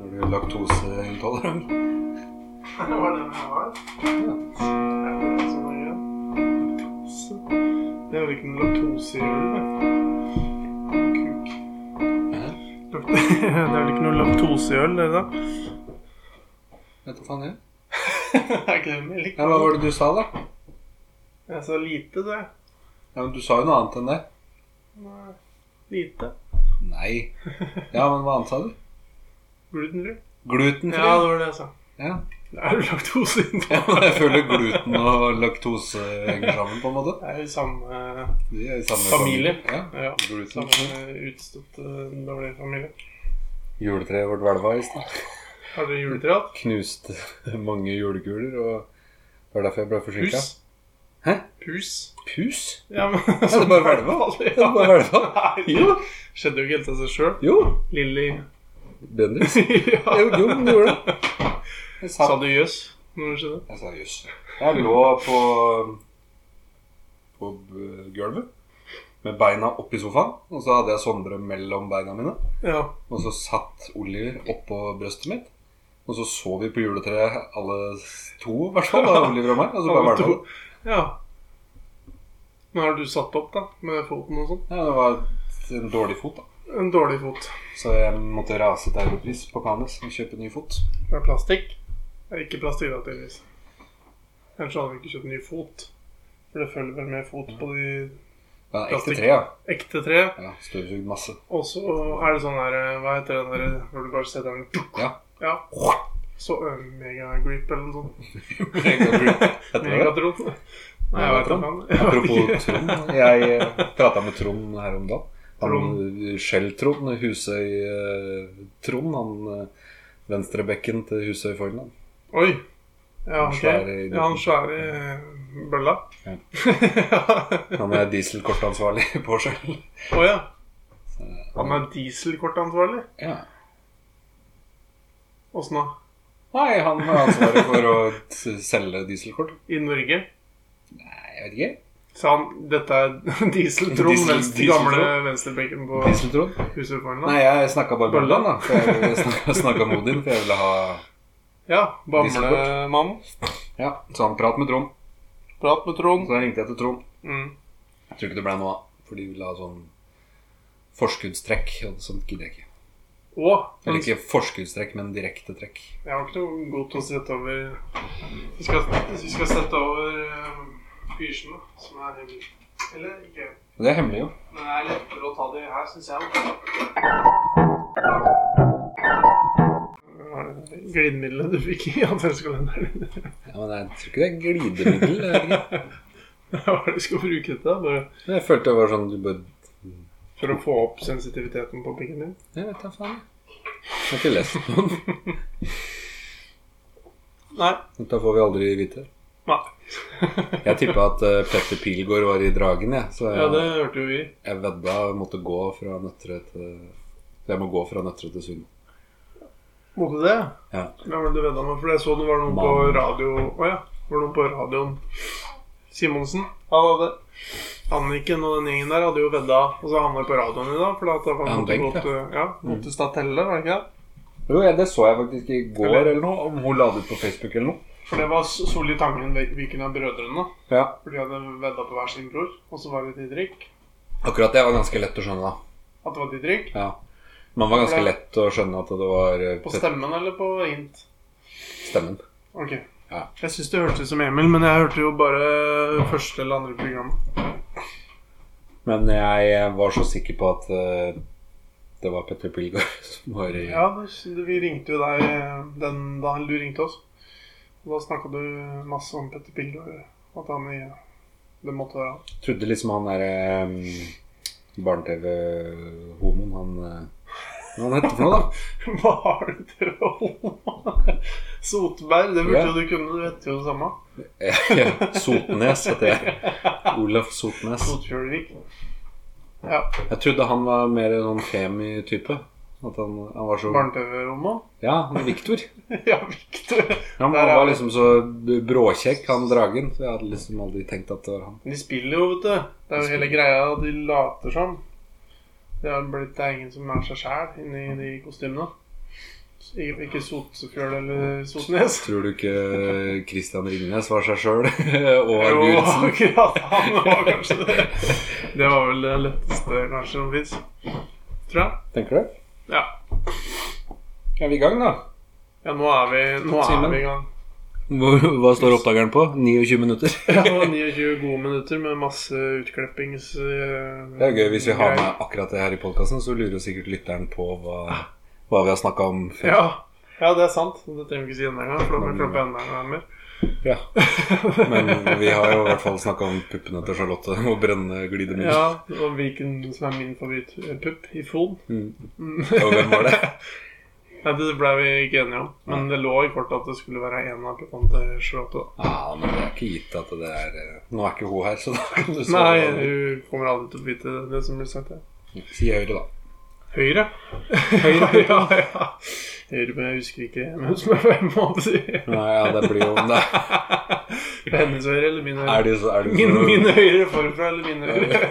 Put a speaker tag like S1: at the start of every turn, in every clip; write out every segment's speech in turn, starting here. S1: laktoseintolerant.
S2: Det var den jeg var. Ja, det var sånn jeg gjør. Så. Jeg har ikke noe laktose i øl. jeg. Kuk. Lakt- Det er vel ikke noe laktose i øl, det da?
S1: Vet du faen jeg.
S2: Er ikke det melk?
S1: Ja, hva var det du sa, da?
S2: Jeg sa lite, det.
S1: Ja, men Du sa jo noe annet enn det.
S2: Nei, Lite.
S1: Nei. Ja, men hva annet sa du?
S2: Glutenfri. Ja,
S1: Glutenfri?
S2: det var det jeg sa.
S1: Ja.
S2: Det er jo laktose i
S1: Ja, men jeg føler gluten og laktose henger sammen, på en måte.
S2: Det er jo samme
S1: De er i samme
S2: Familie.
S1: Ja.
S2: Ja,
S1: Gluten.
S2: samme utstøtte dårlige familie.
S1: Juletreet vårt hvelva i stad.
S2: Har dere juletre hatt?
S1: Knuste mange julekuler, og det var derfor jeg ble forsinka.
S2: Pus?
S1: Hæ?
S2: Pus?
S1: Pus?
S2: Ja, men
S1: Ja, det bare hvelva.
S2: Aldri,
S1: Det bare hvelva.
S2: Nei, det
S1: Jo.
S2: skjedde jo ikke helt av seg sjøl.
S1: Jo.
S2: Lilly
S1: Bendriss.
S2: ja.
S1: Jo, jo, men det gjorde det. Jeg
S2: Sa
S1: sa
S2: du jøss når det skjedde?
S1: Jeg sa jøss. Jeg lå på på b- gulvet med beina oppi sofaen. Og så hadde jeg Sondre mellom beina mine.
S2: Ja.
S1: Og så satt Oliver oppå brøstet mitt. Og så så vi på juletreet alle s- to, i hvert fall. da, Oliver og meg. Og så bare sånn.
S2: Alle
S1: hvelva.
S2: to. ja. Men har du satt opp, da? Med foten og sånn?
S1: Ja, det var en dårlig fot, da.
S2: En dårlig fot.
S1: Så jeg måtte rase til europris på Kanes og kjøpe ny fot.
S2: Det er plastikk. Det er ikke plastikk, da, tydeligvis. Ellers hadde vi ikke kjøpt ny fot. For det følger vel med fot på de
S1: Ja, ekte
S2: Plastikk.
S1: tre, ja.
S2: ekte tre.
S1: ja Støvsugd masse.
S2: Og så er det sånn her eh, Hva heter den der hvor du bare setter den
S1: Ja.
S2: Ja. Så eh, megagrip eller noe sånt.
S1: Heter det det?
S2: Megatron. Nei, jeg vet ikke. Jeg vet
S1: Apropos
S2: ikke.
S1: Trond. Jeg prata med Trond her om dagen. Han
S2: Trond.
S1: Skjell-Trond, Husøy-Trond. eh, Han eh, venstrebekken til Husøy Fogland.
S2: Oi. Ja,
S1: Han
S2: ok.
S1: svære i-
S2: Ja, han svære i eh, bølla.
S1: Ja.
S2: Å
S1: Han er dieselkortansvarlig på Skjell.
S2: ja. Han er dieselkortansvarlig.
S1: Ja.
S2: Åssen da?
S1: Nei, han har ansvaret for å t- selge dieselkort.
S2: I Norge?
S1: Nei, jeg vet ikke.
S2: Sa han dette er dieseltron,
S1: Diesel-
S2: venstre,
S1: Dieseltron.
S2: gamle venstrebenken på
S1: Diesel-Trond?
S2: huset foran
S1: Nei,
S2: deg?
S1: jeg snakka bare med
S2: Bøllan?
S1: Bøllan, da. For jeg snakka med Odin, for jeg ville ha
S2: Ja,
S1: Dieselkort.
S2: Bamlemannen.
S1: Ja, så han prat med Trond.
S2: Prat med Trond.
S1: Så ringte jeg til Trond.
S2: Mm.
S1: Jeg tror ikke det ble noe av, for de ville ha sånn forskuddstrekk. Og sånt gidder jeg ikke.
S2: Å,
S1: Eller
S2: men-
S1: ikke forskuddstrekk, men direkte trekk.
S2: jeg har ikke noe godt til å sette over Vi skal, vi skal sette over eh, Pysjene, som er hemmelig. Eller ikke.
S1: Det er hemmelig, jo.
S2: Men det er lettere å ta de her, syns jeg. altså. Glidemiddelet du fikk i adventskalenderen.
S1: Ja, men jeg tror ikke det er glidemiddel. jeg vet ikke.
S2: Hva er det du skal bruke til? da? Bare
S1: Men Jeg følte det var sånn du bare
S2: for å få opp sensitiviteten på pikken din?
S1: Jeg vet da faen. Jeg har ikke lest noen.
S2: Nei.
S1: Dette får vi aldri vite.
S2: Nei.
S1: Jeg tippa at eh, Petter Pilgaard var i Dragen, jeg. Så
S2: Ja, det
S1: jeg,
S2: hørte jo vi.
S1: jeg vedda jeg måtte gå fra Nøtterøy til Jeg må gå fra Nøtterøy til Sunn.
S2: Måtte det?
S1: Ja.
S2: Hvem var det du vedda med? For jeg så det var noen på
S1: Mann.
S2: radio Å ja. Var det noen på radioen Simonsen? Han hadde Anniken og den gjengen der hadde jo vedda, og så havna de på radioen i dag. For at det var
S1: Ja, han
S2: måtte gå
S1: Bengt, ja.
S2: til, eh, ja, gå til Statelle, var det ikke det?
S1: Jo, ja, det så jeg faktisk i går eller noe. Om hun la det ut på Facebook eller noe.
S2: For det var Solli Tangen, hvilken av brødrene.
S1: Ja.
S2: For de hadde vedda på hver sin bror, og så var det Didrik.
S1: Akkurat det var ganske lett å skjønne, da.
S2: At det var Didrik.
S1: Ja. Man var ganske lett å skjønne at det var eh,
S2: På stemmen eller på hint?
S1: stemmen.
S2: Ok.
S1: Ja.
S2: Jeg syns det hørtes ut som Emil, men jeg hørte jo bare første eller andre program.
S1: Men jeg var så sikker på at eh, det var Petter Pilgaard som var i
S2: Ja, det- vi ringte jo deg eh, den dagen du ringte oss. Og da snakka du masse om Petter Pilgaard. At han i Det måtte være han.
S1: Trodde liksom han derre um, barne-TV-homoen han eh, Hva han heter for noe, da?
S2: Hva har du til å holde Sotberg, det burde
S1: Ja.
S2: jo du kunne. Du heter jo det samme.
S1: Eh, Sotnes heter jeg. Olaf Sotnes.
S2: Sotfjordvik. Ja.
S1: Jeg trodde han var mer en sånn femi-type. At han, han var så
S2: Barne-TV-roman.
S1: Ja, han Viktor.
S2: Ja, Victor.
S1: Han
S2: Der er
S1: var
S2: vi.
S1: liksom så bråkjekk, han dragen. Så jeg hadde liksom aldri tenkt at det var han.
S2: De spiller jo, vet du. Det er jo hele greia. De later som. Det er blitt det er ingen som er seg sjæl inni de kostymene. Ikke, ikke Sotfjøl eller Sotnes.
S1: Tror du ikke Christian Ringnes var seg sjøl og
S2: Jo,
S1: Arnulfsen?
S2: akkurat. Han var kanskje det. Det var vel det letteste kanskje som fins. Tror jeg.
S1: Tenker du?
S2: Ja.
S1: Er vi i gang, da?
S2: ja, nå er vi, nå er
S1: Simen?
S2: vi i gang.
S1: Hvor- Hva står oppdageren på? 29 minutter?
S2: Ja, det var 29 gode minutter med masse utklippings... eh,
S1: Det er jo gøy hvis vi har med akkurat det her i podkasten, så lurer jo sikkert lytteren på hva, hva vi har snakka om før.
S2: Ja. ja, det er sant. Det trenger vi ikke si enda en gang. For da må vi klappe enda en gang mer.
S1: Ja. Men vi har jo i hvert fall snakka om puppene til Charlotte og brenne glidemiddel.
S2: Ja, Og hvilken som er min favorittpupp i Fon.
S1: Mm.
S2: Mm.
S1: Og hvem var det?
S2: Nei, Det ble vi ikke enige om. Men det lå i kortet at det skulle være en av puppene til Charlotte. da.
S1: Ah, men det er ikke gitt at det er eh, Nå er ikke hun her, så da kan du
S2: Nei,
S1: svare.
S2: hun kommer aldri til å vite det som blir sagt. Ja.
S1: Si høyre, da.
S2: Høyre. Høyre, ja, ja. Høyre, men jeg husker ikke hvem som er hvem. må jeg si.
S1: Nei, ja, det blir jo det er-
S2: Hennes høyre eller min høyre?
S1: Er det så er det så-
S2: Min, min høyre forfra eller min høyre?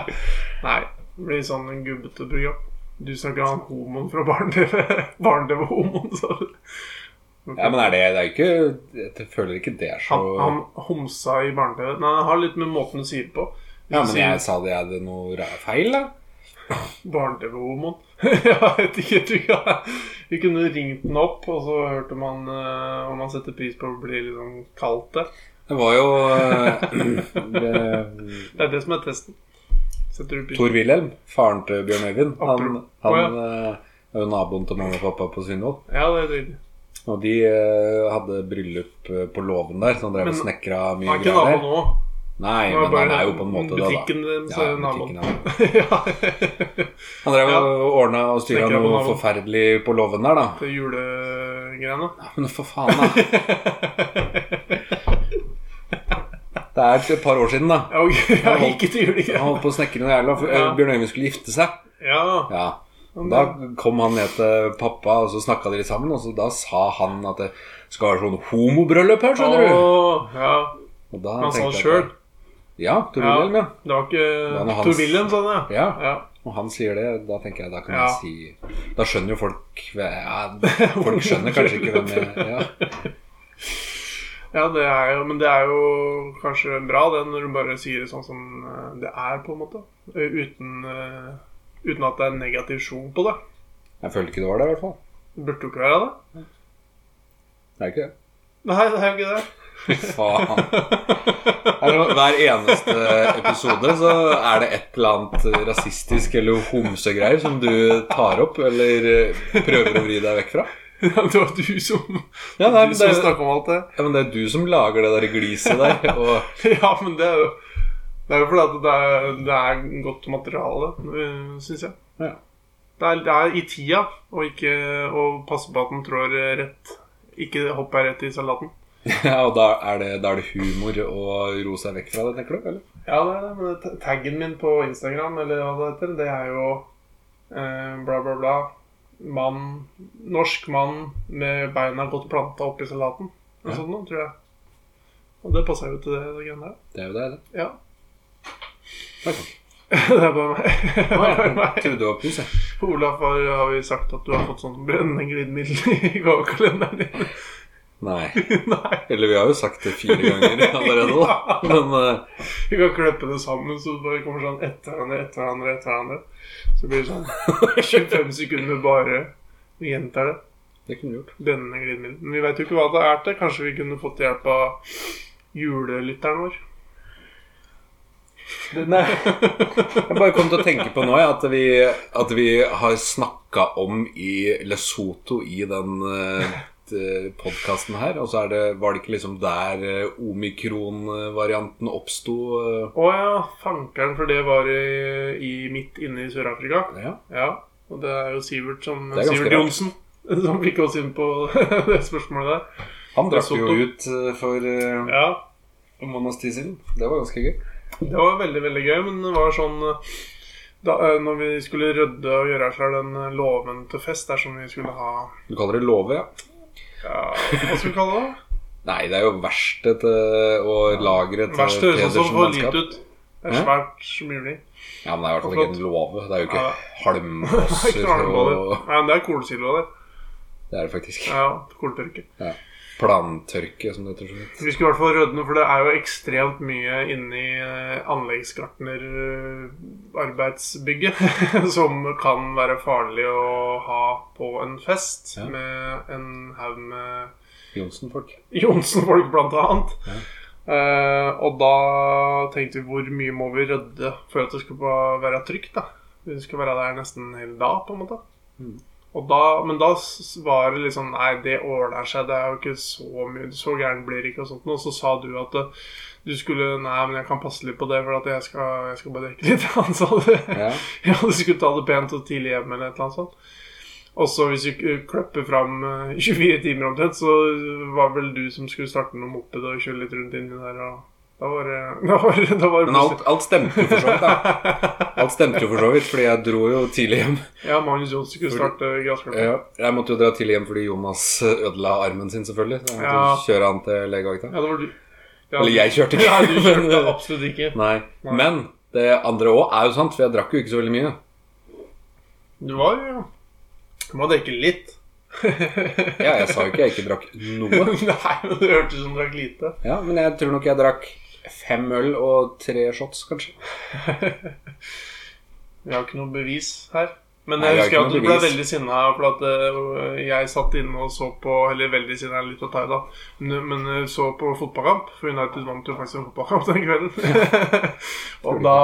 S2: Nei, det blir sånn en gubbete program. Du snakker han homoen fra barne-TV. Barne-TV homoen, sa du.
S1: Ja, men er det Det er jo ikke Jeg føler ikke det er så
S2: Han, han homsa i barne-TV. Nei, han har litt med måten du sier det på.
S1: Ja, men jeg sa det er det noe ra- feil, da?
S2: Barne-TV-homoen. jeg vet ikke, du kan Vi kunne ringt den opp, og så hørte man eh, om han setter pris på å bli liksom kalt det.
S1: Det var jo eh, det,
S2: Det er det som er testen. Setter du pris
S1: Tor Wilhelm, faren til Bjørn Øyvind. Han,
S2: Apropos,
S1: han eh, er jo naboen til mamma og pappa på Svinvoll.
S2: Ja, det er riktig.
S1: Og de eh, hadde bryllup eh, på låven der, så han drev og
S2: Men-
S1: snekra
S2: Han
S1: mye
S2: er ikke
S1: greier.
S2: nabo nå. Han
S1: Nei,
S2: er
S1: men han
S2: bare
S1: er jo på en måte det, da.
S2: butikken din, så er det naboen.
S1: butikken er naboen.
S2: ja.
S1: Han drev og ordna og styra
S2: Snekra på
S1: noe
S2: naboen.
S1: forferdelig på låven der, da.
S2: Det er julegreiene.
S1: Ja, Men for faen, da. Det er et par år siden, da.
S2: Ja, ok. ja, ikke til
S1: Han
S2: julegreiene.
S1: holdt på å snekre noe jævla for eh,
S2: Ja.
S1: Bjørn Øyvind skulle gifte seg.
S2: Ja.
S1: Ja. Og Da kom han ned til pappa, og så snakka de litt sammen. Og så da sa han at det skal være sånn homobryllup her, skjønner du.
S2: Åh, ja.
S1: Og da
S2: Han sa
S1: tenkte
S2: det
S1: jeg
S2: sjøl.
S1: at- Ja, Tor
S2: Ja.
S1: Wilhelm, ja.
S2: Det var
S1: var
S2: ikke
S1: noe hans.
S2: Tor Wilhelm, sa han,
S1: ja.
S2: ja.
S1: Og han sier det, da tenker jeg da kan
S2: Ja.
S1: jeg si Da skjønner jo folk ja, Folk skjønner kanskje ikke hvem jeg ja.
S2: Ja, det er jo, men det er jo kanskje bra det når du bare sier det sånn som eh, det er, på en måte. Eh, Uten, eh, uten at det er en negativ sjon på det.
S1: Jeg følte ikke det var det, i hvert fall.
S2: Det burde jo ikke være det.
S1: Det er ikke det.
S2: Nei, det er jo ikke det.
S1: Faen. Altså, Hver eneste episode så er det et eller annet rasistisk eller homsegreier som du tar opp eller eh, prøver å vri deg vekk fra.
S2: det var du som,
S1: Ja, nei,
S2: du
S1: men
S2: som
S1: det,
S2: snakka om alt det.
S1: ja, men det er du som lager det der gliset der. Og
S2: Ja, men det er jo Det er jo fordi at det er, det er godt materiale, øh, syns jeg.
S1: Ja.
S2: Det, er, det er i tida, og ikke å passe på at den trår eh, rett. Ikke hopper rett i salaten.
S1: ja, og da er, det, da er det humor å ro seg vekk fra det, tenker du? Eller?
S2: Ja, det er det, men ta- taggen min på Instagram, eller hva det heter, det er jo eh, bla, bla, bla. Mann Norsk mann med beina godt planta oppi salaten.
S1: Ja.
S2: Eller sånn noe, tror jeg. Og det passer jo til det, det greiene der.
S1: Det er jo det, det.
S2: Ja.
S1: Takk.
S2: det er bare meg. det er bare meg.
S1: Jeg trodde det var pus, jeg.
S2: For Olaf har, har vi sagt at du har fått sånn brennende glidemiddel i gavekalenderen din.
S1: Nei.
S2: Nei,
S1: Eller vi har jo sagt det fire ganger allerede, da. Men eh,
S2: vi kan klippe det sammen, så det bare kommer sånn etter hverandre, etter hverandre, etter hverandre. Så blir det sånn 25 sekunder med bare Vi gjentar det.
S1: det kunne vi gjort.
S2: Brennende glidemiddel. Men vi veit jo ikke hva det er til. Kanskje vi kunne fått hjelp av julelytteren vår.
S1: Nei. Jeg bare kom til å tenke på nå ja, at, vi, at vi har snakka om i Lesotho i den podkasten her, og så er det, var det ikke liksom der eh, omikron-varianten oppsto? eh?
S2: Å ja, fankeren, for det var i, i midt inne i Sør-Afrika.
S1: Ja.
S2: Ja, og det er jo Sivert som
S1: Det er ganske
S2: Sivert
S1: rart.
S2: Johnsen som fikk oss inn på det spørsmålet der.
S1: Han drakk jo
S2: Lesotho.
S1: ut eh, for eh,
S2: Ja,
S1: en måneds tid siden. Det var ganske gøy.
S2: Det var veldig, veldig gøy, men det var sånn eh, da, eh, Når vi skulle rydde og gjøre klar den eh, låven til fest der som vi skulle ha
S1: Du kaller det låve, ja?
S2: ja, Hva skal vi kalle det?
S1: Nei, det er jo verkstedet eh, og lageret til
S2: Verste høres sånn
S1: Pedersen
S2: for lite
S1: Mannskap.
S2: ut. Det er
S1: Hæ?
S2: svært smulig.
S1: Ja, men det er i hvert fall
S2: Og
S1: ikke en låve. Det er jo ikke
S2: Ja.
S1: halmkosser
S2: Ikke noe annet på det.
S1: og
S2: Nei, men det er kolsilo der.
S1: Det er det faktisk.
S2: Ja, Korntørke.
S1: Ja. Plantørke, som det heter. så vidt.
S2: Vi skulle i hvert fall rydde noe, for det er jo ekstremt mye inni eh, anleggsgartnerarbeidsbygget som kan være farlig å ha på en fest
S1: Ja.
S2: med en haug med
S1: Johnsen-folk.
S2: Johnsen-folk, blant annet.
S1: Ja.
S2: Eh, og da tenkte vi hvor mye må vi rydde for at det skal ba- være trygt, da. Vi skal være der nesten hele dag, på en måte.
S1: Mm.
S2: Og da, men da s- var det litt sånn Nei, det ordner seg, det er jo ikke så mye Så gæren blir det ikke, og sånt. Og så sa du at eh, du skulle Nei, men jeg kan passe litt på det, for at jeg skal, jeg skal bare drikke litt. Han sa det.
S1: Ja.
S2: Ja, du skulle ta det pent og tidlig hjem eller et eller annet sånt. Og så hvis vi k- kløpper fram eh, 24 timer omtrent, så var vel du som skulle starte noe moped og kjøre litt rundt inni der, og da var det da var, det- da var det
S1: Men alt, alt stemte jo for så vidt, da. Alt stemte jo for så vidt, fordi jeg dro jo tidlig hjem.
S2: Ja, Magnus Johnsen skulle starte gressklubben.
S1: Ja, Jeg måtte jo dra tidlig hjem fordi Jonas ødela armen sin, selvfølgelig. Så jeg måtte
S2: Ja.
S1: jo kjøre han til legevakta.
S2: Ja, det var du. Ja,
S1: Eller jeg kjørte ikke.
S2: Ja, du kjørte
S1: men-
S2: absolutt ikke.
S1: Nei.
S2: Nei.
S1: Men det andre òg er jo sant, for jeg drakk jo ikke så veldig mye.
S2: Du var jo Du må drikke litt.
S1: Ja, jeg sa jo ikke jeg ikke drakk noe.
S2: Nei, men det hørtes ut som du drakk lite.
S1: Ja, Men jeg tror nok jeg drakk fem øl og tre shots, kanskje.
S2: Vi har ikke noe bevis her. Men
S1: Nei,
S2: jeg
S1: vi har
S2: husker
S1: ikke
S2: at
S1: noe
S2: du ble
S1: bevis.
S2: veldig sinna for at eh, jeg satt inne og så på Eller veldig sinna er litt å ta i, da. Men, men eh, så på fotballkamp, for United vant jo faktisk en fotballkamp den kvelden. og, da,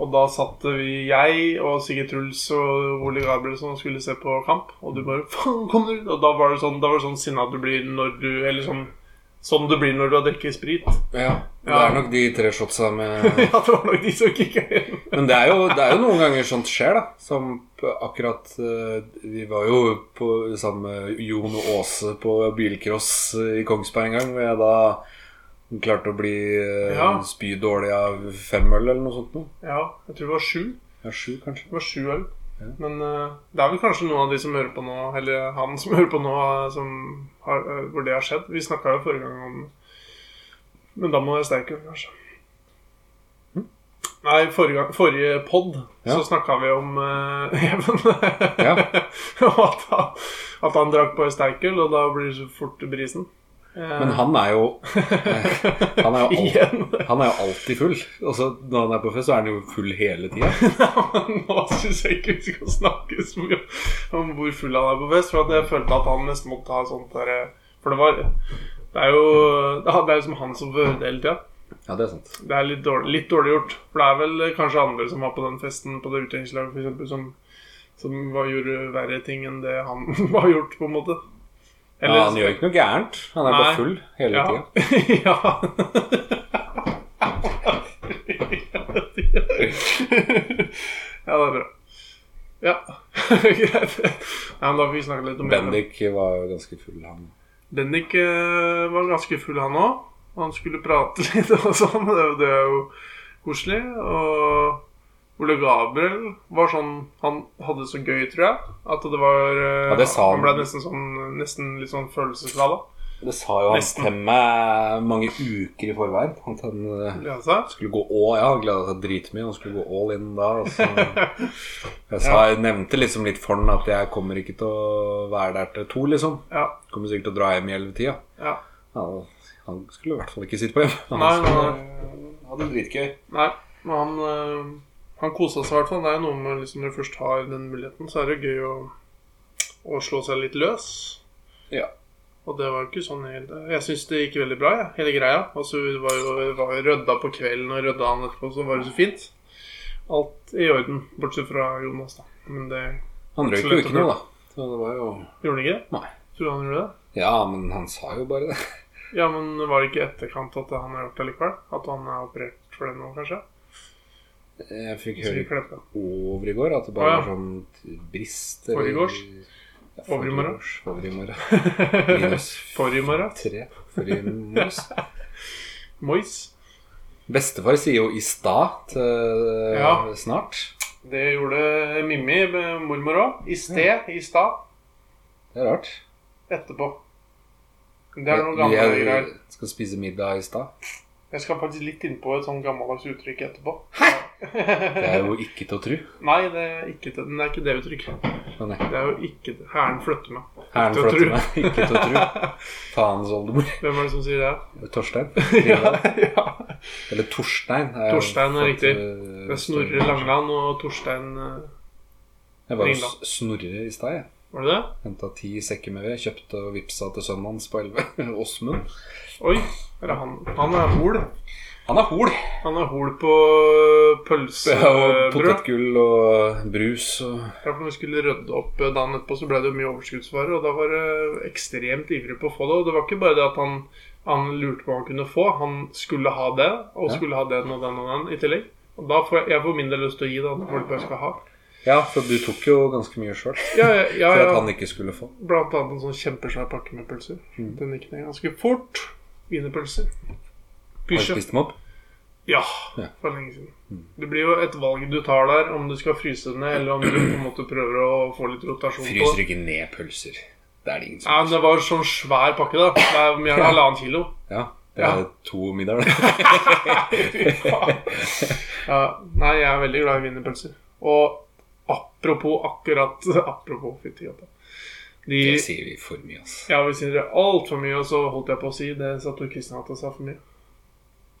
S2: og da satt vi, jeg og Sigurd Truls og Ole Gabrielsson og skulle se på kamp. Og du bare Faen, kom deg ut! Og da var det sånn, da var det sånn sinna du blir når du Eller sånn, sånn du blir når du har drukket sprit.
S1: Ja, Det
S2: Ja.
S1: er nok de tre shotsa med
S2: Ja, det var nok de som kicka inn.
S1: Men det er, jo, det er jo noen ganger sånt skjer, da. Som p- akkurat eh, Vi var jo på, sammen med Jon og Åse på bilcross eh, i Kongsberg en gang. Hvor jeg da klarte å bli eh,
S2: Ja.
S1: spydårlig av fem øl eller noe sånt noe.
S2: Ja, jeg tror det var sju.
S1: Ja, sju, kanskje.
S2: Det var sju øl.
S1: Ja.
S2: Men eh, det er vel kanskje noen av de som hører på nå, eller han som hører på nå, eh, som har, eh, hvor det har skjedd. Vi snakka jo forrige gang om Men da må jeg sterkere, kanskje. Nei, forrige, gang- forrige pod
S1: Hm? Ja.
S2: så snakka vi om eh, Even.
S1: Ja.
S2: og at han, at han drakk på ei sterk øl, og da blir det så fort brisen. Eh,
S1: Men han er jo eh, Han er jo alltid,
S2: Igjen.
S1: han er jo alltid full. Altså, når han er på fest, så er han jo full hele tida.
S2: Nå syns jeg ikke vi skal snakke så mye om hvor full han er på fest. For at jeg følte at han nesten måtte ha sånt der For det var Det er jo det er jo som han som får høre det hele tida.
S1: Ja, det er sant.
S2: Det er litt dårlig, litt dårlig gjort. For det er vel kanskje andre som var på den festen på det utdrikningslaget f.eks. som, som var, gjorde verre ting enn det han var gjort, på en måte.
S1: Ja, han gjør ikke noe gærent. Han er
S2: Nei.
S1: bare full hele tida.
S2: ja. ja, det er bra. Ja, greit. Ja, men da får vi snakke litt om
S1: Bendik var jo ganske full, han.
S2: Bendik eh, var ganske full, han òg. Han skulle prate litt og sånn. Det, er jo- det er jo koselig. Og Ole Gabriel var sånn Han hadde det så gøy, tror jeg. At det var eh,
S1: Ja, det sa
S2: Han
S1: han.
S2: ble nesten sånn Nesten litt sånn følelseslada.
S1: Det sa jo han
S2: Nesten.
S1: til meg mange uker i forveien. At han eh,
S2: Ja, så.
S1: skulle gå all Ja, han gleda seg dritmye. Han skulle gå all in da. og så- jeg, sa, jeg nevnte liksom litt for han at jeg kommer ikke til å være der til to, liksom.
S2: ja,
S1: Kommer sikkert til å dra hjem i ellevetida.
S2: ja.
S1: Ja, og han skulle i hvert fall ikke sitte på hjem. Han
S2: Nei, nei,
S1: skulle
S2: nei.
S1: ha det dritgøy.
S2: Nei, men han, øh, han kosa seg i hvert fall. Det er jo noe med liksom, når du først har den muligheten, så er det gøy å, å slå seg litt løs.
S1: Ja.
S2: Og det var jo ikke sånn helt Jeg syns det gikk veldig bra, jeg, hele greia. Altså, vi var jo var jo rydda på kvelden og rydda han etterpå, så var det så fint. Alt i orden, bortsett fra Jonas, da. Men det
S1: Han røyk jo ikke noe, da. Så det var jo
S2: gjorde han ikke det?
S1: Nei.
S2: Tror du han gjorde det?
S1: Ja, men han sa jo bare det.
S2: Ja, men var det ikke i etterkant at han har gjort det likevel? At han er operert for det nå, kanskje?
S1: Jeg fikk
S2: Så vi
S1: høre
S2: klepper.
S1: over i går at
S2: Å,
S1: det bare
S2: ja.
S1: var sånn t- brist
S2: Forgårs?
S1: Ja,
S2: Over i morgen?
S1: forgårs, Over i morgen. Minus
S2: Forrige morgen.
S1: tre. Forrige morges.
S2: Mois.
S1: Bestefar sier jo 'i stad' til eh,
S2: Ja.
S1: snart.
S2: Det gjorde Mimmi, med mormor òg. I sted, i stad,
S1: Det er rart.
S2: etterpå. Det er noen
S1: Vi
S2: gamle
S1: er-
S2: greier.
S1: skal spise middag i stad.
S2: Jeg skal faktisk litt innpå et sånn gammeldags uttrykk etterpå.
S1: Det er jo ikke til å tru.
S2: Nei, det er ikke det. Den er ikke det uttrykket.
S1: Men
S2: Det er jo ikke det. Hæren flytter meg.
S1: Hæren
S2: Til å
S1: flytter
S2: tru.
S1: meg. Ikke til å tru. Faens oldemor.
S2: Hvem er det som sier det?
S1: Torstein.
S2: ja,
S1: Ringdal.
S2: ja.
S1: Eller Torstein. er jo
S2: Torstein er
S1: fått,
S2: riktig.
S1: eh,
S2: Det er Snorre Langland og Torstein eh,
S1: Jeg var hos
S2: Ringdal.
S1: Snorre i stad. jeg.
S2: Var det det?
S1: Henta ti sekker med ved, kjøpte og vippsa til sønnen hans på 11. Åsmund.
S2: Oi. Eller han, han er hol.
S1: Han er hol.
S2: Han er hol på
S1: Ja, og
S2: pølsebrød.
S1: potetgull og brus og
S2: Ja, for når vi skulle rydde opp eh, dagen etterpå, så ble det jo mye overskuddsvarer. Og da var det eh, ekstremt ivrig på å få det. Og det var ikke bare det at han, han lurte på hva han kunne få. Han skulle ha det, og
S1: Ja.
S2: skulle ha den og den og den i tillegg. Og da får jeg, jeg får mindre lyst til å gi det andre folk hva jeg skal ha.
S1: Ja, for du tok jo ganske mye sjøl
S2: Ja, ja, ja,
S1: for at
S2: ja.
S1: han ikke skulle få.
S2: Blant annet en sånn kjempesvær pakke med pølser.
S1: Mm.
S2: Den gikk ned ganske fort. Wienerpølser.
S1: Har du
S2: Pysje.
S1: spist dem opp?
S2: Ja,
S1: Ja. Mm.
S2: for lenge siden. Det blir jo et valg du tar der, om du skal fryse det ned, eller om du på en måte prøver å få litt rotasjon på
S1: Fryser
S2: det.
S1: ikke ned pølser. Det er det ingen
S2: Ja,
S1: som
S2: men det var en sånn svær pakke, da. Det er mer enn
S1: Ja.
S2: halvannen kilo.
S1: Ja, det er
S2: Ja.
S1: to middager, det.
S2: Fy faen. ja, nei, jeg er veldig glad i wienerpølser. Og apropos akkurat Apropos, fytti gata. De
S1: Det sier vi for mye, ass.
S2: Ja, vi sier det altfor mye, og så holdt jeg på å si det satt jo Kristian at jeg sa for mye.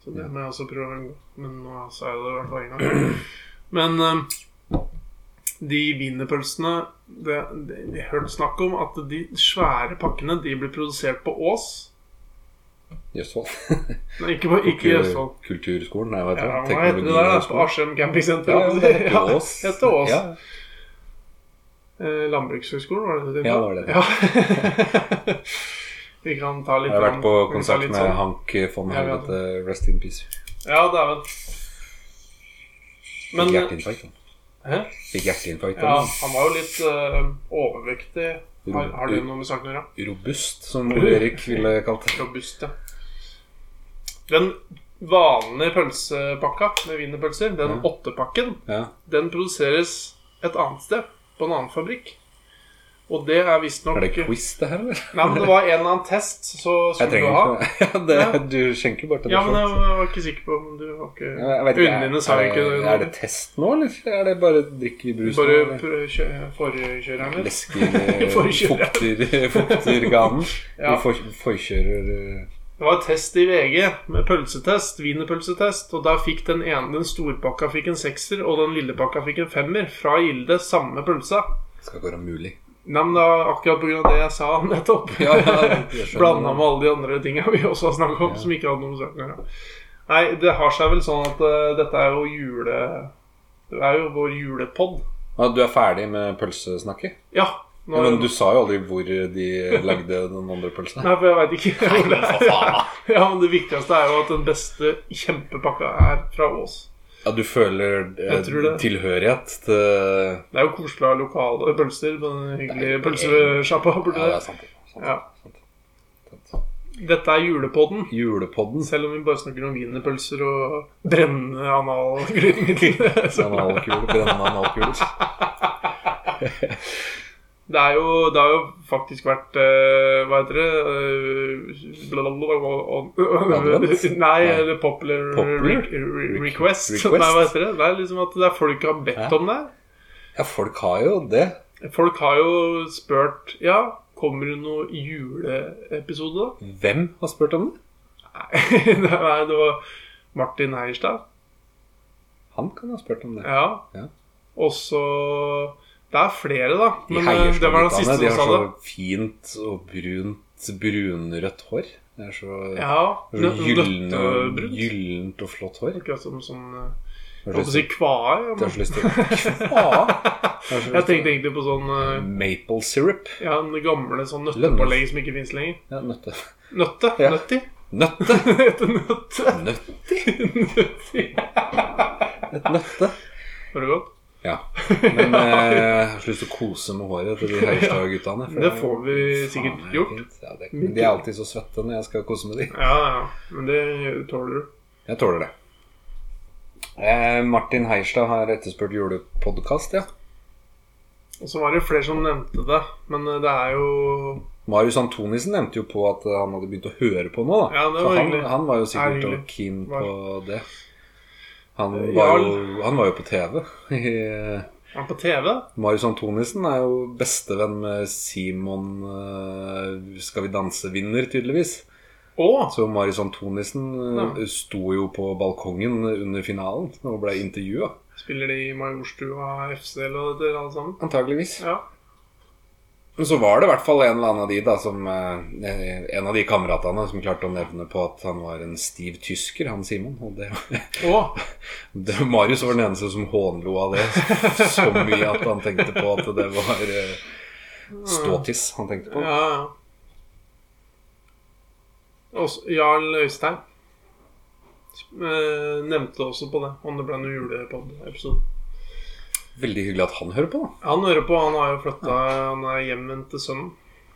S2: Så det
S1: Ja.
S2: må jeg også prøve å unngå. Men nå sa jeg det i hvert fall en gang. Men eh, de wienerpølsene det, det, Jeg hørte snakk om at de svære pakkene de blir produsert på Ås.
S1: I Østfold.
S2: Nei, ikke, på, ikke i Østfold.
S1: Kulturskolen, nei, hva
S2: Ja,
S1: heter det?
S2: hva heter det der? da? På Askim campingsenter?
S1: Ja, jo, det heter
S2: Ja,
S1: Ås.
S2: heter Ås.
S1: Ja.
S2: Eh, Landbrukshøgskolen, var det det?
S1: Ja, det var det.
S2: Ja. vi kan ta litt
S1: Jeg har vært på
S2: sånn- vi kan ta
S1: konsert
S2: litt
S1: med
S2: sånn-
S1: Hank eh, von
S2: Ja, vi
S1: Helvete, Rest in Peace.
S2: Ja, dæven.
S1: Fikk
S2: Men
S1: hjerteinfarkt. han.
S2: Hæ?
S1: Fikk hjerteinfarkt.
S2: Ja,
S1: han.
S2: han var jo litt eh, overvektig. Har, har det noe med saken å gjøre?
S1: Robust, som Ole Erik ville kalt det.
S2: Robust, ja. Den vanlige pølsepakka med wienerpølser, den
S1: Ja.
S2: åttepakken,
S1: Ja.
S2: den produseres et annet sted. På en annen fabrikk. Og det er visstnok
S1: Er det quiz, det her, eller?
S2: Nei, men det var en eller annen test, så skulle
S1: Jeg
S2: du
S1: trenger
S2: ha.
S1: ikke ja, det. Du skjenker bare til
S2: Ja,
S1: deg
S2: men
S1: selv,
S2: jeg
S1: så.
S2: var ikke sikker på om du var ikke
S1: Ja, jeg vet
S2: Øynene dine sa jo ikke
S1: er,
S2: noe.
S1: er det test nå, eller er det bare drikke i brus
S2: Bare
S1: nå?
S2: prø- kjø- forkjøreren
S1: Eller?
S2: litt.
S1: Lesker eh,
S2: Forkjører.
S1: fukter, fukter ganen?
S2: Ja.
S1: Du for, forkjører eh,
S2: Det var test i VG med pølsetest, wienerpølsetest, og der fikk den ene, den storpakka fikk en sekser, og den lille pakka fikk en femmer fra Gilde, samme pølsa.
S1: Skal ikke være mulig.
S2: Nei, men det var akkurat på grunn av det jeg sa nettopp.
S1: Ja, ja, jeg skjønner.
S2: Blanda med alle de andre tinga vi også har snakka om,
S1: Ja.
S2: som ikke hadde noe med saken å gjøre. Nei, det har seg vel sånn at eh, dette er jo jule... Det er jo vår julepod.
S1: Ja, du er ferdig med pølsesnakket?
S2: Ja.
S1: Ja, men du sa jo aldri hvor de lagde den andre pølsa.
S2: Nei, for jeg veit ikke. hvor det
S1: for
S2: er.
S1: faen.
S2: Ja, men det viktigste er jo at den beste kjempepakka er fra Ås.
S1: Ja, du føler eh,
S2: Jeg tror det.
S1: tilhørighet til
S2: Det er jo koselig å ha lokale pølser på den hyggelige
S1: Det er-
S2: pølsesjappa.
S1: Ja, det
S2: burde
S1: er
S2: det.
S1: sant. sant,
S2: Ja.
S1: sant, sant.
S2: Dette er julepodden.
S1: Julepodden.
S2: Selv om vi bare snakker om wienerpølser og brennende analglidemiddel. så-
S1: Analkuler, brennende analkuler.
S2: Det, er jo- det har jo faktisk vært eh, Hva heter det? Eh, blablabla, og- og-
S1: Advent?
S2: Nei,
S1: Nei.
S2: eller popular,
S1: Popular?
S2: re- re- request.
S1: Request?
S2: Nei, hva heter det? Det er liksom at det er folk har bedt
S1: Hæ?
S2: om det.
S1: Ja, folk har jo det.
S2: Folk har jo spurt Ja, kommer det noe juleepisode, da?
S1: Hvem har spurt om det?
S2: Nei, nei, det var Martin Heierstad.
S1: Han kan ha spurt om det.
S2: Ja.
S1: Ja.
S2: Og så Det er flere, da.
S1: De
S2: Men eh,
S1: heier
S2: det var den
S1: seg
S2: siste
S1: De
S2: som sa
S1: har
S2: det.
S1: så fint og brunt, brunrødt hår. Det er så,
S2: Ja.
S1: så
S2: nø-
S1: gyllen og-
S2: Nøttebrunt.
S1: gyllent og flott hår.
S2: Akkurat som sånn eh,
S1: Jeg
S2: Jeg holdt på å si kvae. ja,
S1: har
S2: men
S1: så lyst til Kva?
S2: Jeg tenkte egentlig på sånn eh,
S1: Maple syrup.
S2: Ja, den gamle sånn nøttepålegg som ikke fins lenger.
S1: Ja, nøtte.
S2: Nøtte.
S1: Ja.
S2: Nøtti.
S1: Nøtte.
S2: Det heter nøtte.
S1: Nøtt.
S2: Nøtti.
S1: Et nøtte.
S2: Var det godt?
S1: Ja. Men eh, jeg har så lyst til å kose med håret til de Heierstad-guttene. for
S2: Det får vi
S1: er-
S2: sikkert
S1: faen, det er
S2: gjort.
S1: fint. Ja, det, men de er alltid så svette når jeg skal kose med de.
S2: Ja, ja. Men det tåler du.
S1: Jeg tåler det. Eh, Martin Heierstad har etterspurt julepodkast, ja.
S2: Og så var det flere som nevnte det. Men eh, det er jo
S1: Marius Antonisen nevnte jo på at eh, han hadde begynt å høre på nå, da.
S2: Ja, det
S1: Så
S2: var
S1: han,
S2: hyggelig.
S1: han var jo
S2: Ja,
S1: sikkert
S2: hyggelig.
S1: og keen på det. Han
S2: Eh,
S1: var jo, han var jo på TV. i- eh,
S2: Han på TV?
S1: Marius Antonisen er jo bestevenn med Simon eh, Skal vi danse-vinner, tydeligvis.
S2: Å!
S1: Så Marius Antonisen eh, sto jo på balkongen under finalen og ble intervjua.
S2: Spiller de i Majorstua FC eller det der, alle sammen?
S1: Antageligvis.
S2: Ja.
S1: Men så var det i hvert fall en eller annen av de da som eh, En av de kameratene som klarte å nevne på at han var en stiv tysker, han Simon. Og det,
S2: Å!
S1: det, Marius var den eneste som hånlo av det så mye at han tenkte på at det var eh, ståtiss han tenkte på.
S2: Ja, ja. Også, Jarl Øystein eh, nevnte også på det, om det ble noen julepod-episode.
S1: Veldig hyggelig at han hører på, da.
S2: Han hører på, han har jo flytta Han er hjemvendt til sønnen.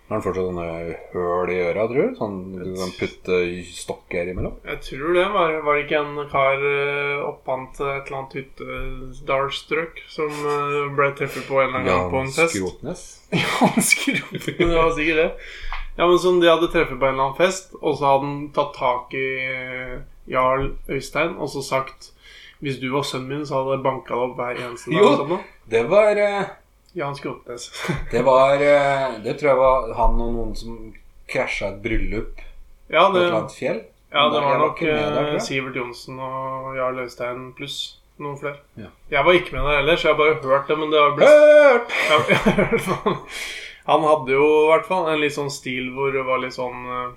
S1: Har han fortsatt sånne høl i øra, tror du? Sånn du kan putte stokker imellom?
S2: Jeg tror det var, var det ikke en kar eh, opphant til et eller annet hyttedalstrøk som eh, ble truffet på en eller annen gang på en fest?
S1: Skrotnes?
S2: Jan Skrot. det var sikkert det. Ja, men som de hadde treffet på en eller annen fest, og så hadde han tatt tak i eh, Jarl Øystein og så sagt Hvis du var sønnen min, så hadde jeg banka deg opp hver eneste dag.
S1: Jo.
S2: og sånn da.
S1: Det var eh,
S2: Jan Skrotnes.
S1: Det var eh, Det tror jeg var han og noen som krasja et bryllup
S2: ja,
S1: på et
S2: det,
S1: eller annet fjell.
S2: ja, det
S1: Jeg
S2: var nok
S1: ikke med der, tror
S2: eh,
S1: jeg.
S2: Sivert Johnsen og Jarl Øystein pluss noen flere.
S1: Ja.
S2: Jeg var ikke med der heller, så jeg har bare hørt det. Men det har blitt
S1: Hørt!
S2: Ja, i hvert fall. Han hadde jo i hvert fall en litt sånn stil hvor det var litt sånn eh,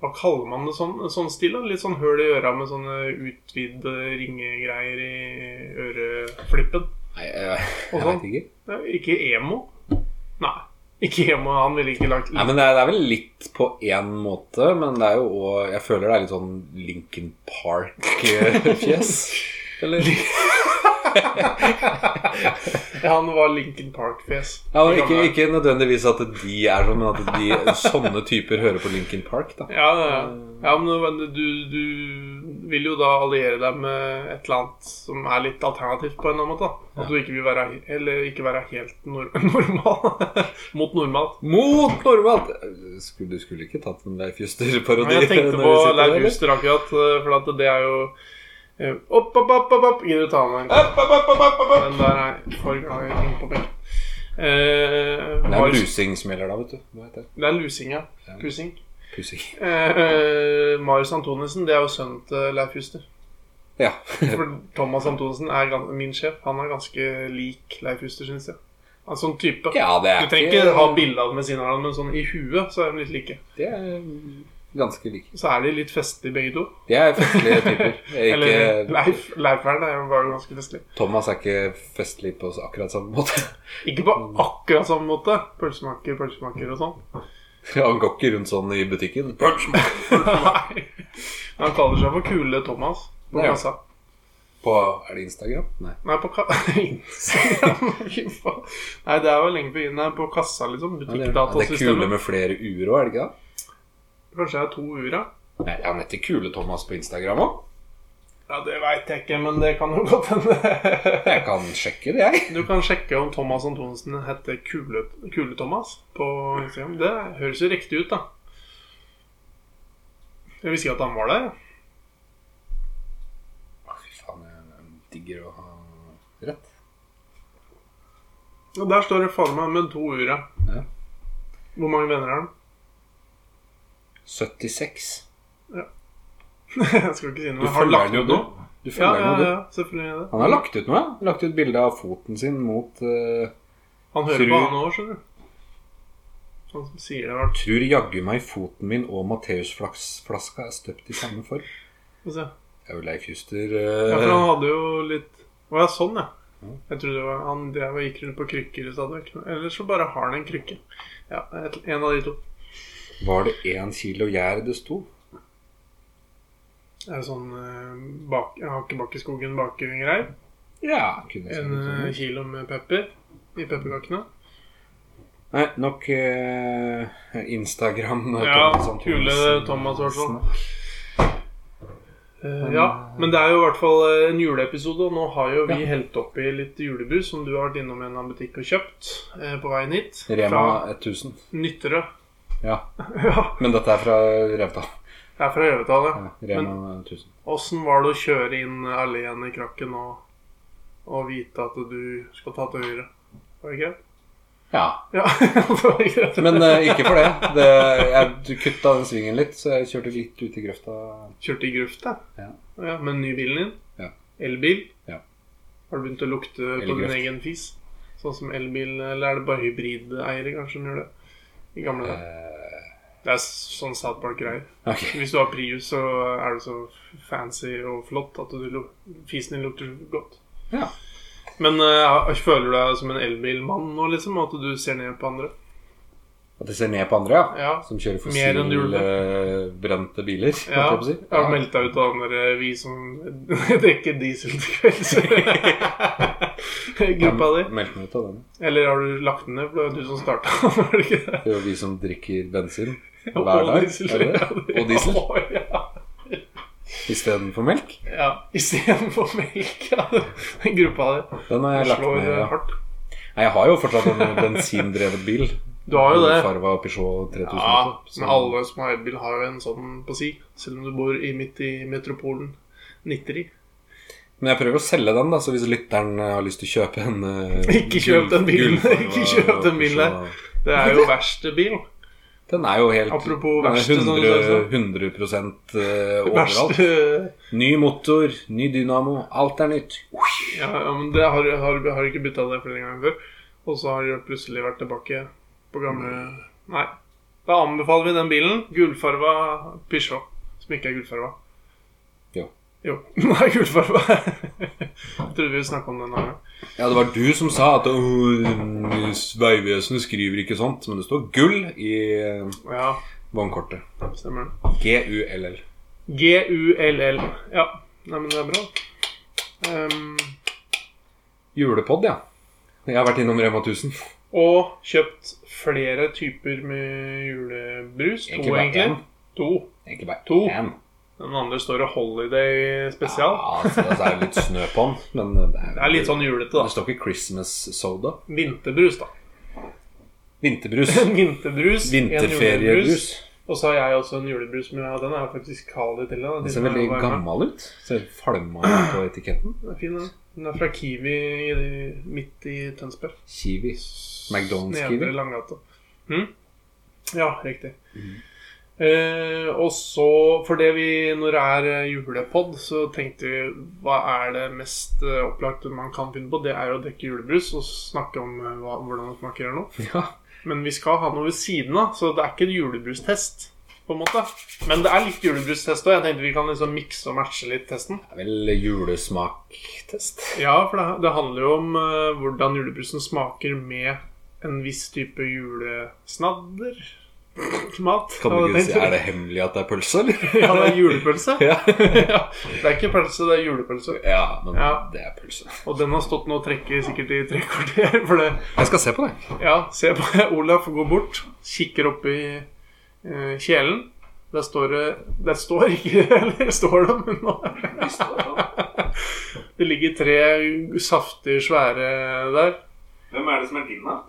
S2: Hva kaller man det sånn, sånn stil? da? Litt sånn høl i øra med sånne utvidde ringegreier i øreflippen.
S1: Nei, jeg,
S2: Og
S1: jeg
S2: sånn.
S1: vet ikke.
S2: Det er jo Ikke emo? Nei. Ikke emo. Han ville ikke lagt
S1: Nei, men det er, det er vel litt på én måte, men det er jo òg Jeg føler det er litt sånn Lincoln Park-fjes. Eller?
S2: Ja, Han var Lincoln Park-fjes.
S1: Ja, og ikke, ikke nødvendigvis at de er sånn, men at de, sånne typer hører på Lincoln Park, da.
S2: Ja, ja,
S1: Eh.
S2: ja. ja men du- du, du vil jo da alliere deg med et eller annet som er litt alternativt på en eller annen måte. da. At du ikke vil være, eller ikke være helt nor normal. Mot normalt.
S1: Mot normalt! Skulle, du skulle ikke tatt en Leif
S2: Men
S1: Juster-parodi?
S2: jeg tenkte
S1: når
S2: på
S1: vi sitter
S2: Leif
S1: der,
S2: Juster akkurat, eh, for at det er jo eh, Opp, opp, opp, opp, opp Gidder du ta med den?
S1: eller? Opp, opp, opp, opp, opp, opp.
S2: Den der er jeg for glad i ting på benk. Eh,
S1: Det
S2: Marius-
S1: er lusing som gjelder da, vet du. Hva heter det?
S2: det er lusing, ja.
S1: Ja.
S2: Pusing.
S1: Pusing.
S2: Eh, eh, Marius Antonissen, det er jo sønnen til Leif Juster.
S1: Ja.
S2: For Thomas Antonsen er gans- min sjef. Han er ganske lik Leif Juster, syns jeg. Han er sånn type.
S1: ja, det er
S2: Du trenger ikke ha bilde av dem ved siden av hverandre, men sånn i huet så er de litt like.
S1: Det er ganske lik.
S2: Så er de litt festlige begge to.
S1: De er festlige typer. Jeg er
S2: Eller
S1: Ikke,
S2: Leif Leifern er jo bare ganske festlig.
S1: Thomas er ikke festlig på akkurat samme måte.
S2: Ikke på
S1: Mm.
S2: akkurat samme måte. Pølsemaker, pølsemaker og sånn.
S1: Han går ikke rundt sånn i butikken.
S2: Nei. Men han kaller seg for Kule Thomas på
S1: Ja.
S2: kassa.
S1: På Er det Instagram? Nei.
S2: Nei, på ka Instagram. Fy faen. Nei, det er jo lenge på Nei, på kassa, liksom.
S1: Ja, det, er, det er kule
S2: Butikkdatasystemet.
S1: med flere ur òg, er det ikke det?
S2: Kanskje jeg har to ur, ja.
S1: Nei, Han heter Kule-Thomas på Instagram òg.
S2: Ja, det veit jeg ikke, men det kan jo godt hende.
S1: Jeg kan sjekke det, jeg.
S2: Du kan sjekke om Thomas Antonsen heter Kule- Kule-Thomas på Instagram. Det høres jo riktig ut, da. Jeg visste ikke at han var der. jeg.
S1: Å, Fy faen, jeg digger å ha rett.
S2: Og der står det faen meg med to ure.
S1: Ja.
S2: Hvor mange venner har han?
S1: 76.
S2: jeg skal ikke si noe. Har han lagt ut noe?
S1: Du
S2: Ja,
S1: følger
S2: ja,
S1: han jo,
S2: ja, selvfølgelig. er
S1: du.
S2: det
S1: Han har lagt ut noe. ja. Lagt ut bilde av foten sin mot eh,
S2: Han hører
S1: Tror-
S2: på, han òg, skjønner du. Han som sier det hvert
S1: Tror jaggu meg foten min og Matteusflaska er støpt i samme form.
S2: Få se.
S1: Det er jo Leif Juster.
S2: Ja, for
S1: eh,
S2: han hadde jo litt Å ja, sånn, ja. Jeg trodde det var han drev og sånn, gikk rundt på krykker stadig vekk. Eller så bare har han en krykke. Ja, et, en av de to.
S1: Var det én kilo gjær det sto?
S2: Det er sånn eh, bak, hakebakk i skogen baker-greier.
S1: Ja. Kunne sånn jeg
S2: En eh,
S1: sagt.
S2: kilo med pepper i pepperkakene.
S1: Nei, nok eh, Instagram. eh,
S2: Ja,
S1: Thomas Antonsen.
S2: kule Thomas, i hvert fall. Eh, ja, men det er jo i hvert fall eh, en juleepisode, og nå har jo vi
S1: Ja.
S2: helt oppi litt julebrus som du har vært innom en annen butikk og kjøpt eh, på veien hit.
S1: Rema 1000.
S2: Fra Nytterød.
S1: Ja.
S2: ja.
S1: Men dette er fra Revdal.
S2: Jeg er fra Gjøvedal, ja.
S1: Ja,
S2: Men
S1: Rema 1000.
S2: åssen var det å kjøre inn alene i krakken og, og vite at du skal ta til høyre? Var det greit?
S1: Ja.
S2: Ja, det var greit.
S1: Men eh, ikke for det. det jeg kutta den svingen litt, så jeg kjørte litt ut i grøfta.
S2: Kjørte i gruft, da.
S1: Ja.
S2: ja. Med ny bilen din?
S1: Ja.
S2: Elbil?
S1: Ja.
S2: Har du begynt å lukte på
S1: Elgruft.
S2: din egen fis? Sånn som elbil, eller er det bare hybrideiere kanskje som gjør det? I gamle dager.
S1: Eh,
S2: Det er sånn South Park-greier.
S1: ok.
S2: Hvis du har Prius, så er du så fancy og flott at du, lu- fisen din lukter så godt.
S1: Ja.
S2: Men eh, føler du deg som en elbilmann nå, liksom? At du ser ned på andre?
S1: At jeg ser ned på andre, ja.
S2: Ja.
S1: Som kjører
S2: Mer enn du gjorde.
S1: fossilbrente biler. holdt
S2: Ja,
S1: jeg på å si.
S2: jeg har meldt deg ut av den der eh, Vi som drikker diesel til kvelds. Gruppa di.
S1: Jeg Meldte meg ut av den.
S2: Eller har du lagt den ned? For det var jo du som starta, var det ikke det?
S1: Det er jo vi som drikker bensin
S2: Og
S1: hver dag.
S2: diesel.
S1: er det det? Og diesel
S2: Å, ja.
S1: istedenfor melk.
S2: ja. Istedenfor melk. Ja. Den gruppa di.
S1: Den har jeg lagt
S2: slår
S1: ned.
S2: eh,
S1: Ja.
S2: hardt.
S1: Nei, jeg har jo fortsatt en bensindrevet bil.
S2: Du har jo det.
S1: Farva Peugeot 3000.
S2: Ja,
S1: også, så-
S2: men alle som har elbil, har jo en sånn på si. Selv om du bor i, midt i metropolen. Nitteri.
S1: Men jeg prøver å selge den, da, så hvis lytteren eh, har lyst til å kjøpe en eh,
S2: Ikke kjøp den bilen.
S1: gullfarva
S2: Ikke kjøp den bilen der.
S1: Peugeot.
S2: Det er jo verste bil.
S1: Den er jo helt
S2: Apropos
S1: den er
S2: verste, som du
S1: 100, 100 eh, overalt.
S2: Verste
S1: Ny motor, ny dynamo, alt er nytt.
S2: Ja, ja, men det har, har, har ikke bytta det flere ganger før. Og så har det plutselig vært tilbake på gamle Nei. Da anbefaler vi den bilen. Gullfarva Peugeot. Som ikke er gullfarva.
S1: Jo.
S2: Jo. Den er gullfarva. Jeg trodde vi snakka om den en annen gang.
S1: Ja, det var du som sa at «Åh, Vegvesenet skriver ikke sånt, men det står gull i eh,
S2: Ja,
S1: vognkortet.
S2: stemmer det.
S1: G-U-L-L.
S2: G-U-L-L. Ja. Nei, men det er bra. Ehm,
S1: Julepod, ja. Jeg har vært innom Rema 1000.
S2: og kjøpt flere typer med julebrus. To,
S1: Egentlig bare
S2: egentlig.
S1: én.
S2: To.
S1: Egentlig bare
S2: To.
S1: én.
S2: Den andre står det Holiday spesial.
S1: Ja, altså, så det er litt snø på den, men eh, det er,
S2: Det er litt sånn julete,
S1: Det
S2: da.
S1: står ikke Christmas soda.
S2: Vinterbrus, da.
S1: Vinterbrus.
S2: En vinterbrus. en
S1: Vinterferiebrus.
S2: julebrus, Og så har jeg også en julebrus, men ja, den er faktisk kald i tillegg.
S1: Den ser veldig gammel ut. Ser falma ut på etiketten.
S2: Den er fin, den. Den er fra Kiwi i, midt i Tønsberg.
S1: Kiwi. McDonald's
S2: Nedre
S1: Kiwi.
S2: Langgata. Hm? Ja, riktig. Eh, og så, for det vi, når det er eh, julepod, så tenkte vi hva er det mest eh, opplagte man kan finne på? Det er jo å drikke julebrus og snakke om eh, hva, hvordan det smaker eller noe.
S1: Ja.
S2: Men vi skal ha noe ved siden av, så det er ikke en julebrustest. På en måte. Men det er litt julebrustest òg. Jeg tenkte vi kan liksom mikse og matche litt testen.
S1: Det er vel julesmaktest.
S2: Ja, for det, det handler jo om eh, hvordan julebrusen smaker med en viss type julesnadder. Mat.
S1: Kan du
S2: Ja,
S1: ikke si,
S2: tenkte-
S1: Er det hemmelig at det er pølse, eller?
S2: Ja, det er julepølse.
S1: Ja.
S2: ja, det er ikke pølse, det er julepølse.
S1: ja, men
S2: Ja.
S1: det er pølse.
S2: Og den har stått nå og trekket sikkert i tre kvarter. For det
S1: Jeg skal se på det.
S2: Ja, se på Olaf går bort, kikker opp i eh, kjelen. Der står det Der står ikke Eller står det, men nå Det ligger tre saftige, svære der.
S3: Hvem er det som er din, da?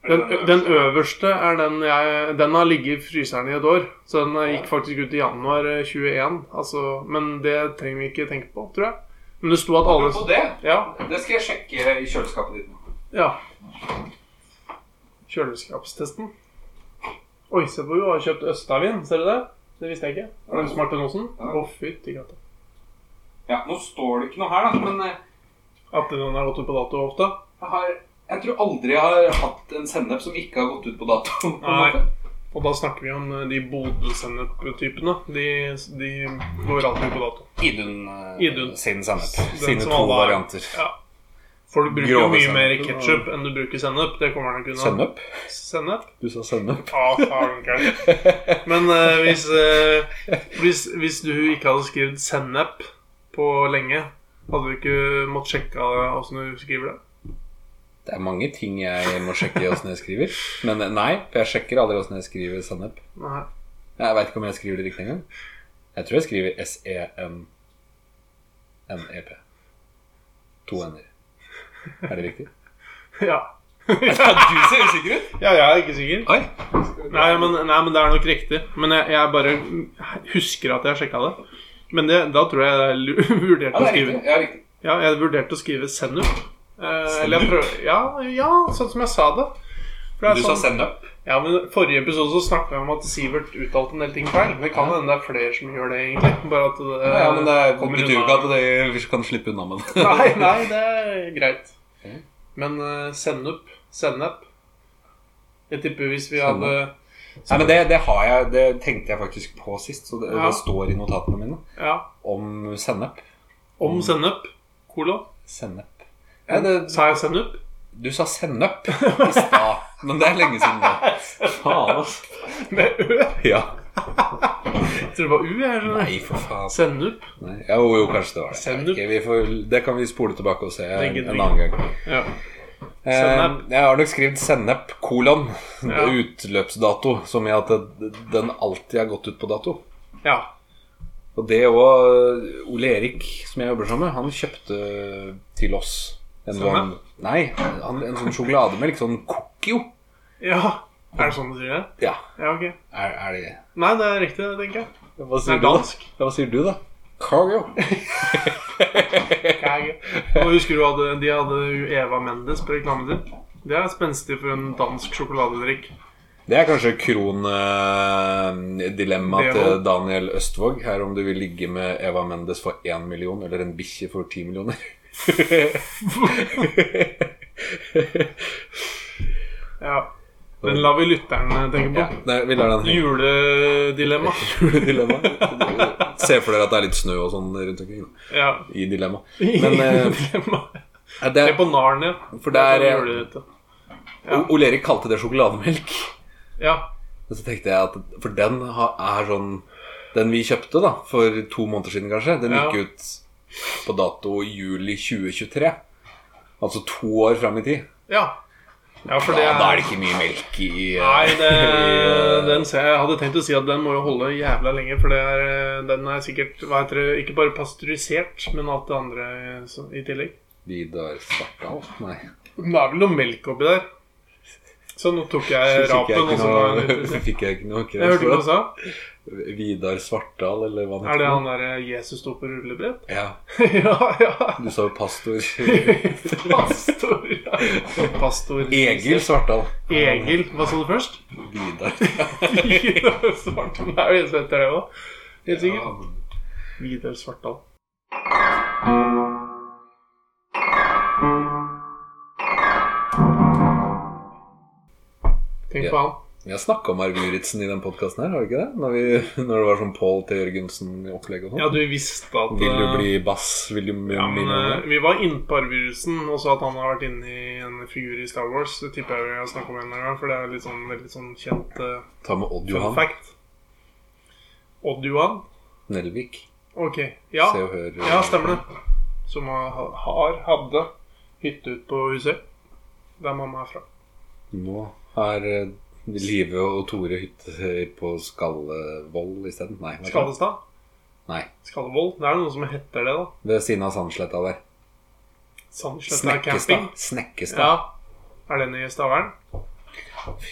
S3: Er
S2: Den,
S3: det den
S2: den øverste er den jeg Den har ligget i fryseren i et år. Så den gikk faktisk ut i januar eh, 21. Altså, men det trenger vi ikke tenke på, tror jeg. Men det sto at alle
S1: På det,
S2: Ja,
S1: det skal jeg sjekke i kjøleskapet ditt. nå.
S2: Ja. Kjøleskapstesten. Oi, se på hun har kjøpt Østavin. Ser du det? Det visste jeg ikke. Er det Martin Aasen? Å, fytti katta.
S1: Ja, Nå står det ikke noe her, da, men eh,
S2: At den har gått ut på dato ofte?
S1: jeg har jeg tror aldri jeg har hatt en sennep som ikke har gått ut på dato. på en
S2: Nei.
S1: måte.
S2: Og da snakker vi om eh, de Bodø-sennep-typene. De, de går alltid på dato.
S1: Idun, eh,
S2: Idun.
S1: sin sennep.
S2: Den
S1: Sine
S2: som
S1: to
S2: alle har.
S1: varianter.
S2: Ja. Folk bruker jo
S1: Grove
S2: mye
S1: sennep.
S2: mer ketsjup enn du bruker sennep. Det kommer han ikke unna.
S1: Sennep?
S2: Sennep?
S1: Du sa sennep.
S2: Ah, fankeren. Men eh, hvis, eh, hvis, hvis du ikke hadde skrevet sennep på lenge, hadde du ikke måttet sjekke åssen du skriver det?
S1: Det er mange ting jeg må sjekke åssen jeg skriver. Men eh, nei, for jeg sjekker aldri åssen jeg skriver sennep.
S2: Nei.
S1: Jeg veit ikke om jeg skriver det riktig engang. Jeg tror jeg skriver S-E-N-N-E-P. To n-er. Er det riktig?
S2: Ja.
S4: Ja, du ser usikker ut.
S2: Ja, jeg er ikke sikker.
S1: Oi!
S2: Nei men, nei, men det er nok riktig. Men jeg, jeg bare husker at jeg har sjekka det. Men det, da tror jeg jeg lu- vurderte
S1: Ja, det
S2: å
S1: er
S2: skrive
S1: riktig. Ja, riktig.
S2: Ja, jeg vurderte å skrive sennup. Eh, eller jeg prøv, ja, ja, sånn som jeg sa det. For det er
S1: Du sa
S2: sånn-
S1: sennep.
S2: Ja, men Forrige episode så snakka vi om at Sivert uttalte en del ting feil. Det kan hende det er flere som gjør det, egentlig. Bare at det
S1: Ja, men det
S2: kommer
S1: betyr jo
S2: unna.
S1: ikke at det- vi kan slippe unna med det.
S2: Nei, nei, det er greit.
S1: Ok.
S2: Men eh, sennup Sennep Jeg tipper hvis vi
S1: Sennep.
S2: hadde
S1: Nei, men det, det har jeg Det tenkte jeg faktisk på sist, så det,
S2: Ja.
S1: det står i notatene mine
S2: Ja,
S1: om sennep.
S2: om
S1: Mm.
S2: sennep Kolon.
S1: Sennep. Ja, det,
S2: Sa jeg sennup?
S1: du sa sennep i stad, men det er lenge siden nå. Faen, ass.
S2: Med ø?
S1: Ja.
S2: Jeg tror det var u. jeg skjønner.
S1: Nei, for faen.
S2: Sennup.
S1: Nei. Ja, jo, jo, kanskje det var det.
S2: Sennep.
S1: Ok, vi får, det kan vi spole tilbake og se
S2: Det
S1: en,
S2: gidder
S1: en
S2: vi.
S1: annen gang.
S2: Ja.
S1: Eh,
S2: Sennep.
S1: jeg har nok skrevet sennep, kolon,
S2: Ja.
S1: utløpsdato, som i at det, den alltid har gått ut på dato.
S2: ja.
S1: Og det òg Ole Erik, som jeg jobber sammen med, han kjøpte til oss en sånn
S2: Sennep?
S1: Nei, han, en sånn sjokolademelk, sånn Cookio.
S2: Ja. Er det sånn du sier det?
S1: Ja,
S2: Ja, ok.
S1: er, er det
S2: Nei, det er riktig, det tenker jeg.
S1: Hva
S2: Det er dansk.
S1: da? Hva sier du, da? Cargo.
S2: Jeg- Og husker du hadde, de hadde jo Eva Mendes på reklamen sin? Det er spenstig for en dansk sjokoladedrikk.
S1: Det er kanskje krondilemmaet
S2: Det
S1: til
S2: var-
S1: Daniel Østvåg her, om du vil ligge med Eva Mendes for én million, eller en bikkje for ti millioner.
S2: Ja. Den lar vi lytteren tenke på.
S1: Nei, vi lar den henge.
S2: Juledilemma.
S1: Juledilemma. Se for dere at det er litt snø og sånn rundt omkring. da,
S2: Ja.
S1: I dilemma. Men eh,
S2: Juledilemma.
S1: det
S2: Se
S1: er
S2: på Narnia.
S1: For der
S2: Det er
S1: er- eh,
S2: julerute.
S1: O- Ole-Erik kalte det sjokolademelk.
S2: Ja.
S1: Og så tenkte jeg at For den ha- er sånn Den vi kjøpte da for to måneder siden, kanskje, den
S2: Ja.
S1: gikk ut på dato juli 2023. Altså to år fram i tid.
S2: Ja. Ja, for det
S1: Ja, da er
S2: er
S1: det ikke mye melk i eh,
S2: Nei, det,
S1: i, eh,
S2: den ser jeg. Jeg hadde tenkt å si at den må jo holde jævla lenge, for det er, eh, den er sikkert hva heter det, ikke bare pasteurisert, men alt det andre eh, så- i tillegg.
S1: Vidar Svartdal? Nei.
S2: Men det er vel noe melk oppi der. Så nå tok jeg
S1: Fikk jeg
S2: rapen.
S1: ikke
S2: og så var jeg litt
S1: noe,
S2: usikker.
S1: fikk jeg ikke noe
S2: Jeg hørte ikke hva du
S1: kreft?
S2: sa.
S1: Vidar Svartdal, eller hva
S2: Er det han der eh, Jesus sto på rullebrett?
S1: Ja.
S2: ja, ja.
S1: Du sa jo pastor.
S2: Pastor. ja. Pastor
S1: Egil Svartdal.
S2: Egil. Hva sa du først?
S1: Vidar.
S2: Vidar Svartdal. Det er jo en som heter det òg. Helt sikkert. Vidar Svartdal. Tenk
S1: Ja.
S2: på han.
S1: Vi har snakka om Arve Juritzen i den podkasten her, har vi ikke det? Når, vi, når det var sånn Pål T. Jørgensen-opplegg og sånn.
S2: Ja, du visste at
S1: Vil du
S2: eh,
S1: bli bass? Vil du bli
S2: Ja, men eh,
S1: millionær?
S2: Vi var inne på arvevirusen og så at han har vært inne i en figur i Star Wars. Det tipper jeg vi har snakket om en eller annen gang, for det er litt sånn, veldig sånn kjent eh,
S1: Ta med Odd
S2: fun
S1: Johan
S2: fact. Odd Johan?
S1: Nelvik.
S2: Ok. Ja,
S1: Se og hør. eh,
S2: ja stemmer det. Som har, har- hadde hytte ut på Husøy. Der mamma er fra.
S1: Nå har eh, Live og Tore hytter på Skallevoll isteden. Nei. hva er det?
S2: Skallestad?
S1: Nei.
S2: Skallevoll? Det er noe som heter det, da.
S1: Ved siden av Sandsletta der.
S2: Sandsletta camping.
S1: Snekkestad. Snekkestad.
S2: Ja. Er den i Stavern?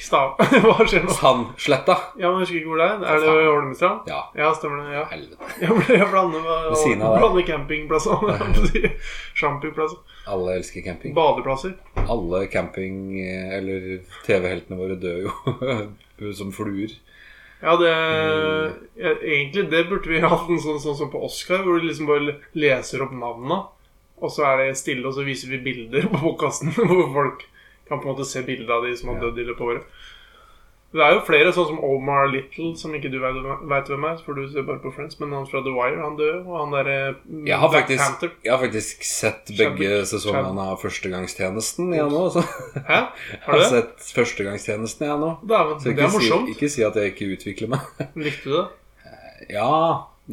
S2: Stav... Hva skjer nå?
S1: Sandsletta.
S2: Ja, men jeg husker ikke hvor det er. Er det Holmestrand?
S1: Ja.
S2: Ja, stemmer det. ja
S1: Helvete.
S2: Jeg, ble, jeg blander, med-
S1: Ved siden av der.
S2: blander campingplasser. Shampooplasser.
S1: Alle elsker camping.
S2: Badeplasser.
S1: Alle camping- eller TV-heltene våre dør jo som fluer.
S2: Ja, det
S1: Mm.
S2: ja, Egentlig det burde vi hatt en sånn, sånn som på Oscar, hvor du liksom bare leser opp navnene. Og så er det stille, og så viser vi bilder på podkasten hvor folk kan på en måte se bilde av de som har dødd i løpet av året. Det er jo flere, sånn som Omar Little, som ikke du veit hvem er, for du ser bare på Friends, men han fra The Wire, han døde, og han derre
S1: Jeg har,
S2: Black
S1: faktisk,
S2: Panther.
S1: jeg har faktisk sett begge sesongene av Førstegangstjenesten, jeg nå. Så.
S2: Hæ?
S1: Jeg
S2: Har
S1: har
S2: du det?
S1: sett Førstegangstjenesten, jeg nå.
S2: Dæven,
S1: Så
S2: det
S1: ikke
S2: er
S1: si,
S2: morsomt.
S1: ikke si at jeg ikke utvikler meg.
S2: Likte du det?
S1: Ja,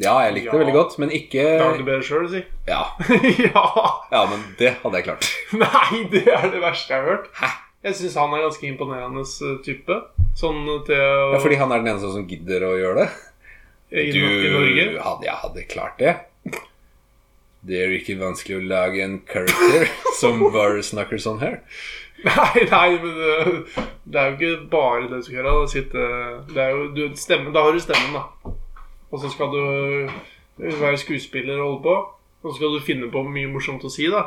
S1: ja jeg likte det
S2: Ja.
S1: veldig godt, men ikke
S2: Lagde bedre sjøl, si.
S1: ja.
S2: Eh, ja!
S1: ja, men det hadde jeg klart.
S2: Nei, det er det verste jeg har hørt.
S1: Hæ?
S2: Jeg syns han er ganske imponerende eh, type. Sånn til å
S1: Ja, fordi han er den eneste som gidder å gjøre det.
S2: i,
S1: Du
S2: I Norge.
S1: hadde, Jeg hadde klart det. Det er ikke vanskelig å lage en character som bare snakker sånn her.
S2: Nei, nei, men det, det er jo ikke bare det du skal gjøre. Da, sitte, det er jo, du, stemmen, da har du stemmen, da. Og så skal du eh, være skuespiller og holde på. Og så skal du finne på mye morsomt å si, da.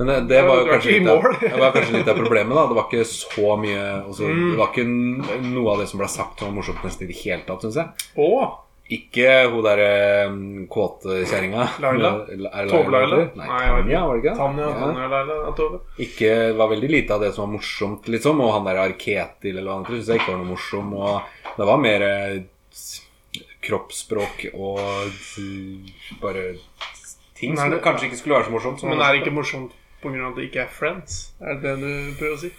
S1: Men det, det var
S2: Du er
S1: jo
S2: ikke
S1: kanskje
S2: i
S1: litt, av,
S2: mål.
S1: det var kanskje litt av problemet, da. Det var ikke så mye altså,
S2: Mm.
S1: Det var ikke n- noe av det som ble sagt som var morsomt nesten i det hele tatt, syns jeg.
S2: Å!
S1: Ikke hun der eh, kåte kjerringa.
S2: Laila?
S1: Er det Laila?
S2: Tove-Laila?
S1: Nei,
S2: Nei, jeg vet
S1: Tanja,
S2: ikke.
S1: var det ikke?
S2: Tanja,
S1: Ja.
S2: Tanja Leila, Tove.
S1: Ikke, det var veldig lite av det som var morsomt, liksom. Og han der Arketil eller hva han heter, syns jeg ikke var noe morsom. Og det var mer eh, s- kroppsspråk og s- bare ting
S2: Men er
S1: som
S2: det-
S1: kanskje ikke skulle være så morsomt. Som
S2: Men er det ikke morsomt pga. at det ikke er Friends? Er det det du prøver å si?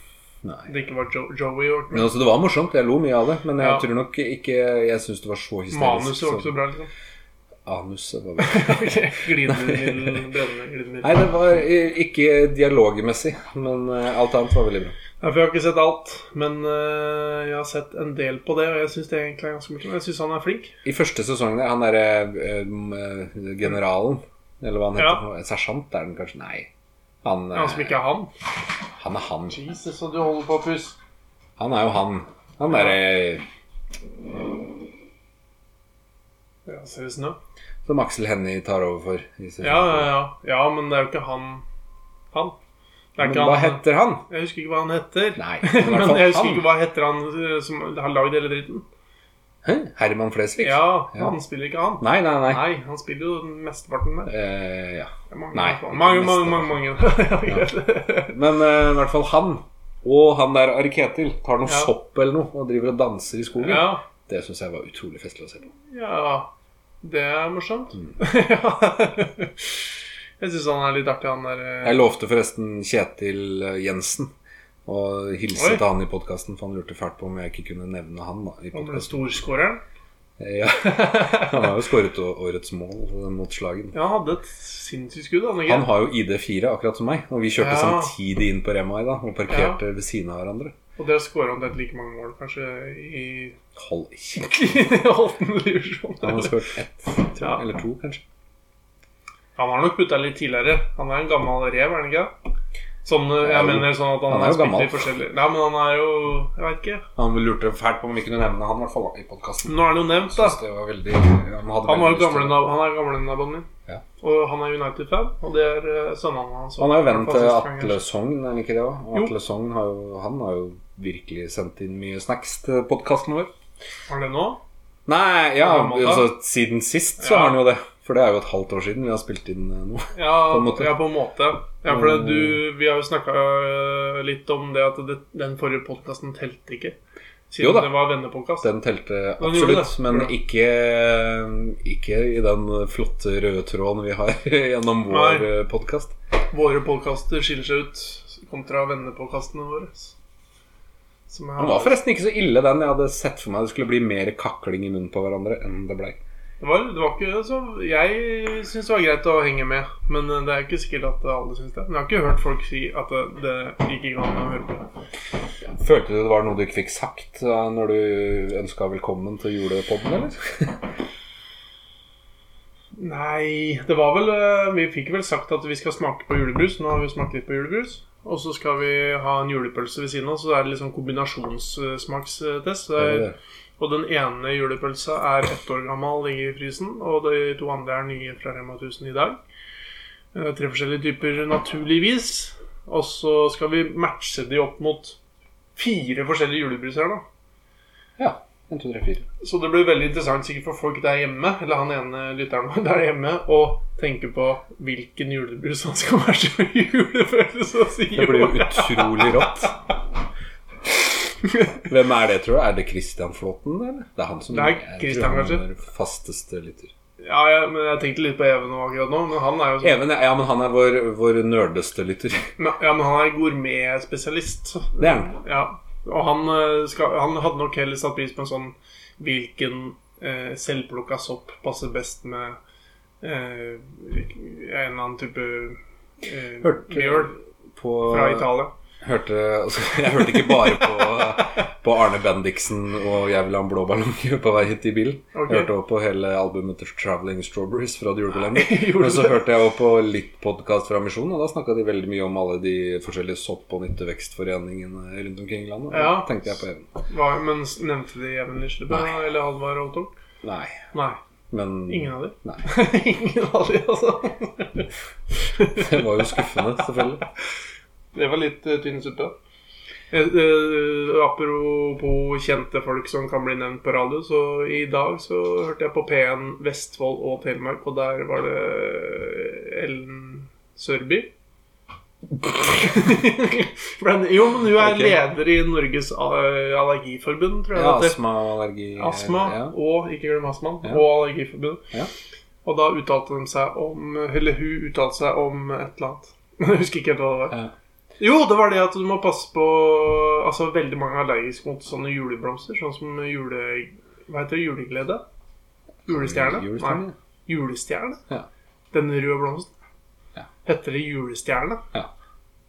S1: Nei.
S2: At det ikke var jo Joey Orton?
S1: Men altså, Det var morsomt. Jeg lo mye av det. Men jeg
S2: Ja.
S1: tror nok ikke Jeg syns det var så hysterisk.
S2: Manuset var
S1: som-
S2: ikke så bra, liksom?
S1: Anuset var bra.
S2: Glidemiddel, brennende glidemiddel.
S1: Nei, det var eh, ikke dialogmessig. Men eh, alt annet var veldig bra.
S2: Ja, for jeg har ikke sett alt, men øh, jeg har sett en del på det, og jeg syns det egentlig er ganske morsomt. Jeg syns han er flink.
S1: I første sesongen, han derre eh, generalen Eller hva han heter. for noe. Sersjant er den kanskje? Nei. Han, eh,
S2: Han som ikke er han.
S1: han er han.
S2: Jesus, og du holder på å puste.
S1: Han er jo han. Han derre
S2: Ja, ser det snø?
S1: som Aksel Hennie tar over for. i sesong
S2: Ja, ja,
S1: to.
S2: ja. ja, men det er jo ikke han han. Det er
S1: Men
S2: ikke
S1: hva
S2: han.
S1: heter han?
S2: Jeg husker ikke hva han heter.
S1: Nei, men i hvert
S2: men
S1: fall
S2: jeg husker
S1: han.
S2: ikke hva heter han øh, som har lagd hele dritten.
S1: Hæ? Herman Flesvig?
S2: Ja,
S1: Ja.
S2: han spiller ikke han.
S1: Nei, nei, nei.
S2: Nei, han spiller jo mesteparten der.
S1: Eh, ja.
S2: Det er mange,
S1: Nei,
S2: mange,
S1: ikke
S2: mange, mange, mange.
S1: Men eh, i hvert fall han og han der Arketil tar noe
S2: Ja.
S1: sopp eller noe og driver og danser i skogen.
S2: ja.
S1: Det syns jeg var utrolig festlig å se på.
S2: Ja, det er morsomt.
S1: Mm.
S2: Ja. Jeg syns han er litt artig, han der. eh.
S1: Jeg lovte forresten Kjetil eh, Jensen å hilse
S2: Oi.
S1: til han i podkasten, for han lurte fælt på om jeg ikke kunne nevne han. Da, i
S2: Han ble
S1: podcasten.
S2: storskåreren.
S1: ja. Han har jo skåret å- årets mål eh, mot Slagen.
S2: Ja, han hadde et sinnssykt skudd, han
S1: Han
S2: ikke?
S1: har jo ID4, akkurat som meg, og vi kjørte
S2: Ja.
S1: samtidig inn på Rema i dag og parkerte ved siden av hverandre.
S2: Og dere skåra omtrent like mange mål, kanskje, i
S1: Hold kjeft!
S2: åttende divisjon.
S1: Han har skåret ett, tror jeg,
S2: Ja.
S1: eller to, kanskje.
S2: Han har nok putta litt tidligere. Han er en gammel rev, er han ikke? det? Sånn, eh,
S1: Ja,
S2: jeg
S1: jo.
S2: mener sånn at han,
S1: Han er
S2: har
S1: jo
S2: spilt
S1: gammel.
S2: i forskjellige Nei, men han er jo Jeg veit ikke.
S1: Han lurte fælt på om vi kunne nevne han, i hvert fall, da, i podkasten.
S2: Nå er han jo nevnt, da.
S1: Det var veldig Han, hadde
S2: Han var jo
S1: veldig lyst
S2: gamle
S1: til-
S2: nab- han er gamle naboen min.
S1: Ja.
S2: Og han er United-fan, og det er eh, sønnene hans.
S1: Han er jo venn
S2: Hvertfall
S1: til
S2: siste gang jeg
S1: Atle Sogn, er han ikke det òg? Og
S2: Jo.
S1: Atle Sogn har jo, han har jo virkelig sendt inn mye snacks til podkasten vår.
S2: Har det nå?
S1: Nei, ja,
S2: På mandag.
S1: altså siden sist så
S2: Ja.
S1: har han jo det. For det er jo et halvt år siden vi har spilt inn eh, noe.
S2: Ja,
S1: På en måte. Mm.
S2: ja, på en måte. Ja, for det, du, vi har jo snakka litt om det at det, den forrige podkasten telte ikke. Siden
S1: Jo da.
S2: det var vennepodkast.
S1: Den telte
S2: Den gjorde
S1: absolutt,
S2: det.
S1: men
S2: Ja.
S1: ikke, ikke i den flotte røde tråden vi har gjennom
S2: Nei.
S1: vår eh, podkast.
S2: Våre podkaster skiller seg ut kontra vennepodkastene våre. Som jeg
S1: Den var forresten ikke så ille, den. Jeg hadde sett for meg det skulle bli mer kakling i munnen på hverandre enn det blei.
S2: det, var, det var ikke så Jeg syns det var greit å henge med, men eh, det er ikke sikkert at alle syns det. Men jeg har ikke hørt folk si at det, det gikk ikke an å høre på.
S1: Følte du det var noe du ikke fikk sagt eh, når du ønska velkommen til julepodden, eller?
S2: Nei, det var vel eh, Vi fikk vel sagt at vi skal smake på julebrus. Nå har vi smakt litt på julebrus. Og så skal vi ha en julepølse ved siden av, så det er litt sånn kombinasjonssmakstest.
S1: Det er det.
S2: Og den ene julepølsa er ett år gammel, ligger i frysen. Og de to andre er nye fra Rema 1000 i dag. Eh, Tre forskjellige typer, naturligvis. Og så skal vi matche de opp mot fire forskjellige julebruser her, da.
S1: Ja. 1, 2, 3, 4.
S2: Så det blir veldig interessant sikkert for folk der hjemme, eller han ene lytteren vår der hjemme, å tenke på hvilken julebrus han skal være som julefølelse og si
S1: Det blir jo utrolig rått. Hvem er det, tror du? Er det Christian Flåten, eller? Det er han som
S2: Det er
S1: jeg tror
S2: Christian,
S1: han
S2: kanskje?
S1: er vår fasteste lytter.
S2: Ja, ja, men jeg tenkte litt på Even nå akkurat nå, men han er jo sånn
S1: Even, ja, men han er vår, vår nerdeste lytter.
S2: Men- Ja, men han er gourmetspesialist.
S1: Det er han.
S2: Ja. Og han, eh, skal, han hadde nok heller satt pris på en sånn hvilken eh, selvplukka sopp passer best med eh, en eller annen type eh,
S1: Hørte-
S2: mjøl
S1: På,
S2: fra Italia.
S1: Hørte, altså, jeg hørte ikke bare på, på Arne Bendiksen og 'Jeg vil ha en blå ballong' på vei hit i bilen.
S2: Ok.
S1: Jeg hørte også på hele albumet til 'Traveling Strawberries' fra The Julekalender.
S2: Gjorde
S1: Men så
S2: det?
S1: hørte jeg også på litt podkast fra Misjonen, og da snakka de veldig mye om alle de forskjellige sopp- og nyttevekstforeningene rundt omkring i landet.
S2: Ja.
S1: Da tenkte jeg på Even.
S2: Hva- Men s- nevnte de Even Lislebø
S1: Nei.
S2: eller Halvard Holtok?
S1: Nei,
S2: Nei.
S1: men
S2: Ingen av de.
S1: Nei.
S2: Ingen av de, altså.
S1: Det var jo skuffende, selvfølgelig.
S2: Det var litt eh, tynn suppe. Eh, eh, apropos kjente folk som kan bli nevnt på radio, så i dag så hørte jeg på P1 Vestfold og Telemark, og der var det eh, Ellen Sørby. For den- jo, men hun er
S1: Ok.
S2: leder i Norges eh, allergiforbund, tror jeg.
S1: Ja,
S2: det heter.
S1: astma og allergi
S2: Astma
S1: Eh, ja.
S2: og ikke glem astmaen
S1: Ja.
S2: og Allergiforbundet.
S1: Ja.
S2: Og da uttalte de seg om Eller hun uttalte seg om et eller annet. Jeg husker ikke helt hva det var.
S1: Ja.
S2: Jo, det var det at du må passe på Altså, veldig mange er allergiske mot sånne juleblomster. Sånn som jule... Hva heter det? Juleglede? Julestjerne?
S1: Julestjerne?
S2: Nei. Julestjerne?
S1: Ja.
S2: Den røde blomsten?
S1: Ja.
S2: Heter det julestjerne?
S1: Ja.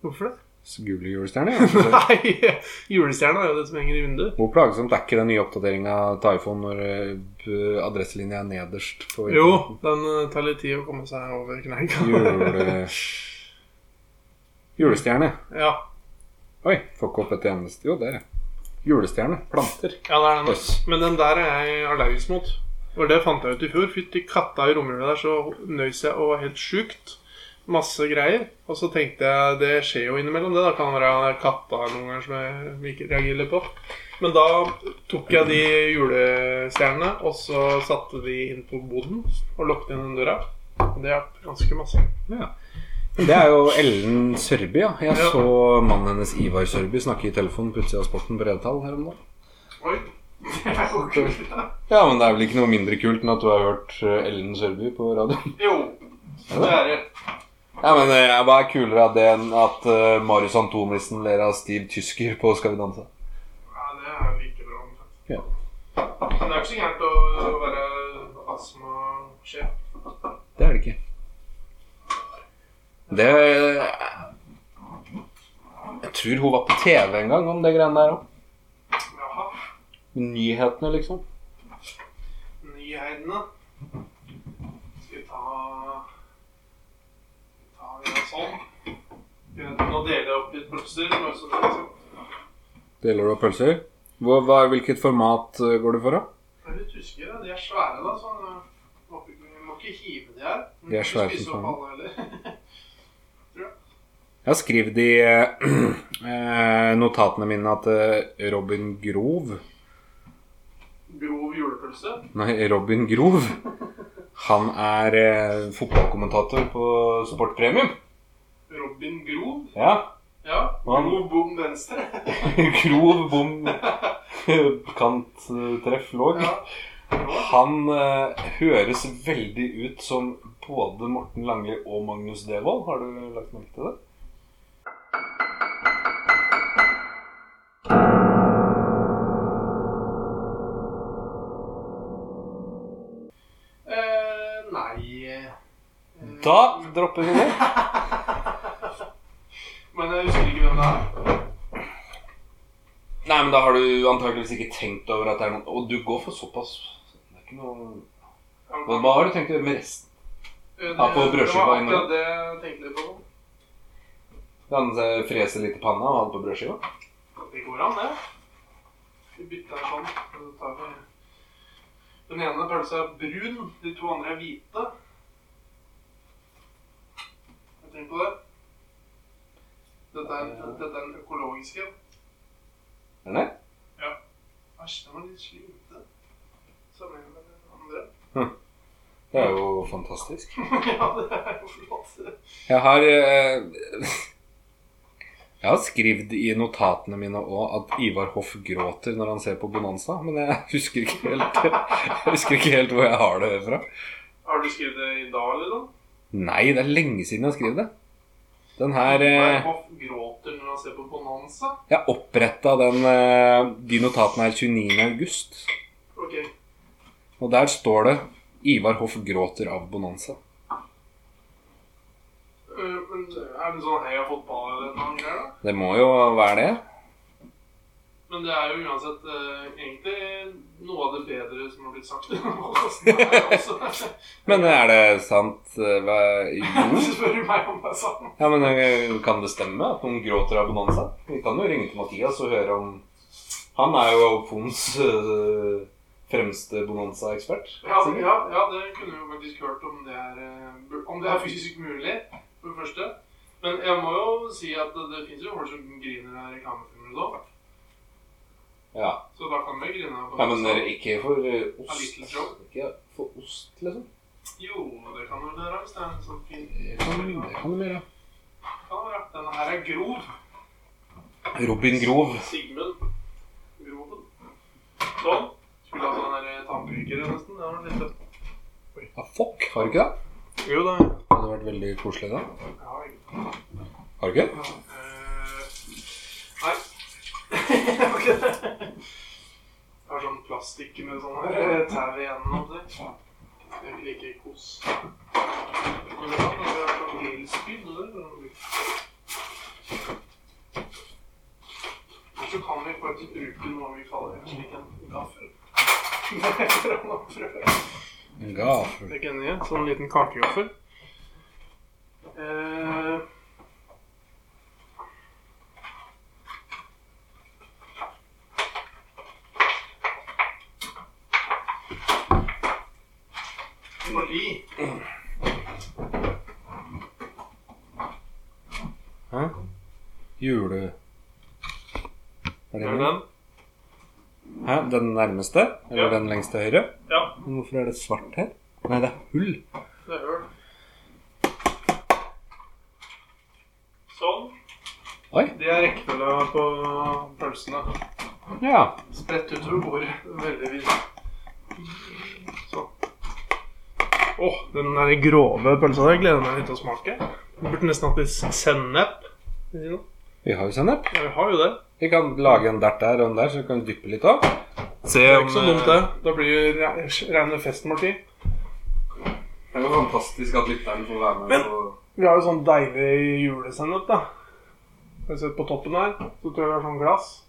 S2: Hvorfor det?
S1: Så Gule julestjerner, ja.
S2: Nei, julestjerne er jo det som henger i vinduet.
S1: Hvor plagsomt er ikke den nye oppdateringa av iPhone når eh, adresselinja er nederst? På
S2: Jo, den eh, tar litt tid å komme seg over kneika.
S1: Jule... Julestjerne.
S2: Ja,
S1: Oi, får ikke opp et eneste Jo, der, ja. Julestjerne. Planter.
S2: ja det er den.
S1: Yes.
S2: Men den der er jeg allergisk mot. Og det fant jeg ut i fjor. Fytti katta i romjula der, så nøys jeg og var helt sjukt. Masse greier. Og så tenkte jeg det skjer jo innimellom, det. Da kan det være katta noen ganger som jeg ikke reagerer litt på. Men da tok jeg de julestjernene, og så satte de inn på boden og lukket inn den døra. Og det hjalp ganske masse.
S1: Ja. Det er jo Ellen Sørby, ja. Jeg
S2: Ja.
S1: så mannen hennes Ivar Sørby snakke i telefonen på utsida av Sporten på Revetal her om dagen.
S3: Oi. Det er jo kult. da.
S1: Ja, men det er vel ikke noe mindre kult enn at du har hørt eh, Ellen Sørby på radioen?
S3: Jo. Det er det.
S1: Ja, men eh, Hva er kulere av det enn at eh, Marius Antonissen ler av Steve Tysker på Skal vi danse?
S2: Ja, det er like bra.
S1: Ja.
S2: Men det er ikke så gærent å å være astmasjef.
S1: Det er det ikke. Det Jeg tror hun var på TV en gang om det greiene der òg.
S2: Jaha.
S1: Nyhetene, liksom.
S2: Nyhetene. Skal vi ta Ta det sånn. Nå deler jeg opp litt pølser. bare så det er sånn.
S1: Deler du av pølser? Hva, hva, hvilket format eh, går du for, da?
S2: Det er litt tyskere. De er svære, da. så man må ikke- man må ikke hive de her. Man
S1: De
S2: kan
S1: er
S2: ikke
S1: svære
S2: spise
S1: som
S2: opp alle heller.
S1: Jeg har skrevet i eh, eh, notatene mine at eh, Robin Grov
S2: Grov julepølse.
S1: Nei, Robin Grov. Han er eh, fotballkommentator på Sport Premium.
S2: Robin Grov.
S1: Ja.
S2: Ja.
S1: Han-
S2: Grov bom venstre.
S1: Grov bom kant eh, treff låg.
S2: Ja.
S1: Han eh, høres veldig ut som både Morten Langli og Magnus Devold. Har du lagt merke til det?
S2: Eh, nei eh,
S1: Da dropper vi det.
S2: Eh, Men jeg husker ikke hvem det er.
S1: Nei, men da har du antakeligvis ikke tenkt over at det er noen Og du går for såpass Det er ikke noe Hva hva har du tenkt å gjøre med resten?
S2: Eh, Det-
S1: Ja, på brødskiva
S2: Det
S1: inne.
S2: var akkurat det jeg tenkte på.
S1: Han eh, freser litt i panna og holder på brødskiva?
S2: Det går an, det. Vi bytter sånn. og så tar vi- Den ene pølsa er brun, de to andre er hvite. Har du tenkt på det? Dette er, dette er den økologiske.
S1: Er det det?
S2: Æsj, den var litt slivete. Sammenlignet med den andre.
S1: Det er jo fantastisk.
S2: ja, det er jo flott.
S1: Jeg har eh, Jeg har skrevet i notatene mine òg at Ivar Hoff gråter når han ser på Bonanza, men jeg husker ikke helt, jeg husker ikke helt hvor jeg har det fra.
S2: Har du skrevet det i dag, eller noe?
S1: Nei, det er lenge siden jeg har skrevet det. Den her
S2: Nei,
S1: eh,
S2: Hoff gråter når han ser på Bonanza.
S1: Jeg oppretta den eh, De notatene her 29. august,
S2: Ok.
S1: og der står det Ivar Hoff gråter av Bonanza.
S2: Eh, Men
S3: øh,
S2: er
S3: Er det sånn hei, jeg har fått bar eller noe greier, da?
S1: Det må jo være det.
S3: Men det er jo uansett eh, egentlig noe av det bedre som har blitt sagt. i denne podcasten her også.
S1: Men er det sant eh, hva, Jo.
S3: Hvis du spør meg om det er sant.
S1: Ja, men eh, kan det stemme at noen gråter av bonanza? Vi kan jo ringe til Mathias og høre om Han er jo Alfons eh, fremste bonanza-ekspert.
S3: Ja, altså,
S1: sikkert.
S3: ja, ja, det kunne vi jo faktisk hørt om det er, eh, bu- om det er fysisk mulig, for det første. Men jeg må jo si at det, det fins jo folk som griner av reklamefilmer og sånn.
S1: Ja.
S3: Så da kan vi grine. av
S1: ja, men
S3: det.
S1: eh, ikke for eh,
S3: A little
S1: ost.
S3: joke.
S1: Ikke for ost, liksom.
S3: Jo, det kan vel dere hvis det er en sånn fin
S1: Det kan det kan du gjøre.
S3: kan være. Denne her er grov.
S1: Robin Grov.
S3: Sigmund Groven. Sånn. Skulle hatt sånn her tannbryker nesten. Det var litt tøft.
S1: Ja, fuck, har du ikke det?
S2: Jo da.
S1: Det hadde vært veldig koselig, da.
S3: Ja, egentlig.
S1: Har du ikke?
S3: Eh, Nei. Jeg har ikke det. Jeg har sånn plastikk med sånn her eh, tau i enden av det. Jeg liker ikke kos. Men det kan være sånn grillspyd, det er sånn- Men Så kan vi faktisk bruke noe vi kaller en slik en gaffel. For å nå prøve.
S1: Gaffel.
S2: Legg den i. Sånn liten kakegaffel.
S3: Eh, Fordi
S1: Hæ? Jule... Er
S2: Er det den?
S1: Hæ? Den nærmeste? Eller
S3: Ja.
S1: den lengst til høyre?
S3: Ja.
S1: Men hvorfor er det svart her? Nei, det er hull.
S3: Det er øl. Sånn.
S1: Oi.
S3: Det er rekkefølga på pølsene.
S1: Ja.
S3: Spredt utover bordet. Veldig vidt.
S2: Åh, den der grove pølsa der gleder jeg meg litt til å smake. Vi burde nesten hatt litt sennep. Vil du si noe?
S1: Vi har jo sennep.
S2: Ja, vi har jo det.
S1: Vi kan lage en dert der og en der, så vi kan dyppe litt av.
S2: Det er ikke så dumt, det. Da blir det re- reine festmåltid.
S1: Det er jo fantastisk at lytteren får være med på
S2: Vi har jo sånn deilig julesennep, da. Har du sett på toppen her? Så tror jeg vi har sånn glass.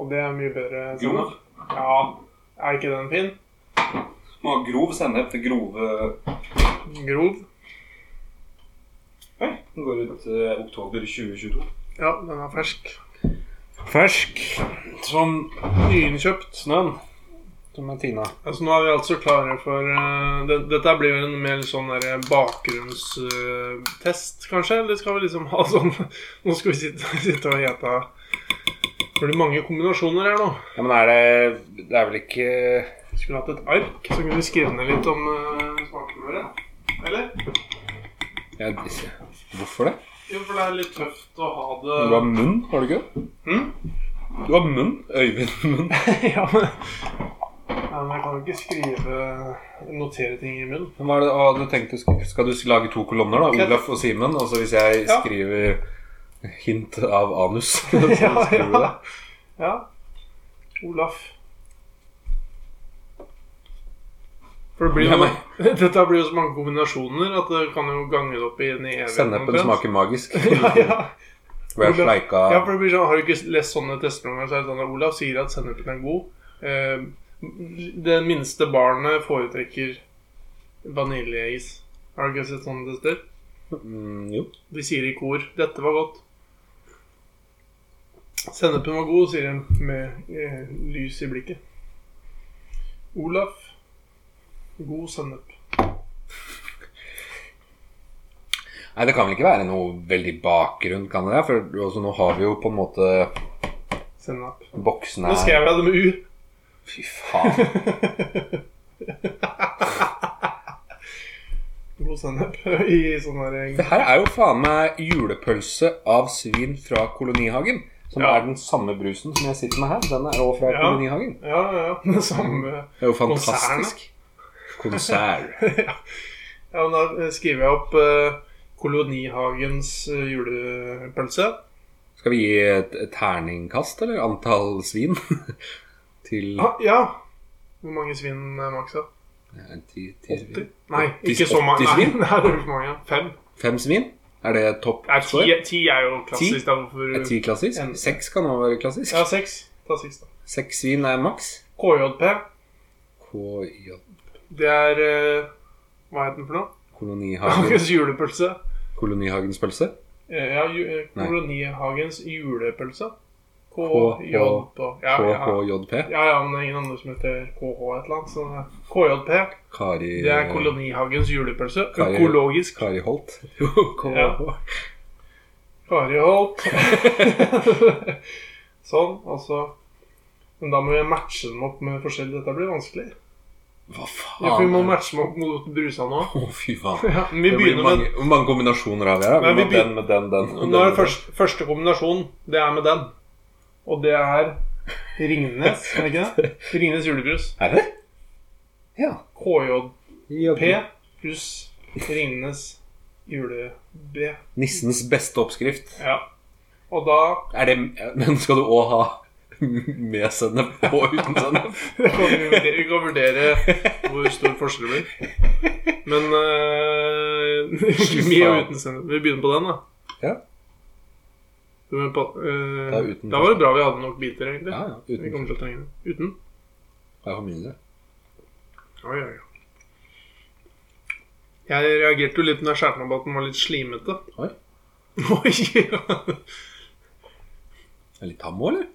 S2: Og det er mye bedre
S1: Grov?
S2: sennep. Ja. Er ikke den fin?
S1: Må ha grov sennep til grove
S2: Grov.
S1: Oi. Den går ut eh, oktober 2022.
S2: Ja, den er fersk.
S1: Fersk som
S2: Nyinnkjøpt.
S1: snøen. Som er tina.
S2: Altså, nå er vi altså klare for eh, det, Dette blir vel en mer sånn bakgrunnstest, eh, kanskje? Eller skal vi liksom ha sånn Nå skal vi sitte, sitte og gjete Det blir mange kombinasjoner her nå.
S1: Ja, men er det Det er vel ikke
S2: Skulle hatt et ark, så kunne vi skrevet ned litt om uh, smakene våre.
S3: Eller?
S1: ja, disse- Hvorfor det?
S3: Jo, for det er litt tøft å ha
S1: Du har
S3: det
S1: munn, har du ikke?
S2: Hm?
S1: Du har munn. Øyvind-munn.
S2: ja, men Nei, men jeg kan jo ikke skrive notere ting i munnen.
S1: Hva er det hva hadde du tenkt å skrive? Skal du lage to kolonner, da? Olaf og Simen. Og så hvis jeg
S2: Ja.
S1: skriver hint av anus, så skriver du det.
S2: ja. Olaf. For det blir
S1: Ja,
S2: jo,
S1: men-
S2: dette blir jo så mange kombinasjoner at det kan jo gange det opp i en evighet.
S1: Sennepen
S2: omtrent.
S1: smaker magisk.
S2: ja, ja.
S1: Vi har sleika
S2: ja, for det blir sånn Har du ikke lest sånne tester noen gang, så er det sånn at Olaf sier at sennepen er god. Eh, det minste barnet foretrekker vaniljeis. Har du ikke sett sånne tester?
S1: mm, Jo.
S2: De sier i kor 'Dette var godt'. Sennepen var god, sier de med eh, lys i blikket. Olaf god sennep.
S1: Nei, det kan vel ikke være noe veldig bakgrunn, kan det det? For altså, nå har vi jo på en måte
S2: Sennep.
S1: boksene
S2: Nå skrev jeg det med U.
S1: Fy faen.
S2: God sennep i sånn der
S1: Det her er jo faen meg julepølse av svin fra kolonihagen. Som
S2: Ja.
S1: er den samme brusen som jeg sitter med her. Den er også fra
S2: Ja.
S1: kolonihagen.
S2: Ja, ja. Det samme.
S1: Det er jo
S2: Konsernet.
S1: fantastisk. Konsert.
S2: Ja, men da skriver jeg opp eh, Kolonihagens eh, julepølse.
S1: Skal vi gi et et terningkast, eller? Antall svin? Til
S2: Ah, ja. Hvor mange svin eh, maks? da?
S1: eh, ti, ti svin?
S2: 80? Nei, ikke så
S1: 80
S2: mange. Nei,
S1: svin?
S2: det er for mange. Fem.
S1: Fem svin? Er det topp
S2: Nei, ti,
S1: score?
S2: ti er jo klassisk. Da, hvorfor,
S1: Er ti klassisk?
S2: En-
S1: Seks kan også være klassisk.
S2: ja, seks. Ta seks, da.
S1: Seks vin er maks.
S2: KJP,
S1: KJ
S2: det er eh, Hva het den for noe?
S1: Kolonihagen,
S2: Hagens julepølse.
S1: Kolonihagens pølse.
S2: Eh, Ja, ju, eh,
S1: Nei.
S2: Kolonihagens julepølse.
S1: K-
S2: KJ på ja, ja.
S1: KHJP.
S2: ja, ja, men det er ingen andre som heter KH et eller annet. Så eh, KJP,
S1: Kari
S2: det er Kolonihagens julepølse.
S1: Hva er-
S2: Økologisk.
S1: Kari Holt.
S2: Ja. Kari Holt. sånn, og så Men da må vi matche dem opp med forskjellig. Dette blir vanskelig.
S1: Hva faen?
S2: Ja, for vi må matche dem opp mot brusa nå.
S1: Å, fy faen.
S2: Ja, men vi
S1: Det blir
S2: begynner med
S1: mange, Hvor mange kombinasjoner har vi her? da?
S2: Nei,
S1: Vi
S2: vi
S1: må ha den med den, den og
S2: Nå er
S1: den.
S2: det første, første kombinasjon. Det er med den. Og det er Ringnes, er det ikke det? Ringnes julebrus.
S1: Er det? Ja.
S2: KJP
S1: P.
S2: pluss Ringnes jule-B.
S1: Nissens beste oppskrift.
S2: Ja. Og da
S1: Er det Men skal du òg ha med sennep og uten sennep?
S2: kan vi, vurdere, vi kan vurdere hvor stor forskjell det blir. Men uh, mye og uten sennep. Vi begynner på den, da.
S1: Ja.
S2: Men på, eh,
S1: Da uten
S2: da var det bra vi hadde nok biter, egentlig.
S1: Ja, ja.
S2: Vi
S1: Uten.
S2: kommer til å trenge det. Uten?
S1: Det er for mye. det.
S2: Oi, oi, oi. Jeg reagerte jo litt når jeg skjærte meg på at den var litt slimete.
S1: Oi.
S2: Oi, ja.
S1: Det Er litt tam òg, eller?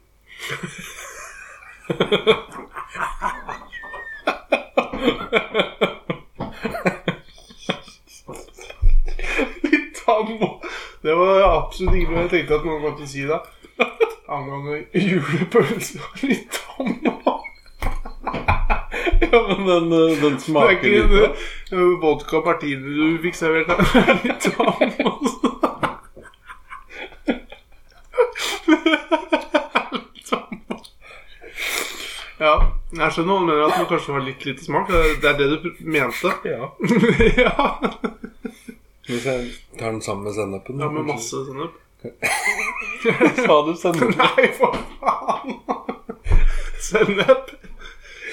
S2: Litt tam. Det var absolutt ikke noe jeg tenkte at noen kom til å si da. Angående julepølse og litt tam.
S1: Ja, men den, eh, den
S2: Det er
S1: smaker
S2: ikke
S1: litt
S2: en eh, vodka martini du fikk servert her. Litt tam, altså. Litt tam. Ja, jeg skjønner hva du mener, at den kanskje var litt lite smak. Det er- Det er det du pr- mente.
S1: Ja.
S2: ja.
S1: Hvis jeg tar den sammen med sennepen
S2: ja, med masse sennep.
S1: Sa du sennep?
S2: Nei, for faen! Sennep.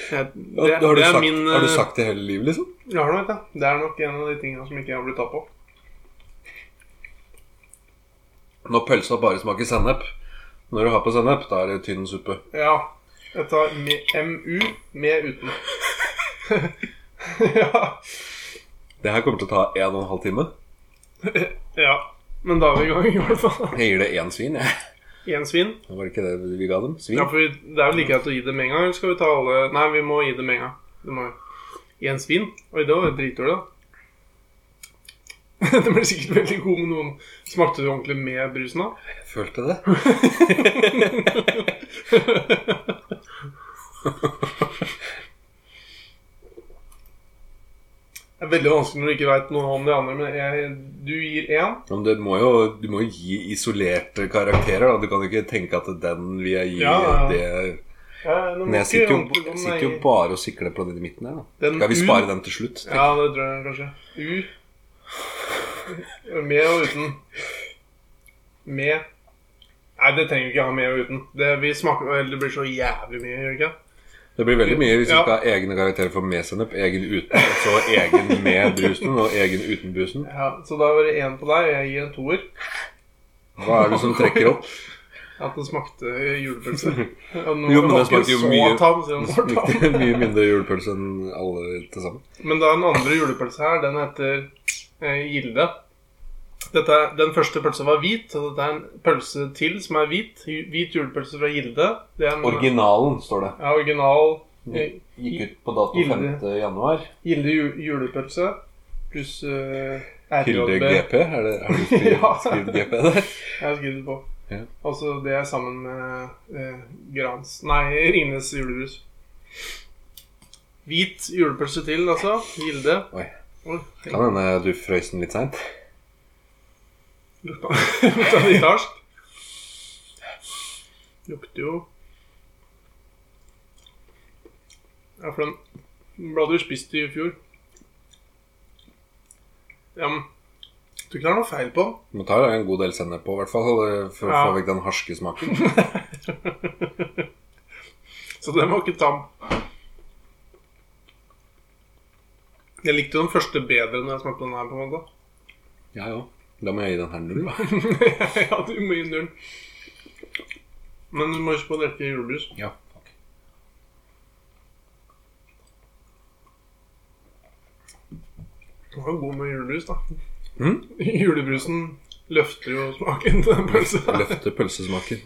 S2: Jeg- Det,
S1: Har du,
S2: det er
S1: sagt,
S2: min
S1: har du sagt det hele livet, liksom?
S2: eh, Ja, det vet jeg. Det er nok en av de tingene som ikke jeg har blitt tatt på.
S1: Når pølsa bare smaker sennep Når du har på sennep, da er det tynn suppe.
S2: Ja. Jeg tar med MU med uten. ja.
S1: Det her kommer til å ta en og en halv time.
S2: ja. Men da er vi i gang, i hvert fall.
S1: Jeg gir det én svin, jeg.
S2: Én svin.
S1: Var det ikke det vi ga dem? Svin?
S2: Ja, for vi, det er vel like greit å gi det med en gang. Eller skal vi ta alle Nei, vi må gi det med en gang. Det må vi. Én svin. Oi, det var dritdårlig, da. det ble sikkert veldig god med noen. Smakte du ordentlig med brusen, da?
S1: Jeg følte det.
S2: Det er veldig vanskelig når du ikke veit noe om de andre, men jeg, du gir én.
S1: Ja, Men det må jo, du må jo gi isolerte karakterer, da. Du kan jo ikke tenke at den vil jeg gi
S2: Ja, ja.
S1: det
S2: Men
S1: Men jeg sitter jo, jeg sitter jo bare og sikler på den i midten her, da.
S2: Den
S1: Skal vi
S2: U-
S1: spare den til slutt?
S2: Mm. Ja, det tror jeg kanskje. U. Med og uten. Med Nei, det trenger vi ikke ha med og uten. Det, vi smaker, eller det blir så jævlig mye, gjør det ikke?
S1: Det blir veldig mye hvis vi
S2: Ja.
S1: skal ha egne karakterer for med sennep, egen uten, og så egen med brusen, og egen uten brusen.
S2: Ja, så da var det én på deg, og jeg gir en toer.
S1: Hva er det som trekker opp?
S2: At den smakte julepølse. Jo,
S1: Jo, men den smakte jo mye-
S2: Tam, siden
S1: Det
S2: den var
S1: Smakte
S2: tam.
S1: mye mindre julepølse enn alle til sammen.
S2: Men da den andre julepølsa her, den heter eh, Gilde. Dette, er- den første pølsa var hvit, og dette er en pølse til som er hvit. Ju- Hvit julepølse fra Gilde. Det er en
S1: Originalen, står det.
S2: ja, original eh,
S1: Gikk ut på dato
S2: Gilde.
S1: 5. januar.
S2: Gilde ju, julepølse pluss eh,
S1: Hilde
S2: RJB.
S1: GP? Er det, har du skrevet,
S2: Ja.
S1: skrevet GP der?
S2: Jeg har skrevet det på.
S1: Ja.
S2: Altså, det er sammen med eh, Grans Nei, Ringnes julebrus. Hvit julepølse til, altså. Gilde.
S1: Oi.
S2: Oi,
S1: Kan hende du frøys den litt seint.
S2: Lukta, lukta litt harsk. Lukter jo Ja, for den den ble aldri spist i fjor. Ja, men jeg tror ikke det er noe feil på den.
S1: Må ta en god del sennep på, i hvert fall, for å
S2: Ja.
S1: få vekk den harske smaken.
S2: Så den var ikke tam. Jeg likte jo den første bedre når jeg smakte den her. på en måte
S1: Ja, ja. Da må jeg gi den her null, da.
S2: ja, du må gi null. Men du må huske på å drikke julebrus.
S1: Ja, takk.
S2: Det var jo god med julebrus, da.
S1: Mm?
S2: Julebrusen løfter jo smaken til den pølsa.
S1: Løfte pølsesmaken.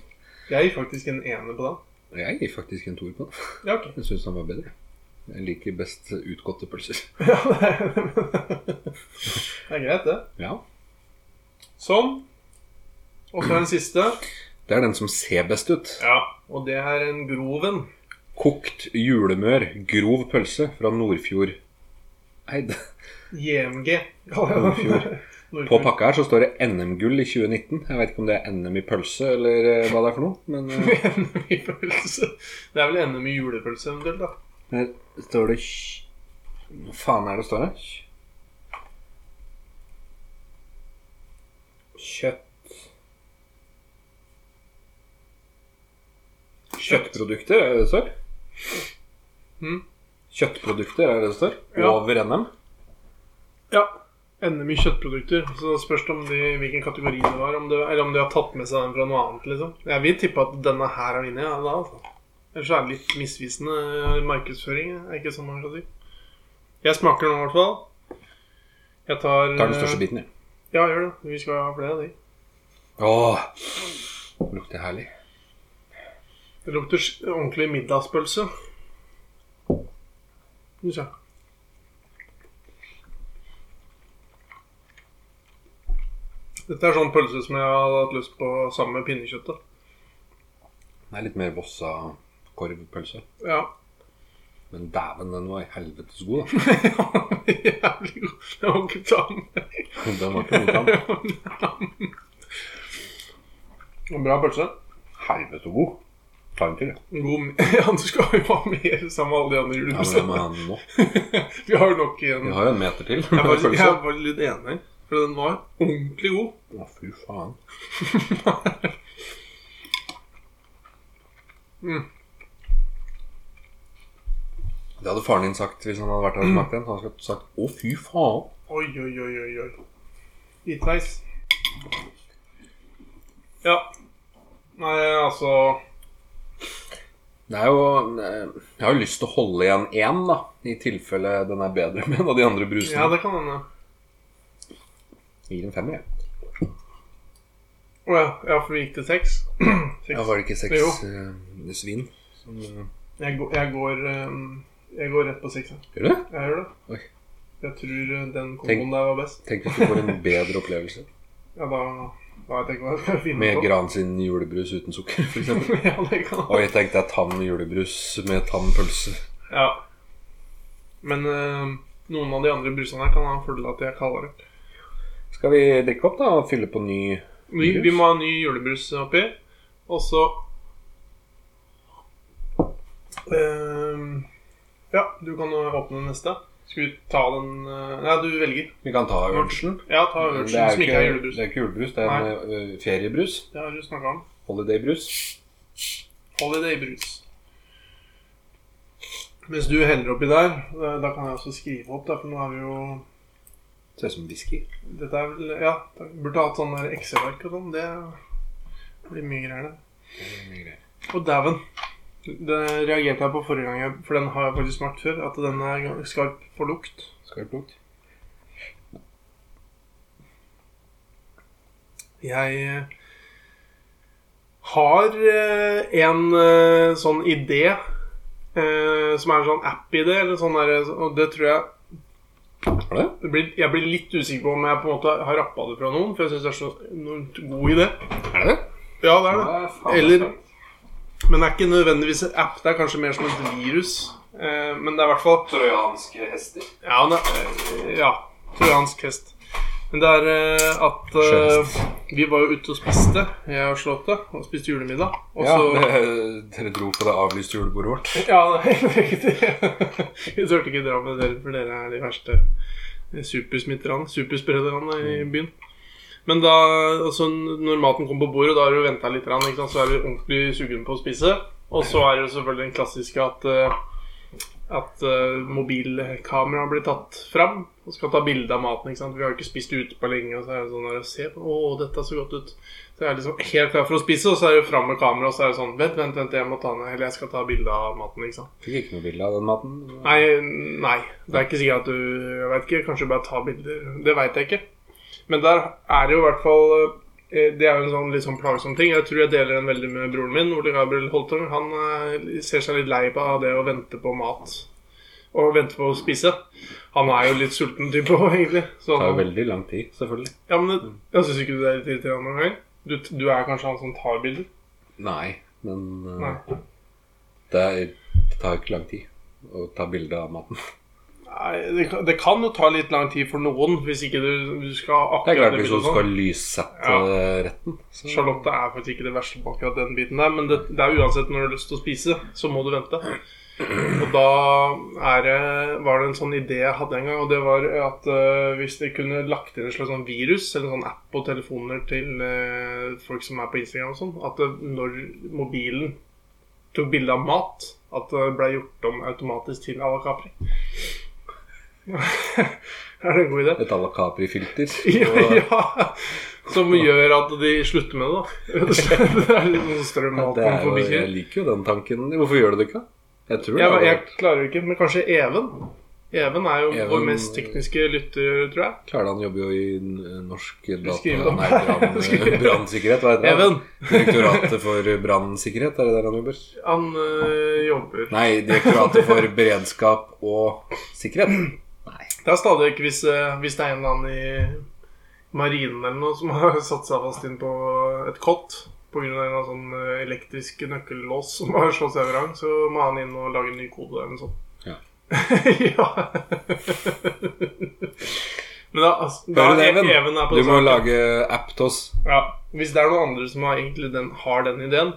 S2: Jeg gir faktisk en ener på den.
S1: Jeg gir faktisk en toer på den.
S2: Ja, ok.
S1: Jeg syns den var bedre. Jeg liker best utgåtte pølser.
S2: Ja, det er, det er greit, det.
S1: Ja.
S2: Sånn. Og så den siste.
S1: Det er den som ser best ut.
S2: Ja. Og det er en Groven.
S1: Kokt julemør, grov pølse fra Nordfjord Eid.
S2: JMG. Ja, ja.
S1: Nordfjord. På pakka her så står det NM-gull i 2019. Jeg vet ikke om det er NM i pølse eller eh, hva det er for noe. Men eh,
S2: NM i pølse. Det er vel NM i julepølse eventuelt, da.
S1: her står det kj- Hva faen er det står her? Kjøtt Kjøttprodukter, er det det står?
S2: Mm.
S1: Kjøttprodukter, er det det står?
S2: Ja.
S1: Over NM?
S2: Ja. NM i kjøttprodukter. Så det spørs om de, hvilken kategori det var. Om det, eller om de har tatt med seg den fra noe annet, liksom. Jeg vil tippe at denne her er vinner, ja, da, altså. Ellers er det litt misvisende markedsføring. Det er ikke sånn man skal si. Jeg smaker nå, i hvert fall. Jeg tar eh,
S1: Tar den største biten, jeg.
S2: Ja, gjør det. Vi skal ha flere av de.
S1: Åh, lukter herlig.
S2: Det lukter sk- ordentlig middagspølse. Synes jeg. Dette er sånn pølse som jeg hadde hatt lyst på sammen med pinnekjøttet.
S1: Den er litt mer Vossa-korvpølse.
S2: Ja.
S1: Men dæven, den var helvetes god, da.
S2: Jævlig god. Det var ikke tam.
S1: Den var ikke noe annet.
S2: Bra pølse.
S1: Helvete god. Ta en til, jeg.
S2: God m- Ja, du skal jo ha mer sammen med alle de andre
S1: Ja, men jeg må
S2: julepølsene.
S1: ha den nå.
S2: Vi har jo nok igjen.
S1: Vi
S2: Jeg
S1: har jo en meter til.
S2: er
S1: med
S2: faktisk- jeg
S1: pølse.
S2: er faktisk litt enig, for den var ordentlig god.
S1: Å, fy faen.
S2: Mm.
S1: Det hadde faren din sagt hvis han hadde vært her og smakt den. Han hadde sagt 'å, fy faen'.
S2: Oi, oi, oi, oi, oi. Litt nice. Ja. Nei, altså
S1: Det er jo eh, Jeg har jo lyst til å holde igjen én, da. I tilfelle den er bedre med en av de andre
S2: Ja,
S1: brusene.
S2: det kan hende.
S1: Jeg gir en femmer, jeg.
S2: Å ja, ja, for vi gikk til seks. Seks.
S1: Ja, var det ikke
S2: Jo.
S1: seks eh, svin? Som, eh,
S2: Jeg, går- jeg, går, ehm, jeg går rett på seks. jeg.
S1: gjør det?
S2: Jeg gjør det.
S1: Oi.
S2: Jeg tror eh, den
S1: Tenk-
S2: komboen der var best.
S1: Tenk hvis du får en bedre opplevelse.
S2: Ja, da, da vet jeg ikke hva jeg skal finne
S1: Med
S2: på.
S1: Gran sin julebrus uten sukker, f.eks.
S2: ja, det kan
S1: Oi, tenk deg tam julebrus med tam pølse.
S2: Ja. Men ehm, noen av de andre brusene her kan ha en fordel av at jeg kaller det.
S1: Skal vi drikke opp, da? Og fylle på ny
S2: Vi, vi må ha ny julebrus oppi. Og så Ehm, Ja, du kan åpne den neste. Skal vi ta den eh, Nei, du velger.
S1: Vi kan ta urchen.
S2: Ja, ta
S1: Mm, Det
S2: Urchen,
S1: er
S2: som
S1: jo
S2: ikke er
S1: ikke,
S2: julebrus.
S1: det er ikke julebrus, det er en ø, feriebrus.
S2: Det har du snakka om.
S1: Holidaybrus.
S2: Holidaybrus. Mens du heller oppi der, eh, da kan jeg også skrive opp, da, for nå har vi jo
S1: Ser ut som whisky.
S2: Dette er vel Ja, da burde ha hatt sånn der Excel-ark og sånn. Det blir mye greier, det. Og dæven. Det reagerte jeg på forrige gang, jeg- for den har jeg faktisk smakt før. At den er ganske skarp for lukt.
S1: Skarpt lukt.
S2: Jeg eh, har eh, en eh, sånn idé eh, som er en sånn app-idé, eller sånn der, og det tror jeg
S1: Har du det?
S2: det blir, Jeg blir litt usikker på om jeg på en måte har rappa det fra noen, for jeg syns det er så enormt god idé.
S1: Er det det?
S2: Ja, det er det.
S1: Ja, faen,
S2: Eller
S1: sant.
S2: Men det er ikke nødvendigvis en app, det er kanskje mer som et virus. Eh, men det er i hvert fall
S1: Trojanske hester.
S2: Ja, det, ja trojansk hest. Men det er eh, at eh, vi var jo ute og spiste, jeg og Charlotte, og spiste julemiddag. Og
S1: Ja,
S2: så
S1: det, dere dro på det avlyste julebordet vårt.
S2: Ja, det er helt riktig. Vi turte ikke dra med dere, for dere er de verste supersmitterne, supersprederne i
S1: Mm.
S2: byen. Men da, altså når maten kom på bordet, da har du venta litt, grann, ikke sant? så er du ordentlig sugen på å spise. Og så er det jo selvfølgelig den klassiske at eh, at uh, mobilkameraet blir tatt fram og skal ta bilde av maten. ikke sant? Vi har jo ikke spist ute på lenge, og så er det sånn der, se på, å, dette så godt ut. Så jeg er liksom helt klar for å spise, og så er det fram med kamera, og så er det sånn, vent, vent, vent, jeg må ta ned, eller jeg skal ta bilde av maten, ikke sant.
S1: Fikk ikke noe bilde av den maten.
S2: Nei, nei, det er ikke sikkert at du, jeg vet ikke, kanskje bare ta bilder, det vet jeg ikke. Men der er det jo i hvert fall, eh, det er jo en sånn litt sånn plagsom ting, jeg tror jeg deler den veldig med broren min, Ole Gabriel Holtung, han eh, ser seg litt lei på det å vente på mat, og vente på å spise. Han er jo litt sulten type også, egentlig. Så
S1: Det tar jo
S2: han,
S1: veldig lang tid, selvfølgelig.
S2: ja, men det, jeg synes ikke du er litt irriterende noen gang. Du, du er kanskje han som tar bilder?
S1: Nei, men eh,
S2: Nei.
S1: Det, er, det tar jo ikke lang tid å ta bilde av maten.
S2: Nei, det, kan- det kan jo ta litt lang tid for noen, hvis ikke du, du skal
S1: Det er
S2: akkurat
S1: klart hvis du
S2: bildet sånn.
S1: skal
S2: Ja.
S1: lyssette eh, retten. så-
S2: Charlotte er faktisk ikke det verste på akkurat den biten der, men det, det er uansett når du har lyst til å spise, så må du vente. Og da er det, var det en sånn idé jeg hadde en gang, og det var at eh, hvis de kunne lagt inn en slags sånn virus, eller en sånn app på telefoner til eh, folk som er på Instagram og sånn, at eh, når mobilen tok bilde av mat, at det ble gjort om automatisk til à la Capri. er det en god idé?
S1: Et à la Capri-filter.
S2: Ja,
S1: og-
S2: ja. Som gjør at de slutter med det, da. Rett og slett. Det er litt sånn strøm
S1: Ja,
S2: alt
S1: Det
S2: man
S1: er jo,
S2: får
S1: jeg
S2: bikkjer.
S1: liker jo den tanken. Hvorfor gjør du det ikke? Jeg tror det
S2: Jeg,
S1: hadde
S2: jeg
S1: vært-
S2: klarer ikke, men kanskje Even? Even er jo vår
S1: Even-
S2: mest tekniske lytter, tror jeg.
S1: Klarer han jobber jo i n- norsk
S2: skriver
S1: data...
S2: om-
S1: Nei,
S2: Skriver-
S1: brann- brannsikkerhet, hva heter det?
S2: Even.
S1: Direktoratet for brannsikkerhet, er det der han jobber?
S2: Han øh, jobber
S1: Nei, Direktoratet for beredskap og sikkerhet.
S2: Det er stadig vekk hvis, øh, hvis det er en eller annen i marinen eller noe som har satt seg fast inn på et kott pga. en eller annen sånn øh, elektrisk nøkkellås som har slått seg vrang, så må han inn og lage en ny kode eller noe sånt.
S1: Ja.
S2: ja. Men da, altså, da
S1: Hører du det,
S2: er
S1: Even?
S2: Even er på
S1: Du må
S2: saken.
S1: lage app til oss.
S2: ja. Hvis det er noen andre som har, egentlig den, har den ideen,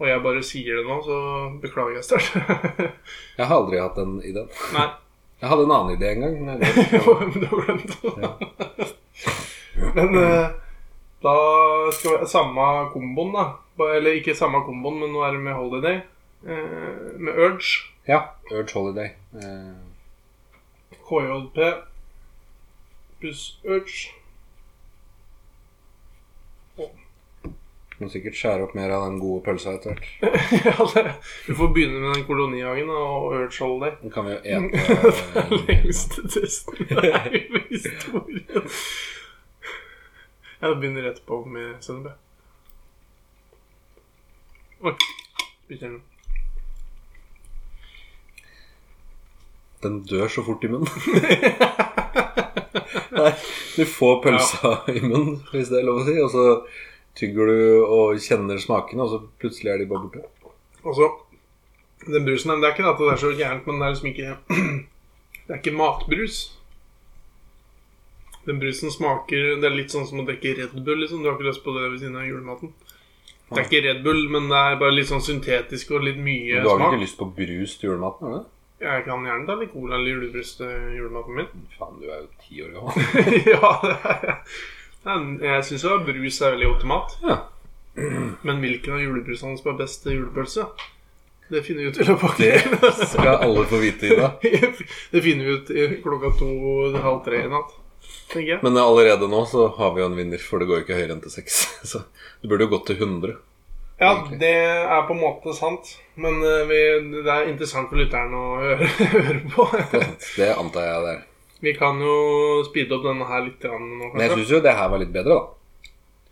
S2: og jeg bare sier det nå, så beklager jeg sterkt.
S1: Jeg har aldri hatt den ideen.
S2: Nei,
S1: Jeg hadde en annen idé en gang. men jeg-
S2: jo, men du har glemt det. Men eh, da skal vi Samme komboen, da. Ba- Eller ikke samme komboen, men nå er det med Holiday. Eh, med Urge.
S1: Ja, Urge Holiday. Eh,
S2: KJP pluss Urge.
S1: Må sikkert skjære opp mer av den gode pølsa etter hvert.
S2: Ja, det, du får begynne med den kolonihagen og Urge Holiday.
S1: Den kan vi jo ete
S2: Den
S1: eh,
S2: lengste testen er i historien. Jeg begynner rett på med sennep. jeg. Oi. Spiser den.
S1: Den dør så fort i munnen. Nei, du får pølsa i munnen, hvis det er lov å si, og så tygger du og kjenner smakene, og så plutselig er de bare borte.
S2: Og så Den brusen her, det er ikke at det er så gærent, men det er liksom ikke Det er ikke matbrus. Den brusen smaker Det er litt sånn som å drikke Red Bull, liksom. Du har ikke lyst på det ved siden av julematen. Det er ikke Red Bull, men det er bare litt sånn syntetisk og litt
S1: Du
S2: mye
S1: har vel
S2: smak.
S1: ikke lyst på brus til julematen? har du
S2: Jeg kan gjerne ta litt cola eller julebrus til julematen min.
S1: det? Faen, du er jo ti år gammel.
S2: ja, det er Men Jeg syns jo brus er veldig godt til mat.
S1: Ja.
S2: Men hvilken av julebrusene som er best til julepølse, det finner vi ut i løpet
S1: Det
S2: av kvelden.
S1: Skal alle få vite i dag.
S2: Det finner vi ut i klokka to-halv tre i natt, tenker jeg.
S1: Men allerede nå så har vi jo en vinner, for det går jo ikke høyere enn til seks. Så det burde jo gått til 100.
S2: Ja, det er på en måte sant. Men eh, vi, det er interessant for lytteren å høre, høre på.
S1: Det antar jeg det er.
S2: Vi kan jo speede opp denne her litt grann nå,
S1: Men jeg
S2: kanskje.
S1: syns jo det her var litt bedre, da.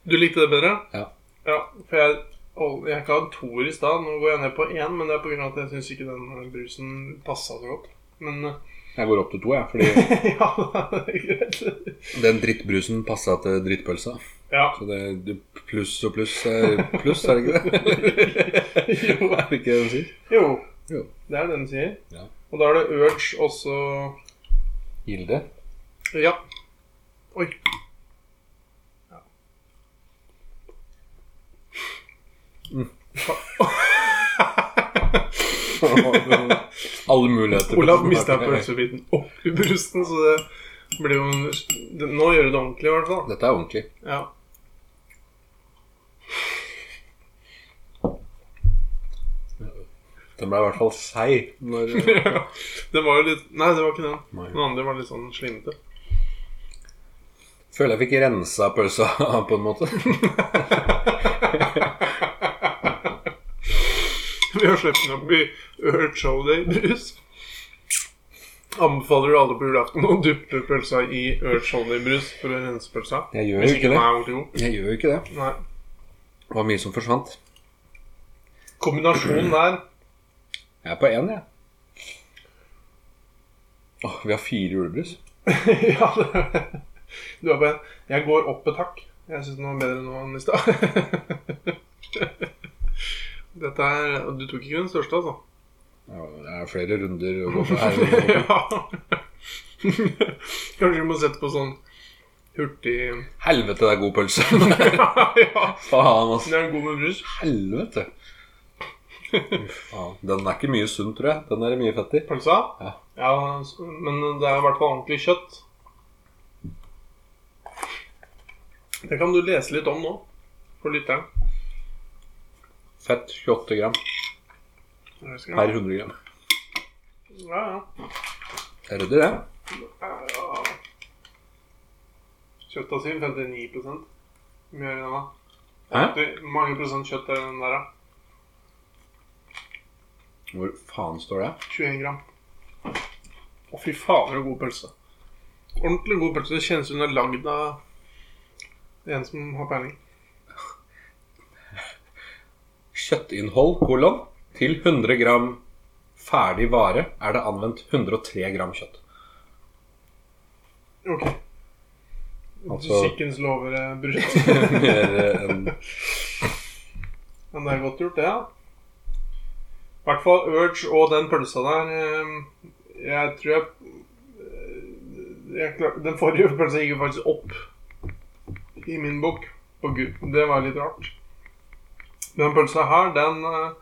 S2: Du likte det bedre?
S1: Ja.
S2: Ja, for jeg, å, jeg ga en toer i stad. Nå går jeg ned på én, men det er på grunn av at jeg syns ikke den eh, brusen passa så godt. Men eh,
S1: Jeg går opp til to, jeg, fordi
S2: ja, det er greit.
S1: den drittbrusen passa til drittpølsa.
S2: Ja.
S1: Så det det- pluss og pluss er pluss, er det ikke det?
S2: Jo.
S1: er det ikke det du sier?
S2: Jo,
S1: Jo.
S2: det er det den sier.
S1: Ja.
S2: Og da er det urge også
S1: Gilde?
S2: Ja. Oi. Ja.
S1: Alle muligheter.
S2: Olav mista pølsebiten opp i brusten, så det blir jo en det- Nå gjør du det ordentlig, i hvert fall.
S1: Dette er ordentlig.
S2: Ja.
S1: Den ble i hvert fall seig. Når,
S2: Det var jo litt Nei, det var ikke den.
S1: Nei.
S2: Den andre var litt sånn slimete.
S1: føler jeg fikk rensa pølsa på en måte.
S2: Vi har sluppet den opp i Earth Shoulder-brus. Anbefaler du alle på julaften å duppe pølsa i Earth Shoulder-brus for å rense pølsa?
S1: Jeg gjør jo
S2: Hvis
S1: ikke
S2: ikke den
S1: det.
S2: er ordentlig god.
S1: Jeg gjør jo ikke det.
S2: Nei.
S1: Det var mye som forsvant.
S2: Kombinasjonen der
S1: Jeg er på én, jeg. Åh, vi har fire julebrus.
S2: Ja, det du er på en. Jeg går opp et hakk. Jeg syns den var bedre nå enn i stad. Dette er Du tok ikke den største, altså?
S1: Ja, Det er flere runder å gå på her.
S2: ja. Kanskje vi må sette på sånn hurtig
S1: Helvete, det er god pølse.
S2: Ja,
S1: Faen, altså.
S2: den er god med brus.
S1: Helvete. Uff, faen. Den er ikke mye sunn, tror jeg. Den er det mye fett i.
S2: Pølsa?
S1: Ja.
S2: s- men det er i hvert fall ordentlig kjøtt. Det kan du lese litt om nå, for lytteren.
S1: Fett 28 gram per 100 gram.
S2: Ja, ja.
S1: Det er ryddig, det.
S2: Ja. Kjøttet sin 59 Mye enn da.
S1: Hæ?
S2: Det- Hvor mange prosent kjøtt er den der, da?
S1: Hvor faen står det?
S2: 21 gram. Å, fy fader, så god pølse. Ordentlig god pølse. Det kjennes som den er lagd av en som har peiling.
S1: Kjøttinnhold, kolon. Til 100 gram ferdig vare er det anvendt 103 gram kjøtt.
S2: Ok.
S1: Altså-
S2: Musikkens lover er brutt.
S1: Mer enn
S2: Men det er godt gjort, det, ja. I hvert fall Urge og den pølsa der eh, Jeg tror jeg, eh, jeg klar, Den forrige pølsa gikk jo faktisk opp i min bok. På Gud. Det var litt rart. Den pølsa her, den eh,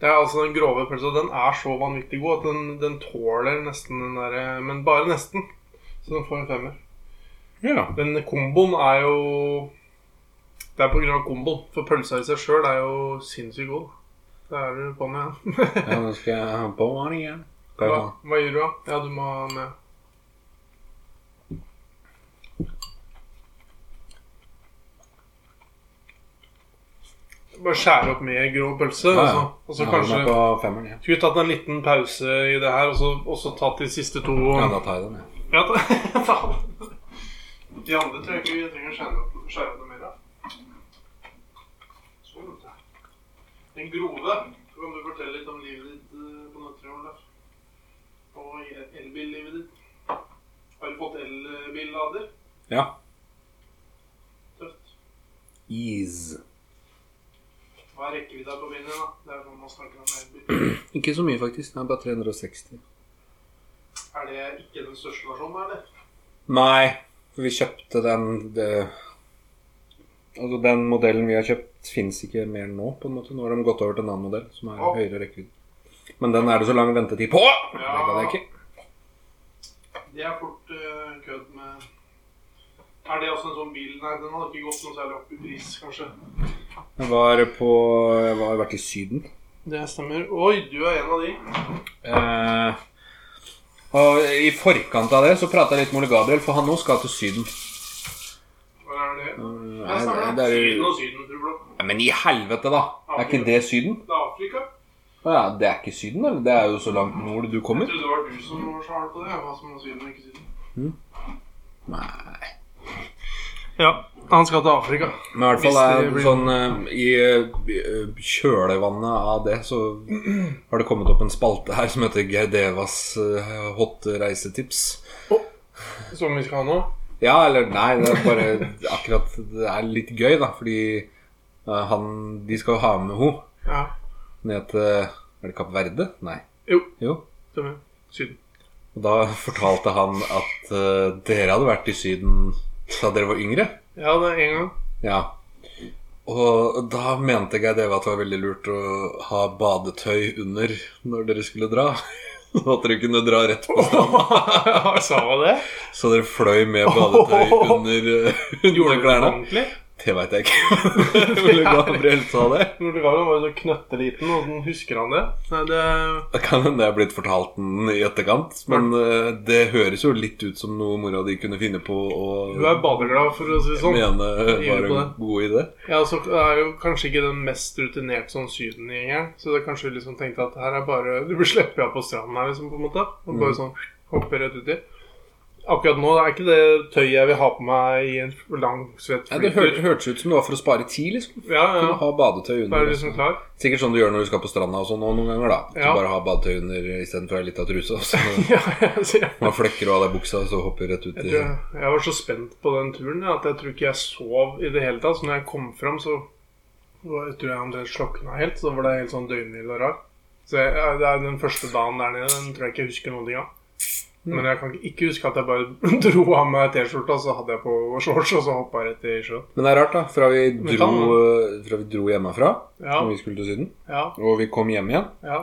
S2: Det er altså den grove pølsa. Den er så vanvittig god at den, den tåler nesten den derre Men bare nesten. Så den får en femmer.
S1: Ja.
S2: Den komboen er jo Det er på grunn av komboen. For pølsa i seg sjøl er jo sinnssykt god. Det er du på med.
S1: ja, nå skal jeg ha på den igjen. Skal jeg
S2: hva,
S1: ha-
S2: hva gjør du, da? Ja, du må ha med Bare skjære opp mer grå pølse, altså.
S1: Ja, ja.
S2: og så, og så
S1: Jeg har
S2: kanskje
S1: den på femmeren, ja.
S2: Skulle vi tatt en liten pause i det her, og så, og så tatt de siste to
S1: ja, da tar jeg den, ja.
S2: Ja, da.
S3: De andre tror jeg ikke vi trenger å skjære opp- skjære opp noe mer av. Sånn, vet du. Den grove. Så kan du fortelle litt om livet ditt eh, på Nøtterøy, Olaf. Og i- elbillivet ditt. Har du fått elbillader?
S1: ja.
S3: Tøft.
S1: Ease.
S3: Hva er rekkevidda på bilen din, da? Det er sånn man snakker om elbil.
S1: Ikke så mye, faktisk. Den er bare 360.
S3: Er det ikke den største versjonen, eller?
S1: Nei, for vi kjøpte den det, Altså, den modellen vi har kjøpt, fins ikke mer nå, på en måte. Nå har de gått over til en annen modell som er
S3: Å.
S1: høyere rekkevidde. Men den er det så lang ventetid på! Det kan jeg ikke.
S3: Det er fort eh, kødd med Er det også en sånn bil? Nei, den hadde ikke gått noe særlig opp i pris, kanskje.
S1: Jeg var på Jeg har vært i Syden.
S2: Det stemmer. Oi, du er en av de.
S1: Eh, og i forkant av det så prata jeg litt med Ole Gabriel, for han òg skal til Syden.
S3: Hvor er det?
S1: Eh,
S3: Jeg snakker om
S1: det er,
S3: Syden
S1: jo-
S3: og Syden-problem.
S1: Ja, men i helvete, da! Er ikke det Syden?
S3: Det er Afrika.
S1: Ja, det er ikke Syden, eller? Det er jo så langt nord du
S3: Jeg
S1: kommer.
S3: trodde det var du som var så hard på det. Hva som var Syden og ikke Syden.
S1: Hm? Nei
S2: Ja, han skal til Afrika.
S1: Men i hvert fall
S2: Hvis det
S1: er
S2: blir-
S1: sånn eh, I eh, kjølevannet av det så har det kommet opp en spalte her som heter Gerdevas eh, hot reisetips.
S2: Som vi skal ha nå.
S1: Ja, eller nei, det er bare akkurat Det er litt gøy, da, fordi eh, han De skal jo ha med henne
S2: Ja,
S1: ned til Er det Kapp Verde? Nei.
S2: Jo.
S1: jo.
S2: stemmer. Syden.
S1: Og da fortalte han at eh, dere hadde vært i Syden da dere var yngre.
S2: Ja, det er en gang.
S1: Ja. Og da mente jeg det var at det var veldig lurt å ha badetøy under når dere skulle dra. Sånn at dere kunne dra rett på stranda.
S2: Sa han det?
S1: Så dere fløy med badetøy under, under klærne.
S2: Ordentlig?
S1: Det veit jeg ikke. Ole Gabriel sa det.
S2: Ole Gabriel var jo så knøtteliten, og den husker han det? Nei, det
S1: Det kan hende jeg er blitt fortalt den i etterkant, men eh, det høres jo litt ut som noe mora di kunne finne på å
S2: Hun er badeglad, for å si det sånn.
S1: mene
S2: Gjør
S1: var
S2: på
S1: en
S2: det.
S1: god idé.
S2: Ja, så er jo kanskje ikke den mest rutinert sånn sydengjengeren. Så det er kanskje liksom tenkt at her er bare Du blir sluppet av på stranden her, liksom, på en måte. Og bare sånn hopper rett uti. Akkurat nå er ikke det tøyet jeg vil ha på meg i en lang, svett
S1: Ja, det hør, hørtes ut som det var for å spare tid, liksom.
S2: Ja,
S1: Kunne
S2: ja.
S1: ha badetøy
S2: Da er
S1: under.
S2: du liksom klar.
S1: Sikkert sånn du gjør når du skal på stranda og sånn og noen ganger, da. Du
S2: Ja.
S1: bare ha badetøy under istedenfor ei lita truse. og så
S2: Ja, så jeg,
S1: Man flekker av deg buksa, og så hopper rett ut
S2: jeg,
S1: i
S2: tror jeg, jeg var så spent på den turen ja, at jeg tror ikke jeg sov i det hele tatt. Så når jeg kom fram, så var, jeg tror jeg omtrent slokna helt. Så var det helt sånn døgnvill og rar. Så jeg, ja, det er den første dagen der nede, den tror jeg ikke jeg husker noen ting av. Men jeg kan ikke huske at jeg bare dro av meg T-skjorta, så hadde jeg på shorts, og så hoppa rett i sjøen.
S1: Men det er rart, da. Fra vi
S2: Men
S1: dro, eh, fra vi dro hjemmefra,
S2: Ja,
S1: når vi skulle til Syden,
S2: ja,
S1: og vi kom hjem igjen
S2: ja.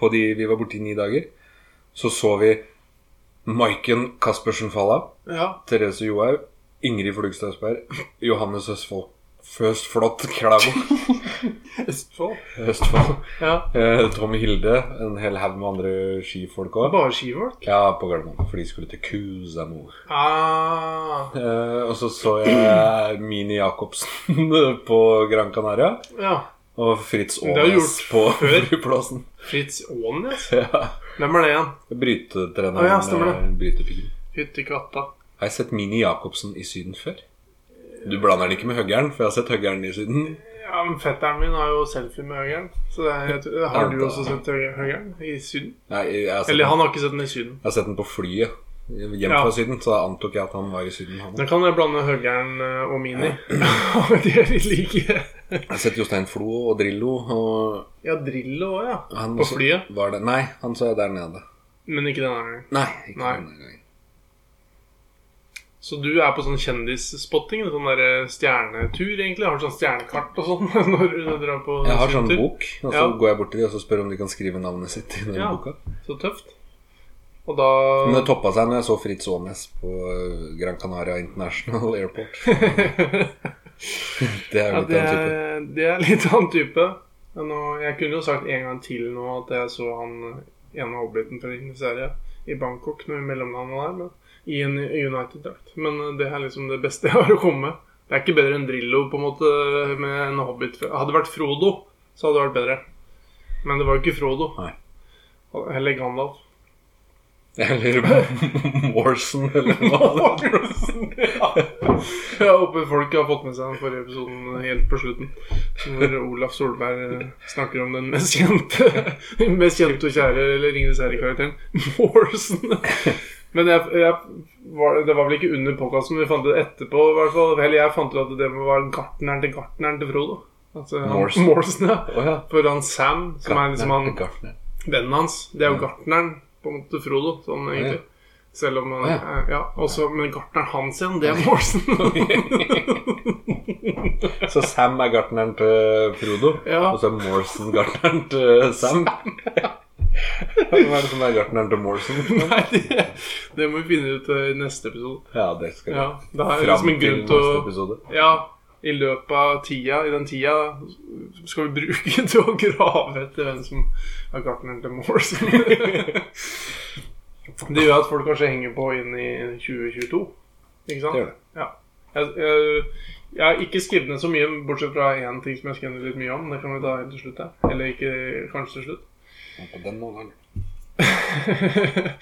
S1: på de vi var borte i ni dager, så så vi Maiken Caspersen Falla,
S2: ja.
S1: Therese Johaug, Ingrid Flugstad Østberg, Johannes Østfold Føst Flått Klæbo
S2: Østfold.
S1: Østfold.
S2: Ja.
S1: Eh, Tom Hilde, en hel haug med andre skifolk òg.
S2: Bare skifolk?
S1: Ja, på Gardermoen, for de skulle til Kusamo.
S2: Ah,
S1: Eh, og så så jeg Mini Jacobsen på Gran Canaria.
S2: ja.
S1: Og Fritz
S2: Men det har du
S1: Aanes
S2: gjort
S1: på
S2: før.
S1: flyplassen.
S2: Fritz Aanes?
S1: Ja.
S2: Hvem er det igjen?
S1: Brytetreneren.
S2: Å, ja, stemmer det.
S1: eh, brytepiggen.
S2: Fytti katta.
S1: Har jeg sett Mini Jacobsen i Syden før? Du blander den ikke med Høggern, for jeg har sett Høggern i Syden.
S2: Ja, men Fetteren min har jo selfie med høgeren. Så det er, jeg tror- har du også sett høgeren i Syden?
S1: Nei, jeg har sett,
S2: Eller
S1: den,
S2: han har ikke sett den i Syden.
S1: jeg har sett den på flyet hjem
S2: Ja.
S1: fra Syden, så da antok jeg at han var i Syden. Han.
S2: Da kan jeg blande høgeren eh, og Mini. De er litt like.
S1: Jeg har sett Jostein Flo og Drillo, og
S2: Ja, Drillo òg, ja.
S1: han
S2: På
S1: også
S2: flyet?
S1: Var det. Nei, han så jeg der nede.
S2: Men ikke denne gangen.
S1: Nei, ikke
S2: Nei.
S1: denne gangen.
S2: Så du er på sånn kjendisspotting? Sånn der eh, stjernetur, egentlig? Har du sånn stjernekart og sånn når du drar på
S1: Jeg har sånn
S2: tur?
S1: bok, og så
S2: Ja.
S1: går jeg bort til de og så spør om de kan skrive navnet sitt i den
S2: Ja.
S1: boka.
S2: Så tøft. Og da
S1: Men det toppa seg når jeg så Fritz Aanes på eh, Gran Canaria International Airport. det er
S2: Ja,
S1: jo litt
S2: det
S1: av en type.
S2: er, det er litt annen type. Men nå, jeg kunne jo sagt en gang til nå at jeg så han ene hobbiten fra Ringenes herre i Bangkok, når mellomlandet der, men i en United-drakt. Men eh, det er liksom det beste jeg har å komme med. Det er ikke bedre enn Drillo på en måte med en hobbit. Hadde det vært Frodo, så hadde det vært bedre. Men det var jo ikke Frodo.
S1: Nei.
S2: Heller Gandalf.
S1: Eller Morrison, eller hva det var.
S2: Jeg håper folk har fått med seg den forrige episoden helt på slutten. Hvor Olaf Solberg eh, snakker om den mest kjente den mest kjente og kjære eller Ringenes herre-karakteren. Morrison. Men jeg, jeg var, det var vel ikke under podkasten, men vi fant ut etterpå. i hvert fall. Eller jeg fant ut at det må være gartneren til gartneren til Frodo. Altså, han-
S1: Morrison.
S2: Morrison, ja.
S1: Å ja.
S2: For han Sam, som er liksom han
S1: Gartner.
S2: vennen hans. Det er jo gartneren på en måte Frodo, sånn egentlig. Selv om han,
S1: Å,
S2: ja. også, Men gartneren hans igjen, det er Morrison.
S1: Så Sam er gartneren til Frodo,
S2: Ja.
S1: og så er Morrison gartneren til Sam. Hvem er det som er gartneren til Morrison?
S2: Nei, det, det må vi finne ut eh, i neste episode.
S1: Ja, det skal vi.
S2: Ja, det er
S1: Fram
S2: liksom en
S1: til
S2: grunn til
S1: neste
S2: å
S1: episode.
S2: Ja, i løpet av tida, i den tida, skal vi bruke til å grave etter hvem som er gartneren til Morrison. det gjør at folk kanskje henger på inn i 2022. Ikke sant?
S1: Det gjør det.
S2: Jeg, jeg, jeg har ikke skrevet ned så mye, bortsett fra én ting som jeg skrev ned litt mye om. Det kan vi ta helt til slutt. Ja. Eller ikke kanskje til slutt.
S1: På den måten.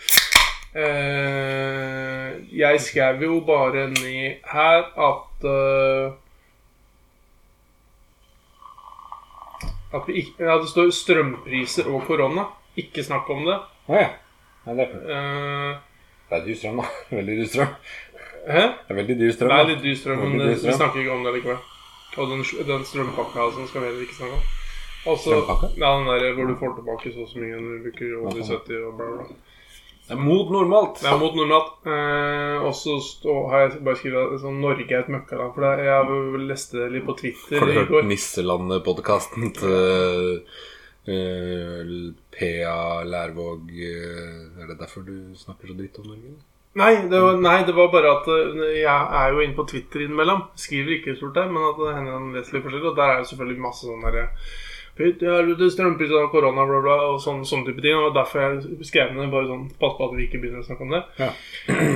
S2: Eh, jeg skrev jo bare ned her at eh, At vi ikke Ja, det står 'strømpriser og korona'. Ikke snakk om det.
S1: Å ja. Nei, det er
S2: Eh,
S1: det er dyr strøm, da. Veldig dyr strøm.
S2: hæ?
S1: Det er veldig dyr strøm.
S2: Det
S1: da.
S2: er litt dyr strøm, men
S1: Veldig
S2: det,
S1: dyr strøm.
S2: vi snakker ikke om det likevel. Og den, den strømpakka og sånn skal vi heller ikke snakke om. Og så
S1: Strømpakka?
S2: ja, den der hvor du får tilbake så og så mye når du bruker over 70 og bla, bla. bla.
S1: Det er mot normalt.
S2: Det er mot normalt. Eh, og så stå- har jeg bare skrevet at sånn, Norge er et møkkaland. For det, jeg har lest det litt på Twitter
S1: Har du
S2: i
S1: hørt
S2: går.
S1: Nisselandet-podkasten til eh, L- P.A. Lærvåg eh, Er det derfor du snakker så dritt om Norge? eller?
S2: Nei det, var, nei, det var bare at eh, jeg er jo inne på Twitter innimellom. Skriver ikke stort der, men at det hender han leser litt forskjellig. Og der er jo selvfølgelig masse sånn derre Pytt i helvete, strømepizza, korona, bla, bla, og sånn, sånn type ting. Og derfor jeg skrev ned bare sånn Pass på at vi ikke begynner å snakke om det.
S1: Ja.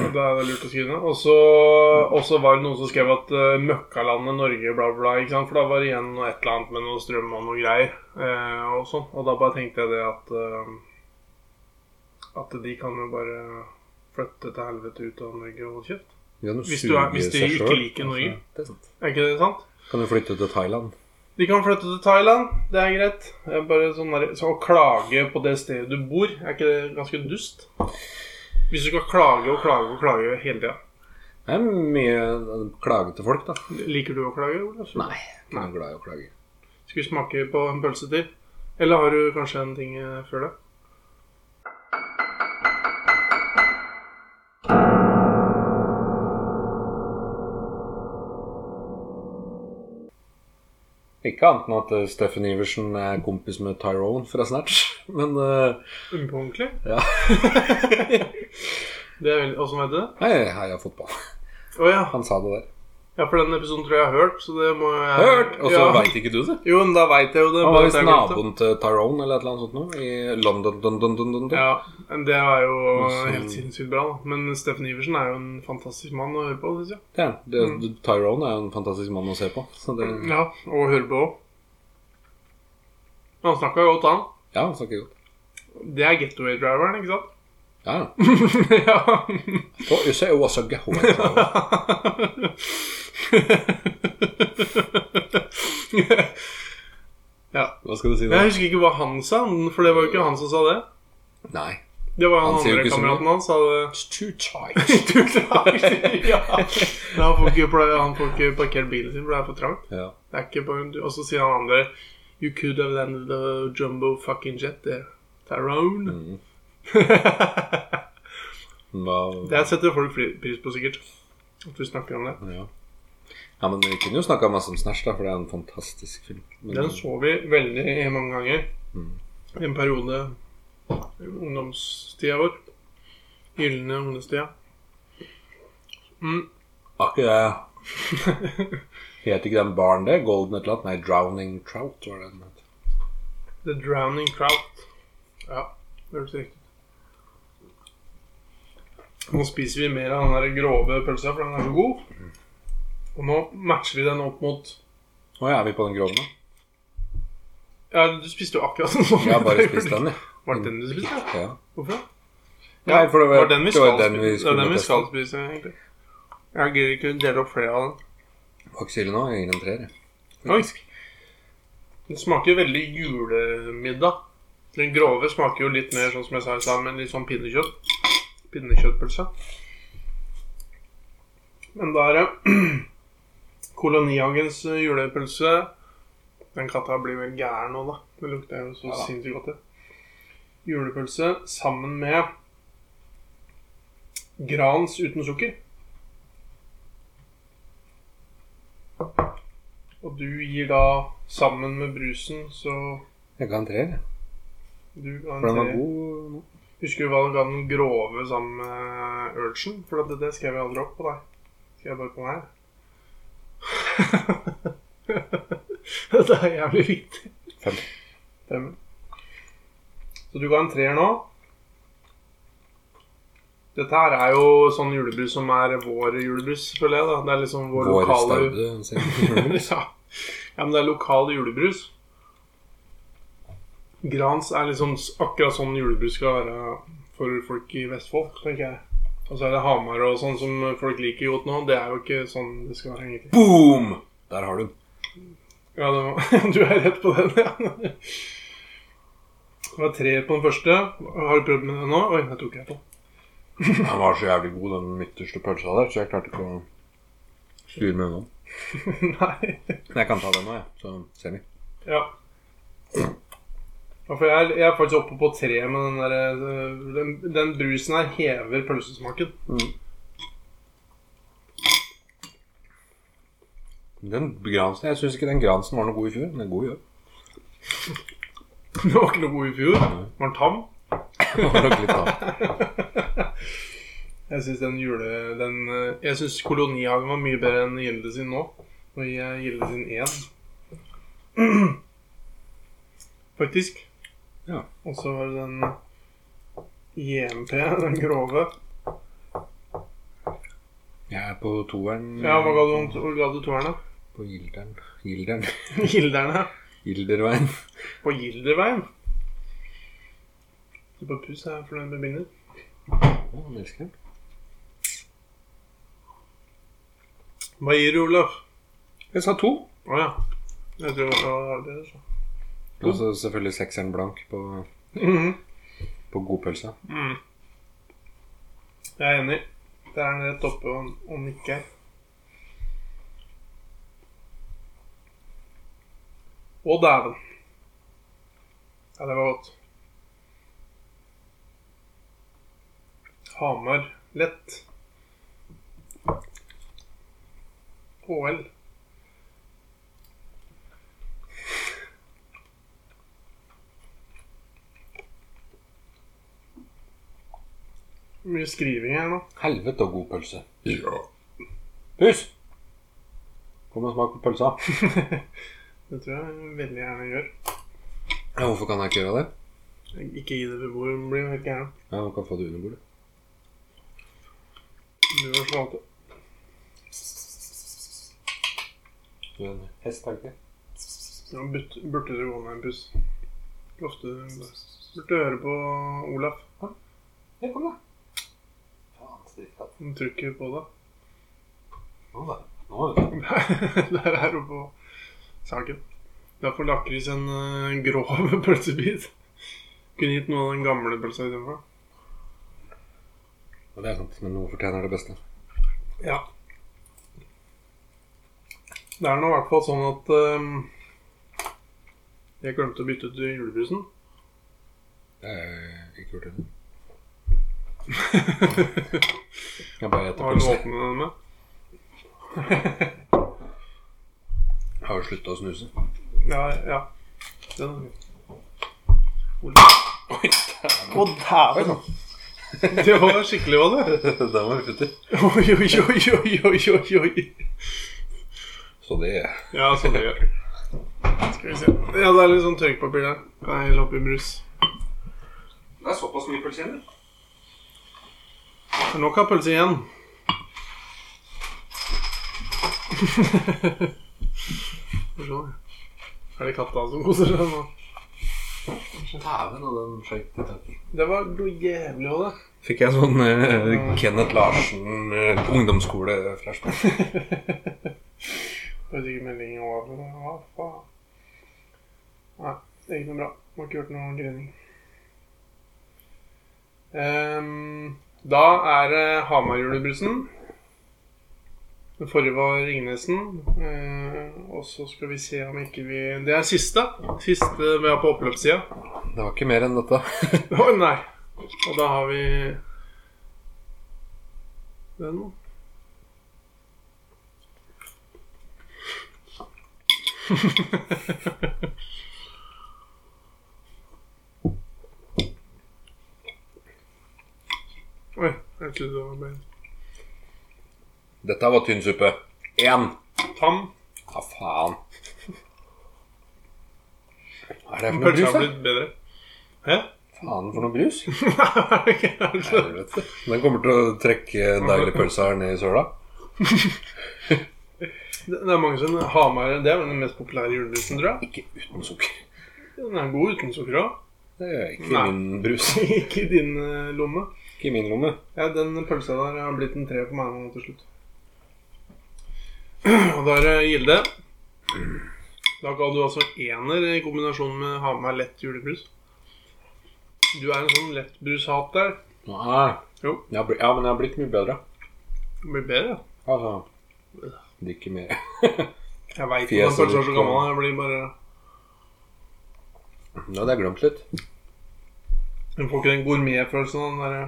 S2: Og Da er det lurt å skrive ned. Og så og så var det noen som skrev at eh, Møkkalandet Norge, bla, bla, ikke sant. For da var det igjen noe et eller annet med noe strøm og noe greier. Eh, og sånn. Og da bare tenkte jeg det at eh, At de kan jo bare flytte til helvete ut av Norge og holde kjeft. Hvis du er- hvis de ikke liker Norge.
S1: Det er sant.
S2: Er ikke det sant?
S1: Kan du flytte til Thailand?
S2: De kan flytte til Thailand, det er greit. Det er bare sånn der, så Å klage på det stedet du bor, er ikke det ganske dust? Hvis du skal klage og klage og klage hele tida.
S1: Det er mye eh, klagete folk, da.
S2: Liker du å klage? Olav?
S1: Nei. Ikke noe glad i å klage.
S2: Skal vi smake på en pølse til? Eller har du kanskje en ting eh, før det?
S1: Ikke annet enn at eh, Steffen Iversen er kompis med Tyrone fra Snatch. Men eh,
S2: På ordentlig?
S1: ja.
S2: Det er veldig, og som heter det?
S1: Hei, heia fotball.
S2: Å ja.
S1: Han sa det der.
S2: ja, for den episoden tror jeg jeg har hørt, så det må jeg
S1: Hørt! Og så
S2: ja.
S1: vet veit ikke du det.
S2: Jo, men da veit jeg jo det.
S1: Han
S2: bare
S1: var
S2: at
S1: visst
S2: jeg glemte.
S1: naboen til Tyrone eller et eller annet sånt noe. I London. Dun, dun, dun, dun, dun.
S2: Ja, men det er jo
S1: så-
S2: helt sinnssykt bra. da. Men Steffen Iversen er jo en fantastisk mann å høre på, syns jeg.
S1: Det er- det, Tyrone er jo en fantastisk mann å se på. Så det,
S2: Ja, og høre på òg. Han snakka godt, han.
S1: ja, han snakker godt.
S2: Det er getaway-driveren, ikke sant?
S1: Ja, ja.
S2: ja.
S1: Thought you said it was a getaway driver. Hva skal du si
S2: Jeg
S1: da?
S2: husker ikke hva han sa, men- for det var jo ikke han som sa det.
S1: Nei.
S2: Det var han,
S1: Han sier jo
S2: andre
S1: ikke så mye.
S2: kameraten hans sa det.
S1: It's too tight.
S2: ja. Men han, får ikke, pla- han får ikke parkert bilen sin, for det er for trangt.
S1: ja.
S2: Det er ikke på- Og så sier han andre You could have landed a jumbo fucking jet there. Tyrone.
S1: Mm. Hva-
S2: Det setter folk fri- pris på, sikkert. At vi snakker om det.
S1: Ja. ja, men vi kunne jo snakka masse om Snatch, da, for det er en fantastisk film. Men,
S2: Den så vi veldig mange ganger.
S1: Mm.
S2: I en periode i ungdomstida vår. Gylne ungdomstida. Mm.
S1: Var ikke det Het ikke den baren det? Golden et eller annet? Nei, Drowning Trout var det den het.
S2: The Drowning Trout. Ja, det hørtes riktig ut. Nå spiser vi mer av den der grove pølsa, for den er så god. Og nå matcher vi den opp mot
S1: Å ja, er vi på den grove nå?
S2: Ja, du spiste jo akkurat den sånn.
S1: Jeg har bare spist den, jeg.
S2: Var det den du spiste?
S1: Ja.
S2: Hvorfor det?
S1: Nei, for det var,
S2: var den vi
S1: det var
S2: skal
S1: den
S2: spise.
S1: vi
S2: Det er
S1: skulle
S2: den vi
S1: teste.
S2: skal spise, egentlig. Jeg gidder ikke dele opp flere av dem.
S1: Vaksille nå? Jeg gir den en treer. jeg.
S2: Oi. Det smaker veldig julemiddag. Den grove smaker jo litt mer sånn som jeg sa i stad, men litt sånn pinnekjøtt. Pinnekjøttpølse. Men da er det Kolonihagens julepølse. Den katta blir vel gæren nå, da. Det lukter jo så
S1: Ja da.
S2: sinnssykt godt. det. Julepølse sammen med Grans uten sukker. Og du gir da, sammen med brusen, så
S1: Jeg ga en treer, jeg.
S2: du
S1: for den var
S2: garanterer
S1: god nå.
S2: Husker du hva du ga den grove sammen med urgen? For at det, det skrev jeg aldri opp på deg. Skrev jeg bare på meg. Dette er jævlig viktig.
S1: Fem.
S2: Fem. Så du ga en treer nå. Dette her er jo sånn julebrus som er vår julebrus, føler jeg. da. Det er liksom vår,
S1: Vår
S2: lokale
S1: staude sin.
S2: ja. ja, men det er lokal julebrus. Grans er liksom s- akkurat sånn julebrus skal være for folk i Vestfold, tenker jeg. Og så er det Hamar og sånn som folk liker godt nå. Det er jo ikke sånn det skal være egentlig.
S1: Boom! Der har du den.
S2: Ja, det var, du er rett på den, ja. Det var tre på den første. Har du prøvd med den nå? Oi, det tok jeg på.
S1: Den var så jævlig god, den midterste pølsa der, så jeg klarte ikke å styre meg unna.
S2: Nei.
S1: Men jeg kan ta den nå, jeg. Så ser vi.
S2: Ja. Ja, for jeg er, jeg er faktisk oppe på tre med den der øh, Den, den brusen her hever pølsesmaken.
S1: Den Gransen, Jeg syns ikke den Gransen var noe god i fjor, men den er god i år.
S2: Det var ikke noe god i fjor. Var den tam?
S1: Det var nok litt av.
S2: Jeg syns den jule... Den, eh, jeg syns Kolonihagen var mye bedre enn Gilde sin nå. Nå gir jeg Gilde sin én. Faktisk.
S1: Ja.
S2: Og så var det den JMP, den grove.
S1: Jeg er på toeren.
S2: Ja, hva ga du, hvor ga du toeren, da?
S1: På Gilderen. Gilderen.
S2: Gilderne.
S1: Gilderveien.
S2: På Gilderveien. Du bare puss her for den bebinder.
S1: Å, han elsker den.
S2: Hva gir du, Olaf?
S1: Jeg sa to.
S2: Å ja. Jeg altså. tror det var det, så.
S1: Og så selvfølgelig sekseren blank på,
S2: Mhm.
S1: på godpølsa.
S2: Mm. Jeg er enig. Der er han rett oppe og, og nikker. Å, dæven. Ja, det var godt. Hamar lett. HL. Mye skriving her nå.
S1: Helvete og god pølse. Pus! Kom og smak på pølsa.
S2: Det tror jeg veldig gjerne gjør.
S1: Ja, hvorfor kan jeg ikke gjøre det?
S2: Ikke gi det beboer, hun blir jo helt gæren.
S1: Ja, Man kan få det under bordet.
S2: Du var svake.
S1: Du er en hest, er du ikke?
S2: Ja, but- burde du gå med en puss? Ofte burde du høre på Olaf.
S1: Ja, kom da. Faen, strikka.
S2: Han trykker på deg.
S1: Nå da. Nå er det.
S2: Der er du på saken. Derfor lakris en eh, grov pølsebit. Kunne gitt noe av den gamle pølsa istedenfor.
S1: Ja, det er sant, men noe fortjener det beste.
S2: Ja. Det er nå i hvert fall sånn at ehm, jeg glemte å bytte ut julebrusen.
S1: Det er ikke gjort ennå. Jeg bare
S2: Har du
S1: etter pølse.
S2: åpnet den med?
S1: Jeg har jo slutta å snuse.
S2: Ja, ja. Den er
S1: Oi, dæven.
S2: Å, dæven!
S1: sånn.
S2: Det var skikkelig, var det?
S1: Den var futter.
S2: Oi, oi, oi, oi, oi, oi, oi.
S1: Så det
S2: Ja, sånn det gjør. Skal vi se. Ja, det er litt sånn tørkpapir der. Kan jeg helle oppi brus.
S3: Det er såpass mye pølse igjen, det.
S2: Det er nok av pølse igjen. Får se, da. Er det katta som koser seg nå?
S1: Dæven, og den skøyt i taket.
S2: Det var noe jævlig av det.
S1: Fikk jeg sånn eh, Kenneth Larsen eh, ungdomsskole-flashback.
S2: Jeg fikk melding over. Hva faen? Nei, det gikk noe bra. Må ikke gjort noe grining. Ehm, da er det Hamar-julebrusen. Den forrige var Ringnesen. Ehm, og så skal vi se om ikke vi Det er siste. Siste vi har på oppløpssida.
S1: Det var ikke mer enn dette.
S2: Å nei. Og da har vi den. Oi, jeg trodde det var mer
S1: Dette var tynn suppe. Én.
S2: tam.
S1: Ja, faen. Hva er det for noe
S2: Pølsa
S1: brus,
S2: har
S1: da?
S2: blitt bedre. Hæ?
S1: Faen for noe brus.
S2: Nei,
S1: Helvete. Den kommer til å trekke deiligpølsa her ned i søla.
S2: det det er mange som Hamar Det er vel den mest populære julebrusen, tror jeg.
S1: Ikke uten sukker.
S2: Den er god uten sukker òg.
S1: Det er ikke
S2: Nei.
S1: min brus.
S2: Ikke i din eh, lomme.
S1: Ikke i min lomme.
S2: Ja, den pølsa der har blitt en tre for meg nå til slutt. Og da er det Gilde. Da ga du altså ener i kombinasjon med ha med meg lett julebrus. Du er en sånn lettbrushater.
S1: Nei.
S2: Jo.
S1: Jeg har bli- ja, men jeg har blitt mye bedre.
S2: Det blir bedre.
S1: Altså Drikke mer.
S2: Jeg veit ikke om
S1: Fjeset
S2: pølsa er så
S1: ditt,
S2: gammel.
S1: ja.
S2: Jeg blir bare
S1: Nå hadde jeg glemt litt.
S2: Hun får ikke den gourmetfølelsen av den eh, derre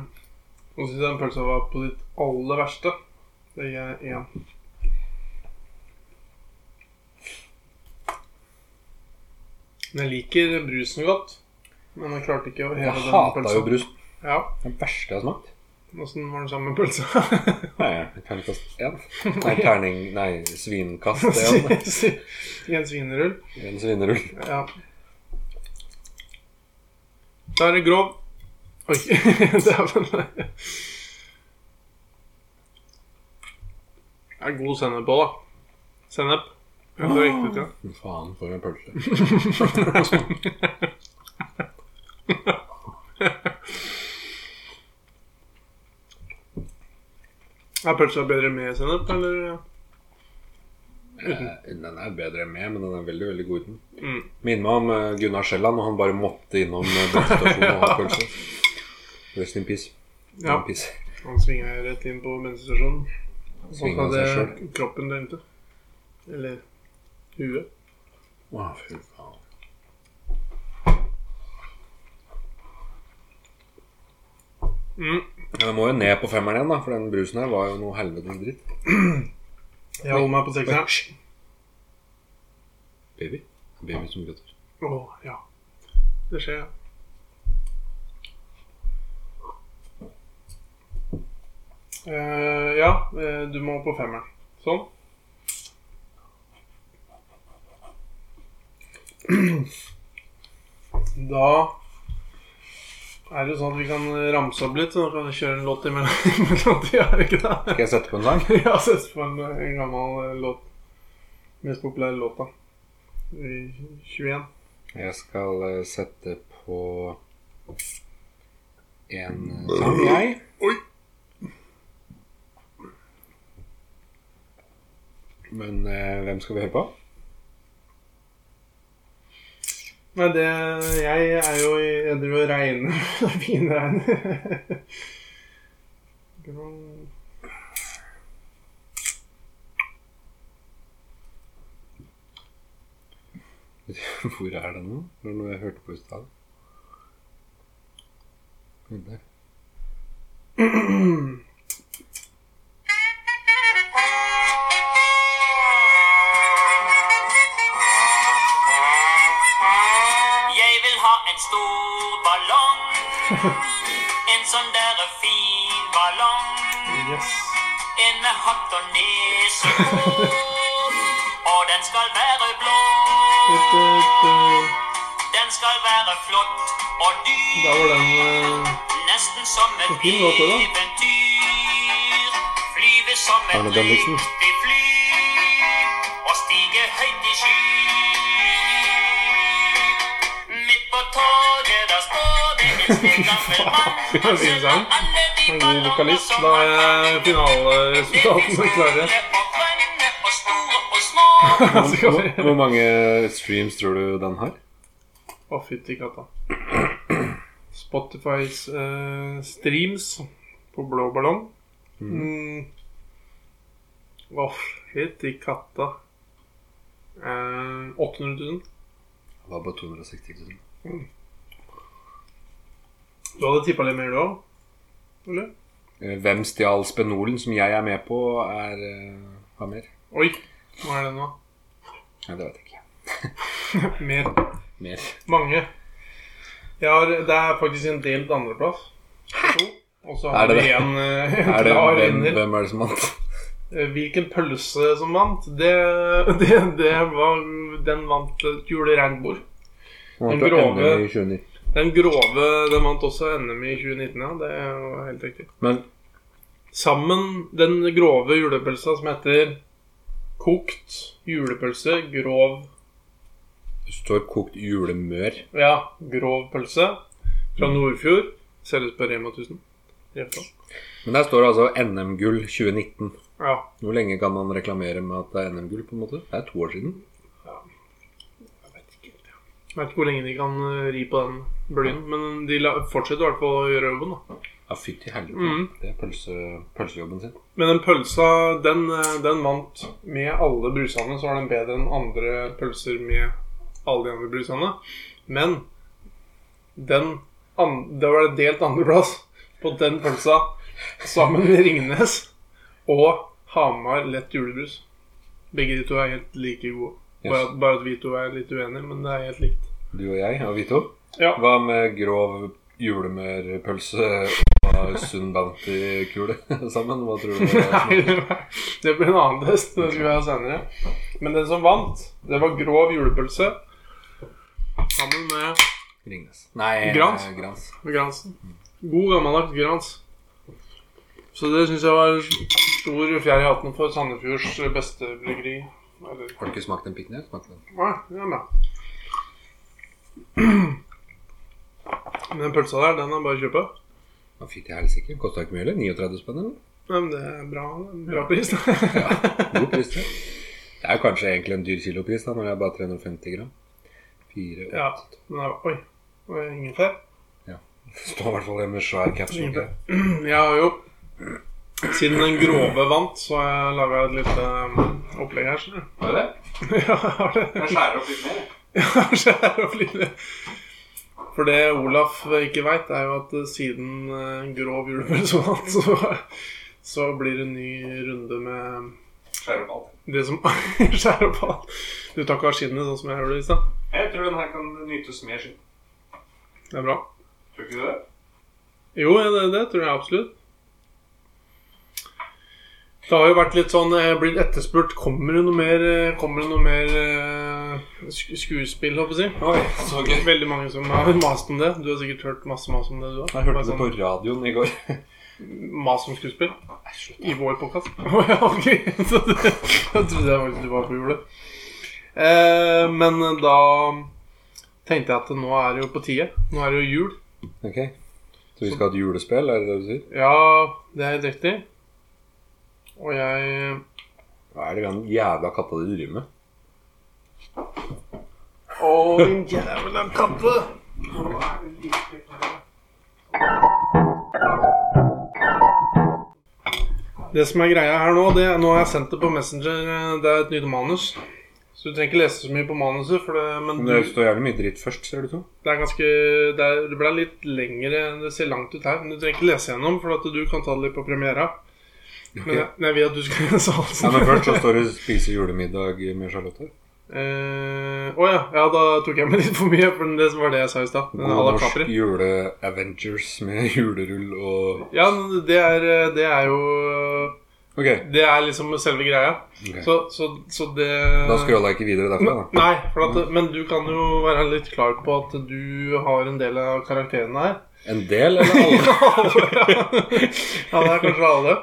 S2: Nå syns jeg den pølsa var på ditt aller verste. Det gir jeg én. Men jeg liker brusen godt. Men jeg klarte ikke å heve
S1: Jeg
S2: den
S1: hata
S2: pølsa.
S1: jo brus.
S2: Ja,
S1: Den verste jeg har smakt.
S2: Åssen var den sammen med pølsa?
S1: Nei, terningkast én. Nei, terning Nei, svinkast én.
S2: I en svinerull.
S1: En svinerull.
S2: Ja. Da er det grov. Oi, dæven. Det sånn. er god sennep på, da. Sennep. Ja, det er riktig, ja.
S1: Men Faen, for en pølse.
S2: Er pølsa bedre med sennep, eller?
S1: Eh, Den er bedre med, men den er veldig veldig god uten.
S2: Mm.
S1: Minner meg om eh, Gunnar Sjælland, og han bare måtte innom eh, brannstasjonen og ha pølse. Rest in peace.
S2: Ja.
S1: In peace.
S2: Han svinga rett inn på bensinstasjonen. Sånn
S1: Svinga
S2: hadde
S1: seg sjøl.
S2: kroppen der ute. Eller huet.
S1: Å, fy faen.
S2: Mm.
S1: Ja, Den må jo ned på femmeren igjen, da, for den brusen her var jo noe helvetes dritt.
S2: Jeg holder meg på sekseren.
S1: Baby. Baby som gråter.
S2: Å, ja. Det skjer, ja. Eh, ja, eh, du må på femmeren. Sånn. Da er det jo sånn at vi kan ramse opp litt, så da kan vi kjøre en låt imellom. imellom tida, er det ikke det?
S1: Skal jeg sette på en sang?
S2: Jeg har sett på en, en gammel eh, låt. Mest populære låta. I 21.
S1: Jeg skal eh, sette på en eh, sang, jeg. Men eh, hvem skal vi høre på?
S2: Nei, det Jeg er jo i Jeg driver og regner. Det er finregner. Grå-
S1: Hvor er den nå? Det var noe jeg hørte på i stad. Den der.
S5: Jeg vil ha en stor ballong. En sånn der fin ballong.
S2: Yes.
S5: En med hatt og nesehår. Og den skal være blå.
S2: Et, et, eh,
S5: Den skal være flott og dyr.
S2: da var den eh,
S5: Nesten som et
S2: Fin låt, det da.
S5: eventyr. Flyve som et
S1: Arne Bendiksen.
S5: riktig fly. Og stige høyt i sky. Midt på toget, der står det en snill gammel mann.
S2: Fy faen, det var en fin sang.
S5: Alle de
S2: en god
S5: ballonger
S2: vokalist.
S5: som
S2: Da er
S5: han fanget.
S2: finaleresultatene klare.
S5: Røde og grønne og store og små.
S2: Så kan
S1: Hvor,
S2: vi-
S1: hvor mange streams tror du den har?
S2: Å, fytti katta. Spotifys eh, streams på blå ballong. Mm. Å, fytti katta. Eh, 800 000.
S1: Det var bare 260 000.
S2: Du hadde tippa litt mer, du òg? Eller?
S1: Eh, Hvem stjal spenolen som jeg er med på, er eh, har mer?
S2: Oi, hva er det nå?
S1: Nei, det vet jeg ikke.
S2: Mer.
S1: Mer.
S2: Mange. Jeg har, det er faktisk en delt andreplass. To. Og så
S1: Er
S2: har
S1: det
S2: vi
S1: det?
S2: en, eh, en
S1: Er det,
S2: klar
S1: hvem,
S2: vinner.
S1: hvem er det som vant?
S2: Eh, Hvilken pølse som vant, det, det, det var Den vant et juleregnbord.
S1: Den
S2: Den grove-
S1: grove... 2019.
S2: Den grove den vant også NM i 2019, ja. Det var helt riktig.
S1: Men
S2: Sammen den grove julepølsa som heter Kokt julepølse, grov
S1: det står kokt julemør.
S2: Ja, grov pølse fra Nordfjord. Selges på Rema 1000. Rema.
S1: Men der står det altså NM-gull 2019.
S2: Ja.
S1: Hvor lenge kan man reklamere med at det er NM-gull? på en måte? Det er to år siden.
S2: Jeg vet ikke hvor lenge de kan eh, ri på den blyen, men de la- fortsetter i hvert fall å gjøre jobben. da.
S1: Ja, fytti helvete.
S2: Mhm.
S1: Det er pølse, pølsejobben sin.
S2: Men den pølsa, den, eh, den vant med alle brusene, så var den bedre enn andre pølser med alle de andre brusene. Men den an det var det delt andreplass på den pølsa sammen med Ringnes og Hamar lett julebrus. Begge de to er helt like gode. Bare,
S1: Yes.
S2: at- bare at vi to er litt uenige, men det er helt likt.
S1: Du og jeg og vi to.
S2: Ja.
S1: Hva med grov julemørpølse og Sunn Bounty-kule sammen? Hva tror du?
S2: Nei, det var- det blir en annen test. Den skal vi ha senere. Men den som vant, det var grov julepølse. Sammen med
S1: Ringnes. Nei,
S2: Grans?
S1: eh, Grans.
S2: med Gransen. God gammeldags Grans. Så det syns jeg var stor fjær i hatten for Sandefjords beste bryggeri. Eller
S1: Har du ikke smakt en piknik? Smakte den.
S2: Nei, det er meg. Men den pølsa der, den er bare å kjøpe.
S1: Å, Fy til helsike. Kosta ikke mye, eller? 39 spenn, eller?
S2: Ja, Men det er bra, bra pris. da.
S1: God pris, det. Det er jo kanskje egentlig en dyr kilopris, da, når det er bare 350 gram. Fire
S2: ja, den er Oi. det er Ingefær?
S1: Står i hvert fall hjemme med svær caps.
S2: Ingefær. Jeg har jo Siden den grove vant, så har jeg laga et lite um, opplegg her. skjønner du.
S3: Var det det?
S2: Ja, har det.
S3: Jeg skjærer opp litt mer.
S2: Kanskje er det å bli det. For det Olaf ikke veit, er jo at eh, siden eh, grov julepølse vant, så, så blir det en ny runde med
S3: Skjærer opp alt.
S2: Det som skjærer opp alt. Du tar ikke av skinnet sånn som jeg gjorde i stad.
S3: Jeg tror den her kan nytes mer skinn.
S2: Det er bra.
S3: Tror ikke du det?
S2: Jo, ja, det, det tror jeg absolutt. Det har jo vært litt sånn eh, blitt etterspurt Kommer det noe mer, eh, kommer det noe mer eh, sk skuespill, håper jeg å si.
S1: Oi, så gøy.
S2: Veldig mange som har mast om det. Du har sikkert hørt masse mas om det, du òg.
S1: Jeg hørte det på radioen i går.
S2: Mas om skuespill. I vår podkast. Å ja, ok. Så det, jeg trodde jeg faktisk du var på jordet. Eh, men da tenkte jeg at nå er det jo på tide. Nå er det jo jul.
S1: Ok. Så vi skal ha et julespill, er det det du sier?
S2: Ja, det er helt riktig. Og jeg
S1: Hva er det den jævla katta di driver med?
S2: Å, din jævla katte! Det som er greia her nå, det Nå har jeg sendt det på Messenger. eh, Det er et nytt manus. Så du trenger ikke lese så mye på manuset, for det, men
S1: Men
S2: du,
S1: Det står jævlig mye dritt først, ser du to.
S2: det er ganske Det, er, det ble litt lengre Det ser langt ut her, men du trenger ikke lese gjennom, for at du kan ta det litt på premiera. Men jeg, men jeg vil at du skal lese alt.
S1: Nei, men først så står det 'spise julemiddag med Charlotte'.
S2: Eh, Å ja. ja, da tok jeg med litt for mye. For det var det jeg sa i stad. Den à
S1: God
S2: la
S1: norsk
S2: Capri.
S1: jule-Avengers med julerull og
S2: Ja, men det er, det er jo
S1: Ok,
S2: Det er liksom selve greia.
S1: ok.
S2: Så, så, så det
S1: da scroller jeg ikke videre derfra, da.
S2: Nei, for at, men du kan jo være litt klar på at du har en del av karakterene her.
S1: En del, eller alle?
S2: Alle, ja. ja, det er kanskje alle.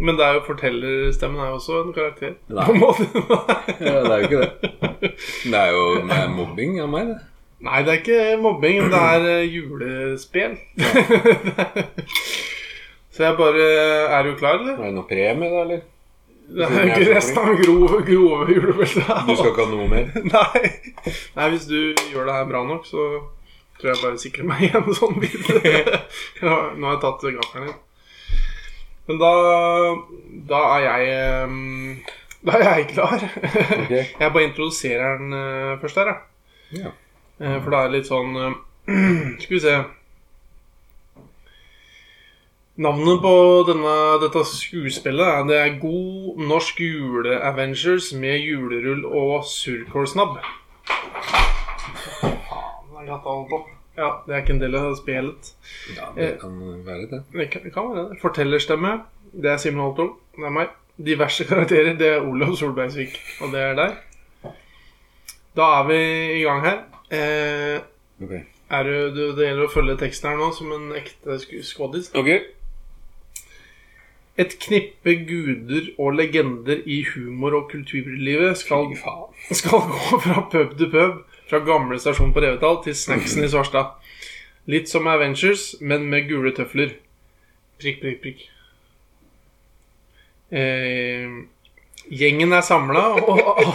S2: Men det er jo fortellerstemmen er jo også en karakter.
S1: Nei.
S2: På en måte.
S1: Ja, det er jo ikke det. Det er jo det er mobbing av meg, det.
S2: Nei, det er ikke mobbing, men det er eh, julespill. Så jeg bare Er du klar, eller?
S1: Er det noe premie, da, eller?
S2: Det er jo ikke resten av grove, grove julebelter.
S1: Du skal ikke ha noe mer?
S2: Nei. Nei, hvis du gjør det her bra nok, så tror jeg bare sikrer meg igjen en sånn bit. Ja, Nå har jeg tatt gaffelen din. Men da Da er jeg ehm, Da er jeg klar.
S1: Ok.
S2: Jeg bare introduserer den eh, først her, jeg.
S1: Ja.
S2: Eh, For det er litt sånn eh, Skal vi se Navnet på denne, dette skuespillet er Det er God norsk jule-Avengers med julerull og surkålsnabb. Ja, det er ikke en del av spillet.
S1: ja, det kan være det.
S2: Det kan, det kan være det. Fortellerstemme, det er Simen Holtung. Det er meg. Diverse karakterer, det er Olav Solbergsvik. Og det er deg. Da er vi i gang her. Eh,
S1: Ok.
S2: Er du, du, det gjelder å følge teksten her nå som en ekte sk- skådis. Et knippe guder og legender i humor- og kulturlivet skal,
S1: Fy faen.
S2: skal gå fra pub til pub, fra gamle stasjon på Revetal til snacksen i Svarstad. Litt som Avengers, men med gule tøfler. Prikk, prikk, prikk. Eh, gjengen er samla, og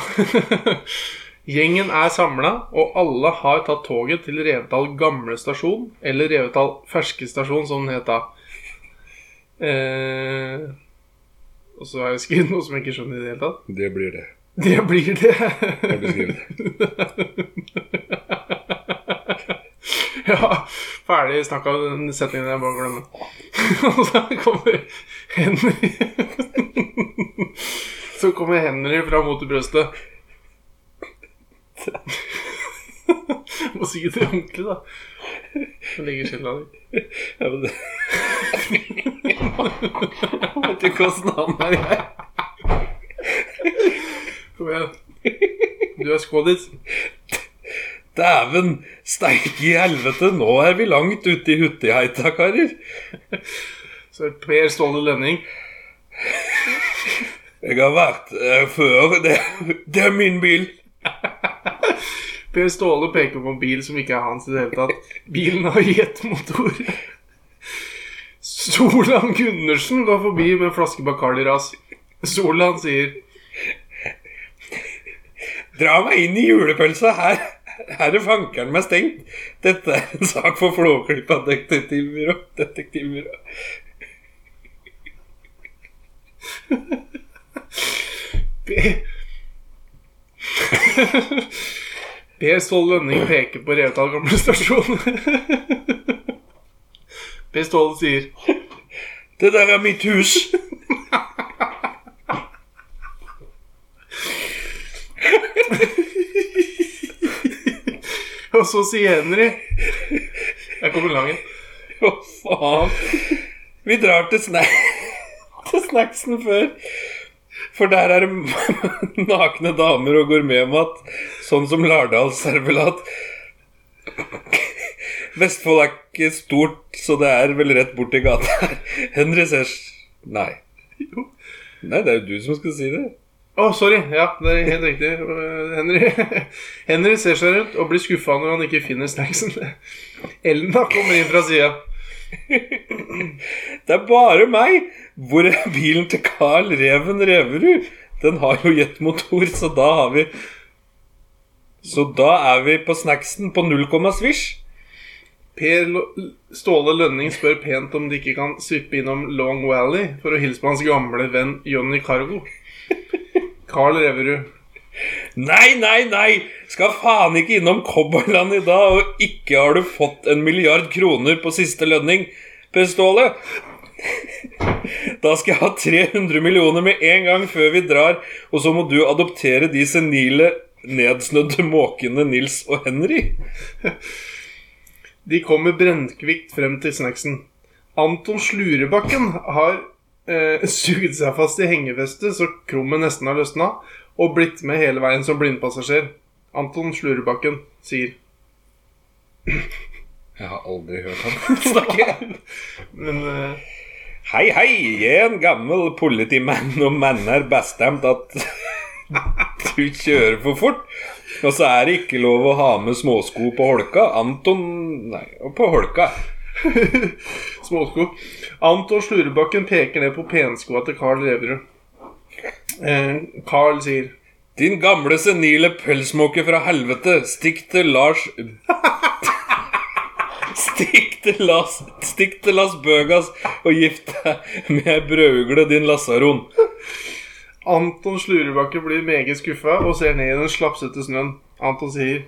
S2: Gjengen er samla, og alle har tatt toget til Revetal gamle stasjon, eller Revetal ferske stasjon, som den het da. Eh, og så har jeg skrevet noe som jeg ikke skjønner i det hele tatt.
S1: Det blir det.
S2: Det blir det.
S1: Jeg beskriver det.
S2: ja, ferdig snakka den setningen jeg bare glemmer. Og så kommer Henry Så kommer Henry fra mot i brøstet. Må si det ordentlig, da. Så ligger skylda di.
S1: Ja, men det. Vet du hvordan han er, jeg?
S2: Kom igjen. Du er skådis.
S1: Dæven steike i helvete, nå er vi langt ute i huttiheita, karer.
S2: Så er det Per Ståle Lønning.
S1: Jeg har vært her før. Det, det er min bil.
S2: Per Ståle peker på en bil som ikke er hans i det hele tatt. Bilen har jetmotor. Solan Gundersen går forbi med en flaske Bacardi-ras. Solan sier
S1: Dra meg inn i julepølsa her. Her er fankeren meg stengt. Dette er en sak for Flåklypa detektivbyrå. detektivbyrå.
S2: Per Per Ståle Lønning peker på Revetal gamle stasjon. Per Ståle sier
S1: Det der er mitt hus.
S2: Og så sier Henry Der kommer langen.
S1: Å, faen. Vi drar til, sna til snacksen før. For der er det nakne damer og gourmetmat, sånn som Lardalsservelat. Vestfold er ikke stort, så det er vel rett borti gata her. Henry ser s- Nei.
S2: Jo.
S1: Nei, det er jo du som skal si det.
S2: Å, sorry. Ja, det er helt riktig. Eh, Henry. Henry ser seg rundt og blir skuffa når han ikke finner snacksen. Elna kommer inn fra sida.
S1: Det er bare meg! Hvor er bilen til Carl Reven Reverud? Den har jo jetmotor, så da har vi Så da er vi på snacksen på null komma svisj.
S2: Per Lo- Ståle Lønning spør pent om de ikke kan svippe innom Long Valley for å hilse på hans gamle venn Johnny Cargo. Carl Reverud.
S1: Nei, nei, nei! Skal faen ikke innom Cowboyland i dag, og ikke har du fått en milliard kroner på siste lønning, Per Ståle. Da skal jeg ha 300 millioner med en gang før vi drar, og så må du adoptere de senile, nedsnødde måkene Nils og Henry.
S2: De kommer brennkvikt frem til snacksen. Anton Slurebakken har eh, sugd seg fast i hengefestet så krummet nesten har løsna, og blitt med hele veien som blindpassasjer. Anton Slurebakken sier
S1: Jeg har aldri hørt han snakke.
S2: Men eh,
S1: Hei, hei, jeg er en gammel politimann, og mannen er bestemt at du kjører for fort. Og så er det ikke lov å ha med småsko på holka. Anton Nei, og på holka.
S2: Småsko. Anton Slurebakken peker ned på penskoa til Carl Reverud. Eh, Carl sier
S1: Din gamle senile pølsmåke fra helvete, stikk til Lars Stikk til Las Stikk til Las Bøgas og gift deg med ei brødugle, din lasaron.
S2: Anton Slurebakke blir meget skuffa og ser ned i den slapsete snøen. Anton sier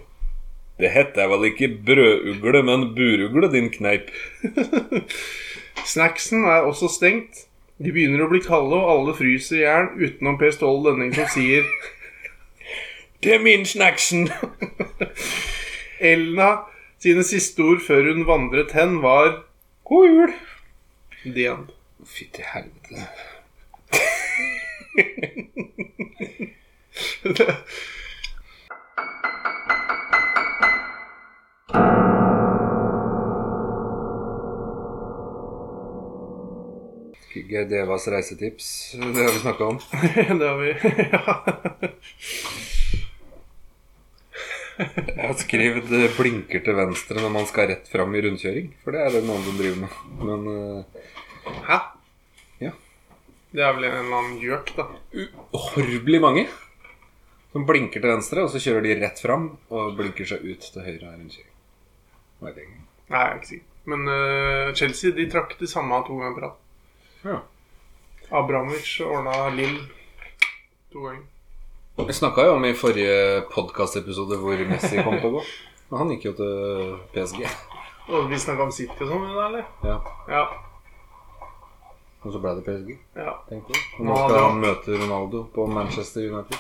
S1: Det heter vel ikke brødugle, men burugle, din kneip.
S2: Snacksen er også stengt. De begynner å bli kalde, og alle fryser i hjel utenom Per Ståle Lønning, som sier
S1: Det er min snacksen!
S2: Elna sine siste ord før hun vandret hen, var
S1: God jul!
S2: The end.
S1: Fytti helvete. Ikke Devas reisetips, det har vi snakka om.
S2: Det har vi. Ja.
S1: Jeg har skrevet eh, 'blinker til venstre' når man skal rett fram i rundkjøring. For det er det noen som driver med. Men eh,
S2: Hæ?
S1: Ja.
S2: Det er vel en eller annen gjøk, da.
S1: uhorvelig mange som blinker til venstre, og så kjører de rett fram og blinker seg ut til høyre av rundkjøring. Vet jeg ikke.
S2: Nei, jeg er ikke sikker. Men øh, Chelsea de trakk det samme to ganger på rad.
S1: Ja.
S2: Abramovic ordna Lill to ganger.
S1: Vi snakka jo om i forrige podkastepisode hvor Messi kom til å gå. Men han gikk jo til PSG.
S2: Og vi snakka om City og sånn, eller?
S1: Ja,
S2: Ja.
S1: Og så ble det PSG.
S2: ja.
S1: Tenk på det. Og nå skal han møte Ronaldo på Manchester United.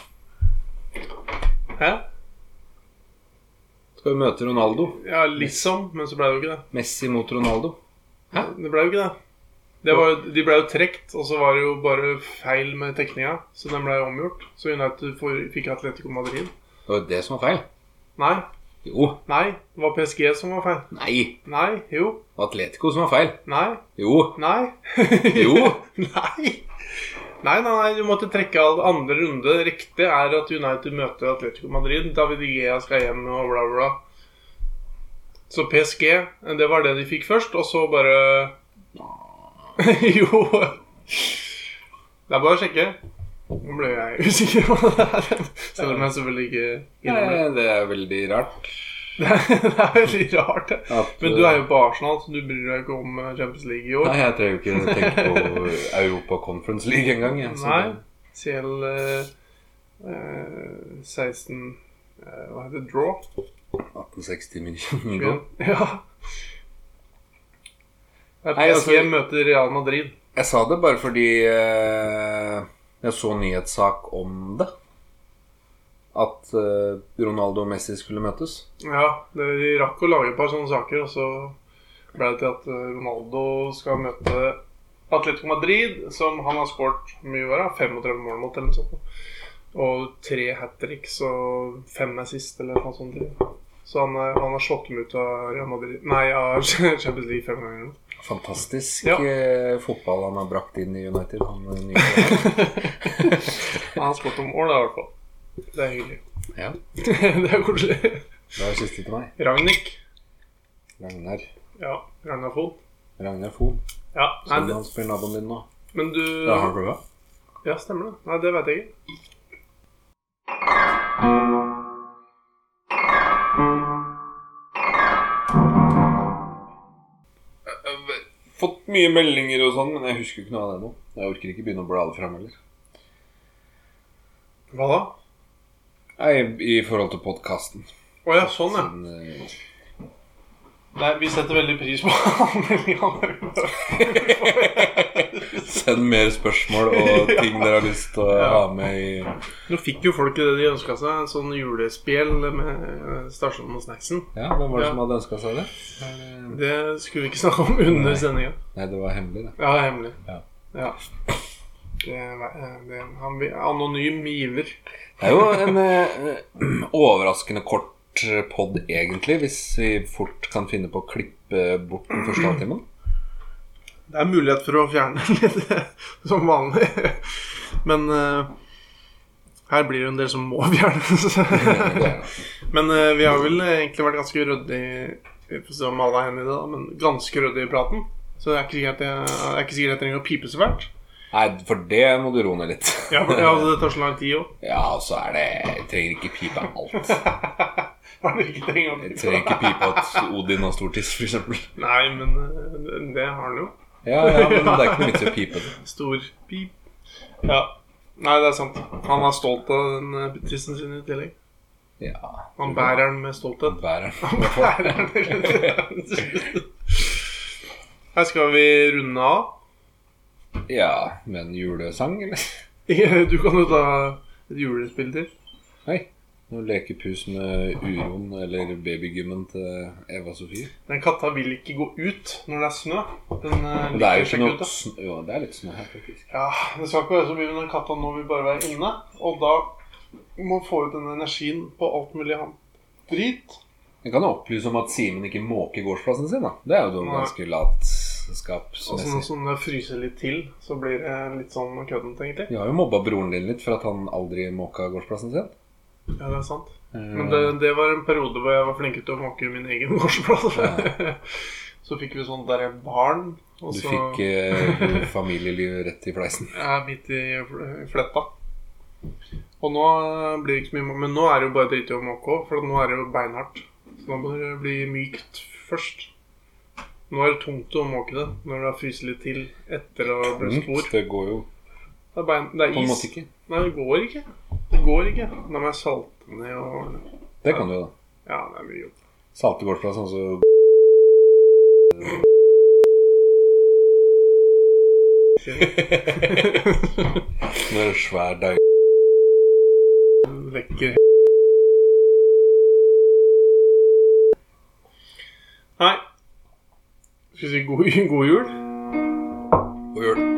S2: Hæ?
S1: Skal vi møte Ronaldo?
S2: Ja, liksom, men så ble det jo ikke det.
S1: Messi mot Ronaldo.
S2: Det ble jo ikke det. Det var, jo- de ble jo trekt, og så var det jo bare feil med tekninga. Så den ble omgjort. Så United får- fikk Atletico Madrid.
S1: Det var jo det som var feil.
S2: Nei,
S1: Jo.
S2: nei, det var PSG som var feil.
S1: Nei.
S2: Nei, jo,
S1: Atletico som var feil.
S2: nei,
S1: Jo.
S2: nei.
S1: Jo.
S2: nei. Nei, nei, nei, du måtte trekke av andre runde. Riktig er at United møter Atletico Madrid. David Igea skal hjem og bla, bla. Så PSG, det var det de fikk først, og så bare Jo. Det er bare å sjekke. Nå ble jeg usikker på det her. Selv om jeg selvfølgelig ikke innrømmer det.
S1: Eh, Det er veldig rart.
S2: Det er- Det er veldig rart. det.
S1: At, eh,
S2: Men du er jo på Arsenal, så du bryr deg ikke om Champions League i år.
S1: Nei, jeg trenger jo ikke tenke på Europa Conference League engang. jeg, så
S2: Nei.
S1: det-
S2: CL eh, eh, 16 eh, Hva heter det? Draw?
S1: 1860 München.
S2: Ja.
S1: England.
S2: ja. Det er
S1: Nei,
S2: PSG
S1: altså-
S2: møter Real Madrid.
S1: Jeg sa det bare fordi eh, jeg så nyhetssak om det. At eh, Ronaldo og Messi skulle møtes.
S2: Ja, det, De rakk å lage et par sånne saker, og så ble det til at eh, Ronaldo skal møte Atletico Madrid, som han har skåret mye verre. 35 mål mot, eller noe sånt. Og tre hat tricks og fem assist, eller noe sånt. Så han, er- han har slått dem ut av Real Madrid Nei, av Champions League fem ganger.
S1: Fantastisk
S2: Ja.
S1: eh, fotball han har brakt inn i United. Han eh, nye.
S2: Han har spurt om år, da, i hvert fall. Det er hyggelig.
S1: Ja.
S2: det er koselig.
S1: Det er siste til meg.
S2: Ragnhild.
S1: Ragnar.
S2: Ja. Ragnar Fon.
S1: Ragnar Fon.
S2: Ja. Nei,
S1: Som
S2: det,
S1: han spiller naboen din nå.
S2: men du
S1: Det har du, ja.
S2: Ja, stemmer det. Nei, det veit jeg ikke.
S1: Jeg har Eh, Fått mye meldinger og sånn, men jeg husker jo ikke noe av det nå. Jeg orker ikke begynne å bla det fram heller.
S2: Hva da?
S1: Nei, i forhold til eh, podkasten.
S2: Å ja, sånn, ja. Nei, vi setter veldig pris på anmeldingene.
S1: Send mer spørsmål og ting dere har lyst til å ha med i
S2: Nå fikk jo folk det de ønska seg, en sånn julespjeld med eh, stasjonen og snacksen.
S1: Ja, hvem var det
S2: Ja.
S1: som hadde ønska seg det?
S2: Det skulle vi ikke snakke om under
S1: Nei.
S2: sendinga.
S1: Nei, det var hemmelig, det.
S2: Ja, det er hemmelig.
S1: Ja.
S2: ja. Det, er- det, er- han, vil- anonym giver.
S1: Det er jo en eh, overraskende kort pod, egentlig, hvis vi fort kan finne på å klippe bort den første halvtimen.
S2: Det er mulighet for å fjerne den litt, som vanlig. Men eh, her blir det en del som må fjernes. men eh, vi har vel egentlig vært ganske ryddige Vi får se om alle er enige i det, da, men ganske ryddige i praten. Så det er ikke sikkert jeg, det er ikke sikkert jeg trenger å pipe så fælt.
S1: Nei, for det må du roe ned litt.
S2: Ja, for det, altså, det tar så lang tid òg.
S1: Ja, og så er det Jeg trenger ikke pipe alt.
S2: Hva er det vi ikke trenger å
S1: Jeg
S2: pipe?
S1: trenger ikke pipe at Odin har stor tiss, for eksempel.
S2: Nei, men eh, det har han jo.
S1: Ja, ja, men det er ikke noe vits i å pipe det.
S2: Stor pip. Ja. Nei, det er sant. Han er stolt av den eh, tissen sin i tillegg.
S1: Ja,
S2: Han bærer den med stolthet.
S1: bærer den.
S2: Her skal vi runde av.
S1: Ja, med en julesang, eller?
S2: Du kan jo ta et julespill til.
S1: Hei. Noe lekepus med uroen eller babygymmen til Eva Sofie.
S2: Den katta vil ikke gå ut når det er snø. Den eh,
S1: Men det
S2: liker å
S1: er jo ikke
S2: sjekke ut,
S1: noe
S2: da.
S1: sn- Jo, det er litt snø her, faktisk.
S2: Ja, det skal ikke være så mye, men den katta nå vil bare være inne. Og da må man få ut den energien på alt mulig annet. Drit.
S1: Jeg kan jo opplyse om at Simen ikke måker gårdsplassen sin, da. Det er jo noe
S2: Nei.
S1: ganske
S2: Og sånn
S1: latskapsmessig.
S2: som det fryser litt til, så blir det litt sånn køddent, egentlig.
S1: Vi har jo mobba broren din litt for at han aldri måka gårdsplassen sin.
S2: Ja, det er sant. Men
S1: Eh,
S2: det, det var en periode hvor jeg var flink til å måke min egen gårdsplass. så fikk vi sånn derre barn, og
S1: Du
S2: så
S1: fikk eh, familielivet rett i fleisen.
S2: jeg er midt i fl- fletta. Og nå eh, blir det ikke så mye må- Men nå er det jo bare drit i å måke òg, for nå er det jo beinhardt. Så da må det bli mykt først. Nå er det tungt å måke det når det har fryst litt til etter å ha blitt spor.
S1: Det går jo
S2: Det er, bein, det er
S1: på en
S2: is.
S1: måte ikke.
S2: Nei, det går ikke. Det går ikke. Da må jeg salte ned og ordne.
S1: Det kan du jo, da.
S2: Ja, det er mye jobb.
S1: Salte gårdsplassen, altså. og så Når det er svær deig
S2: vekker Nei. Skal vi si god, god jul?
S1: og gjør det.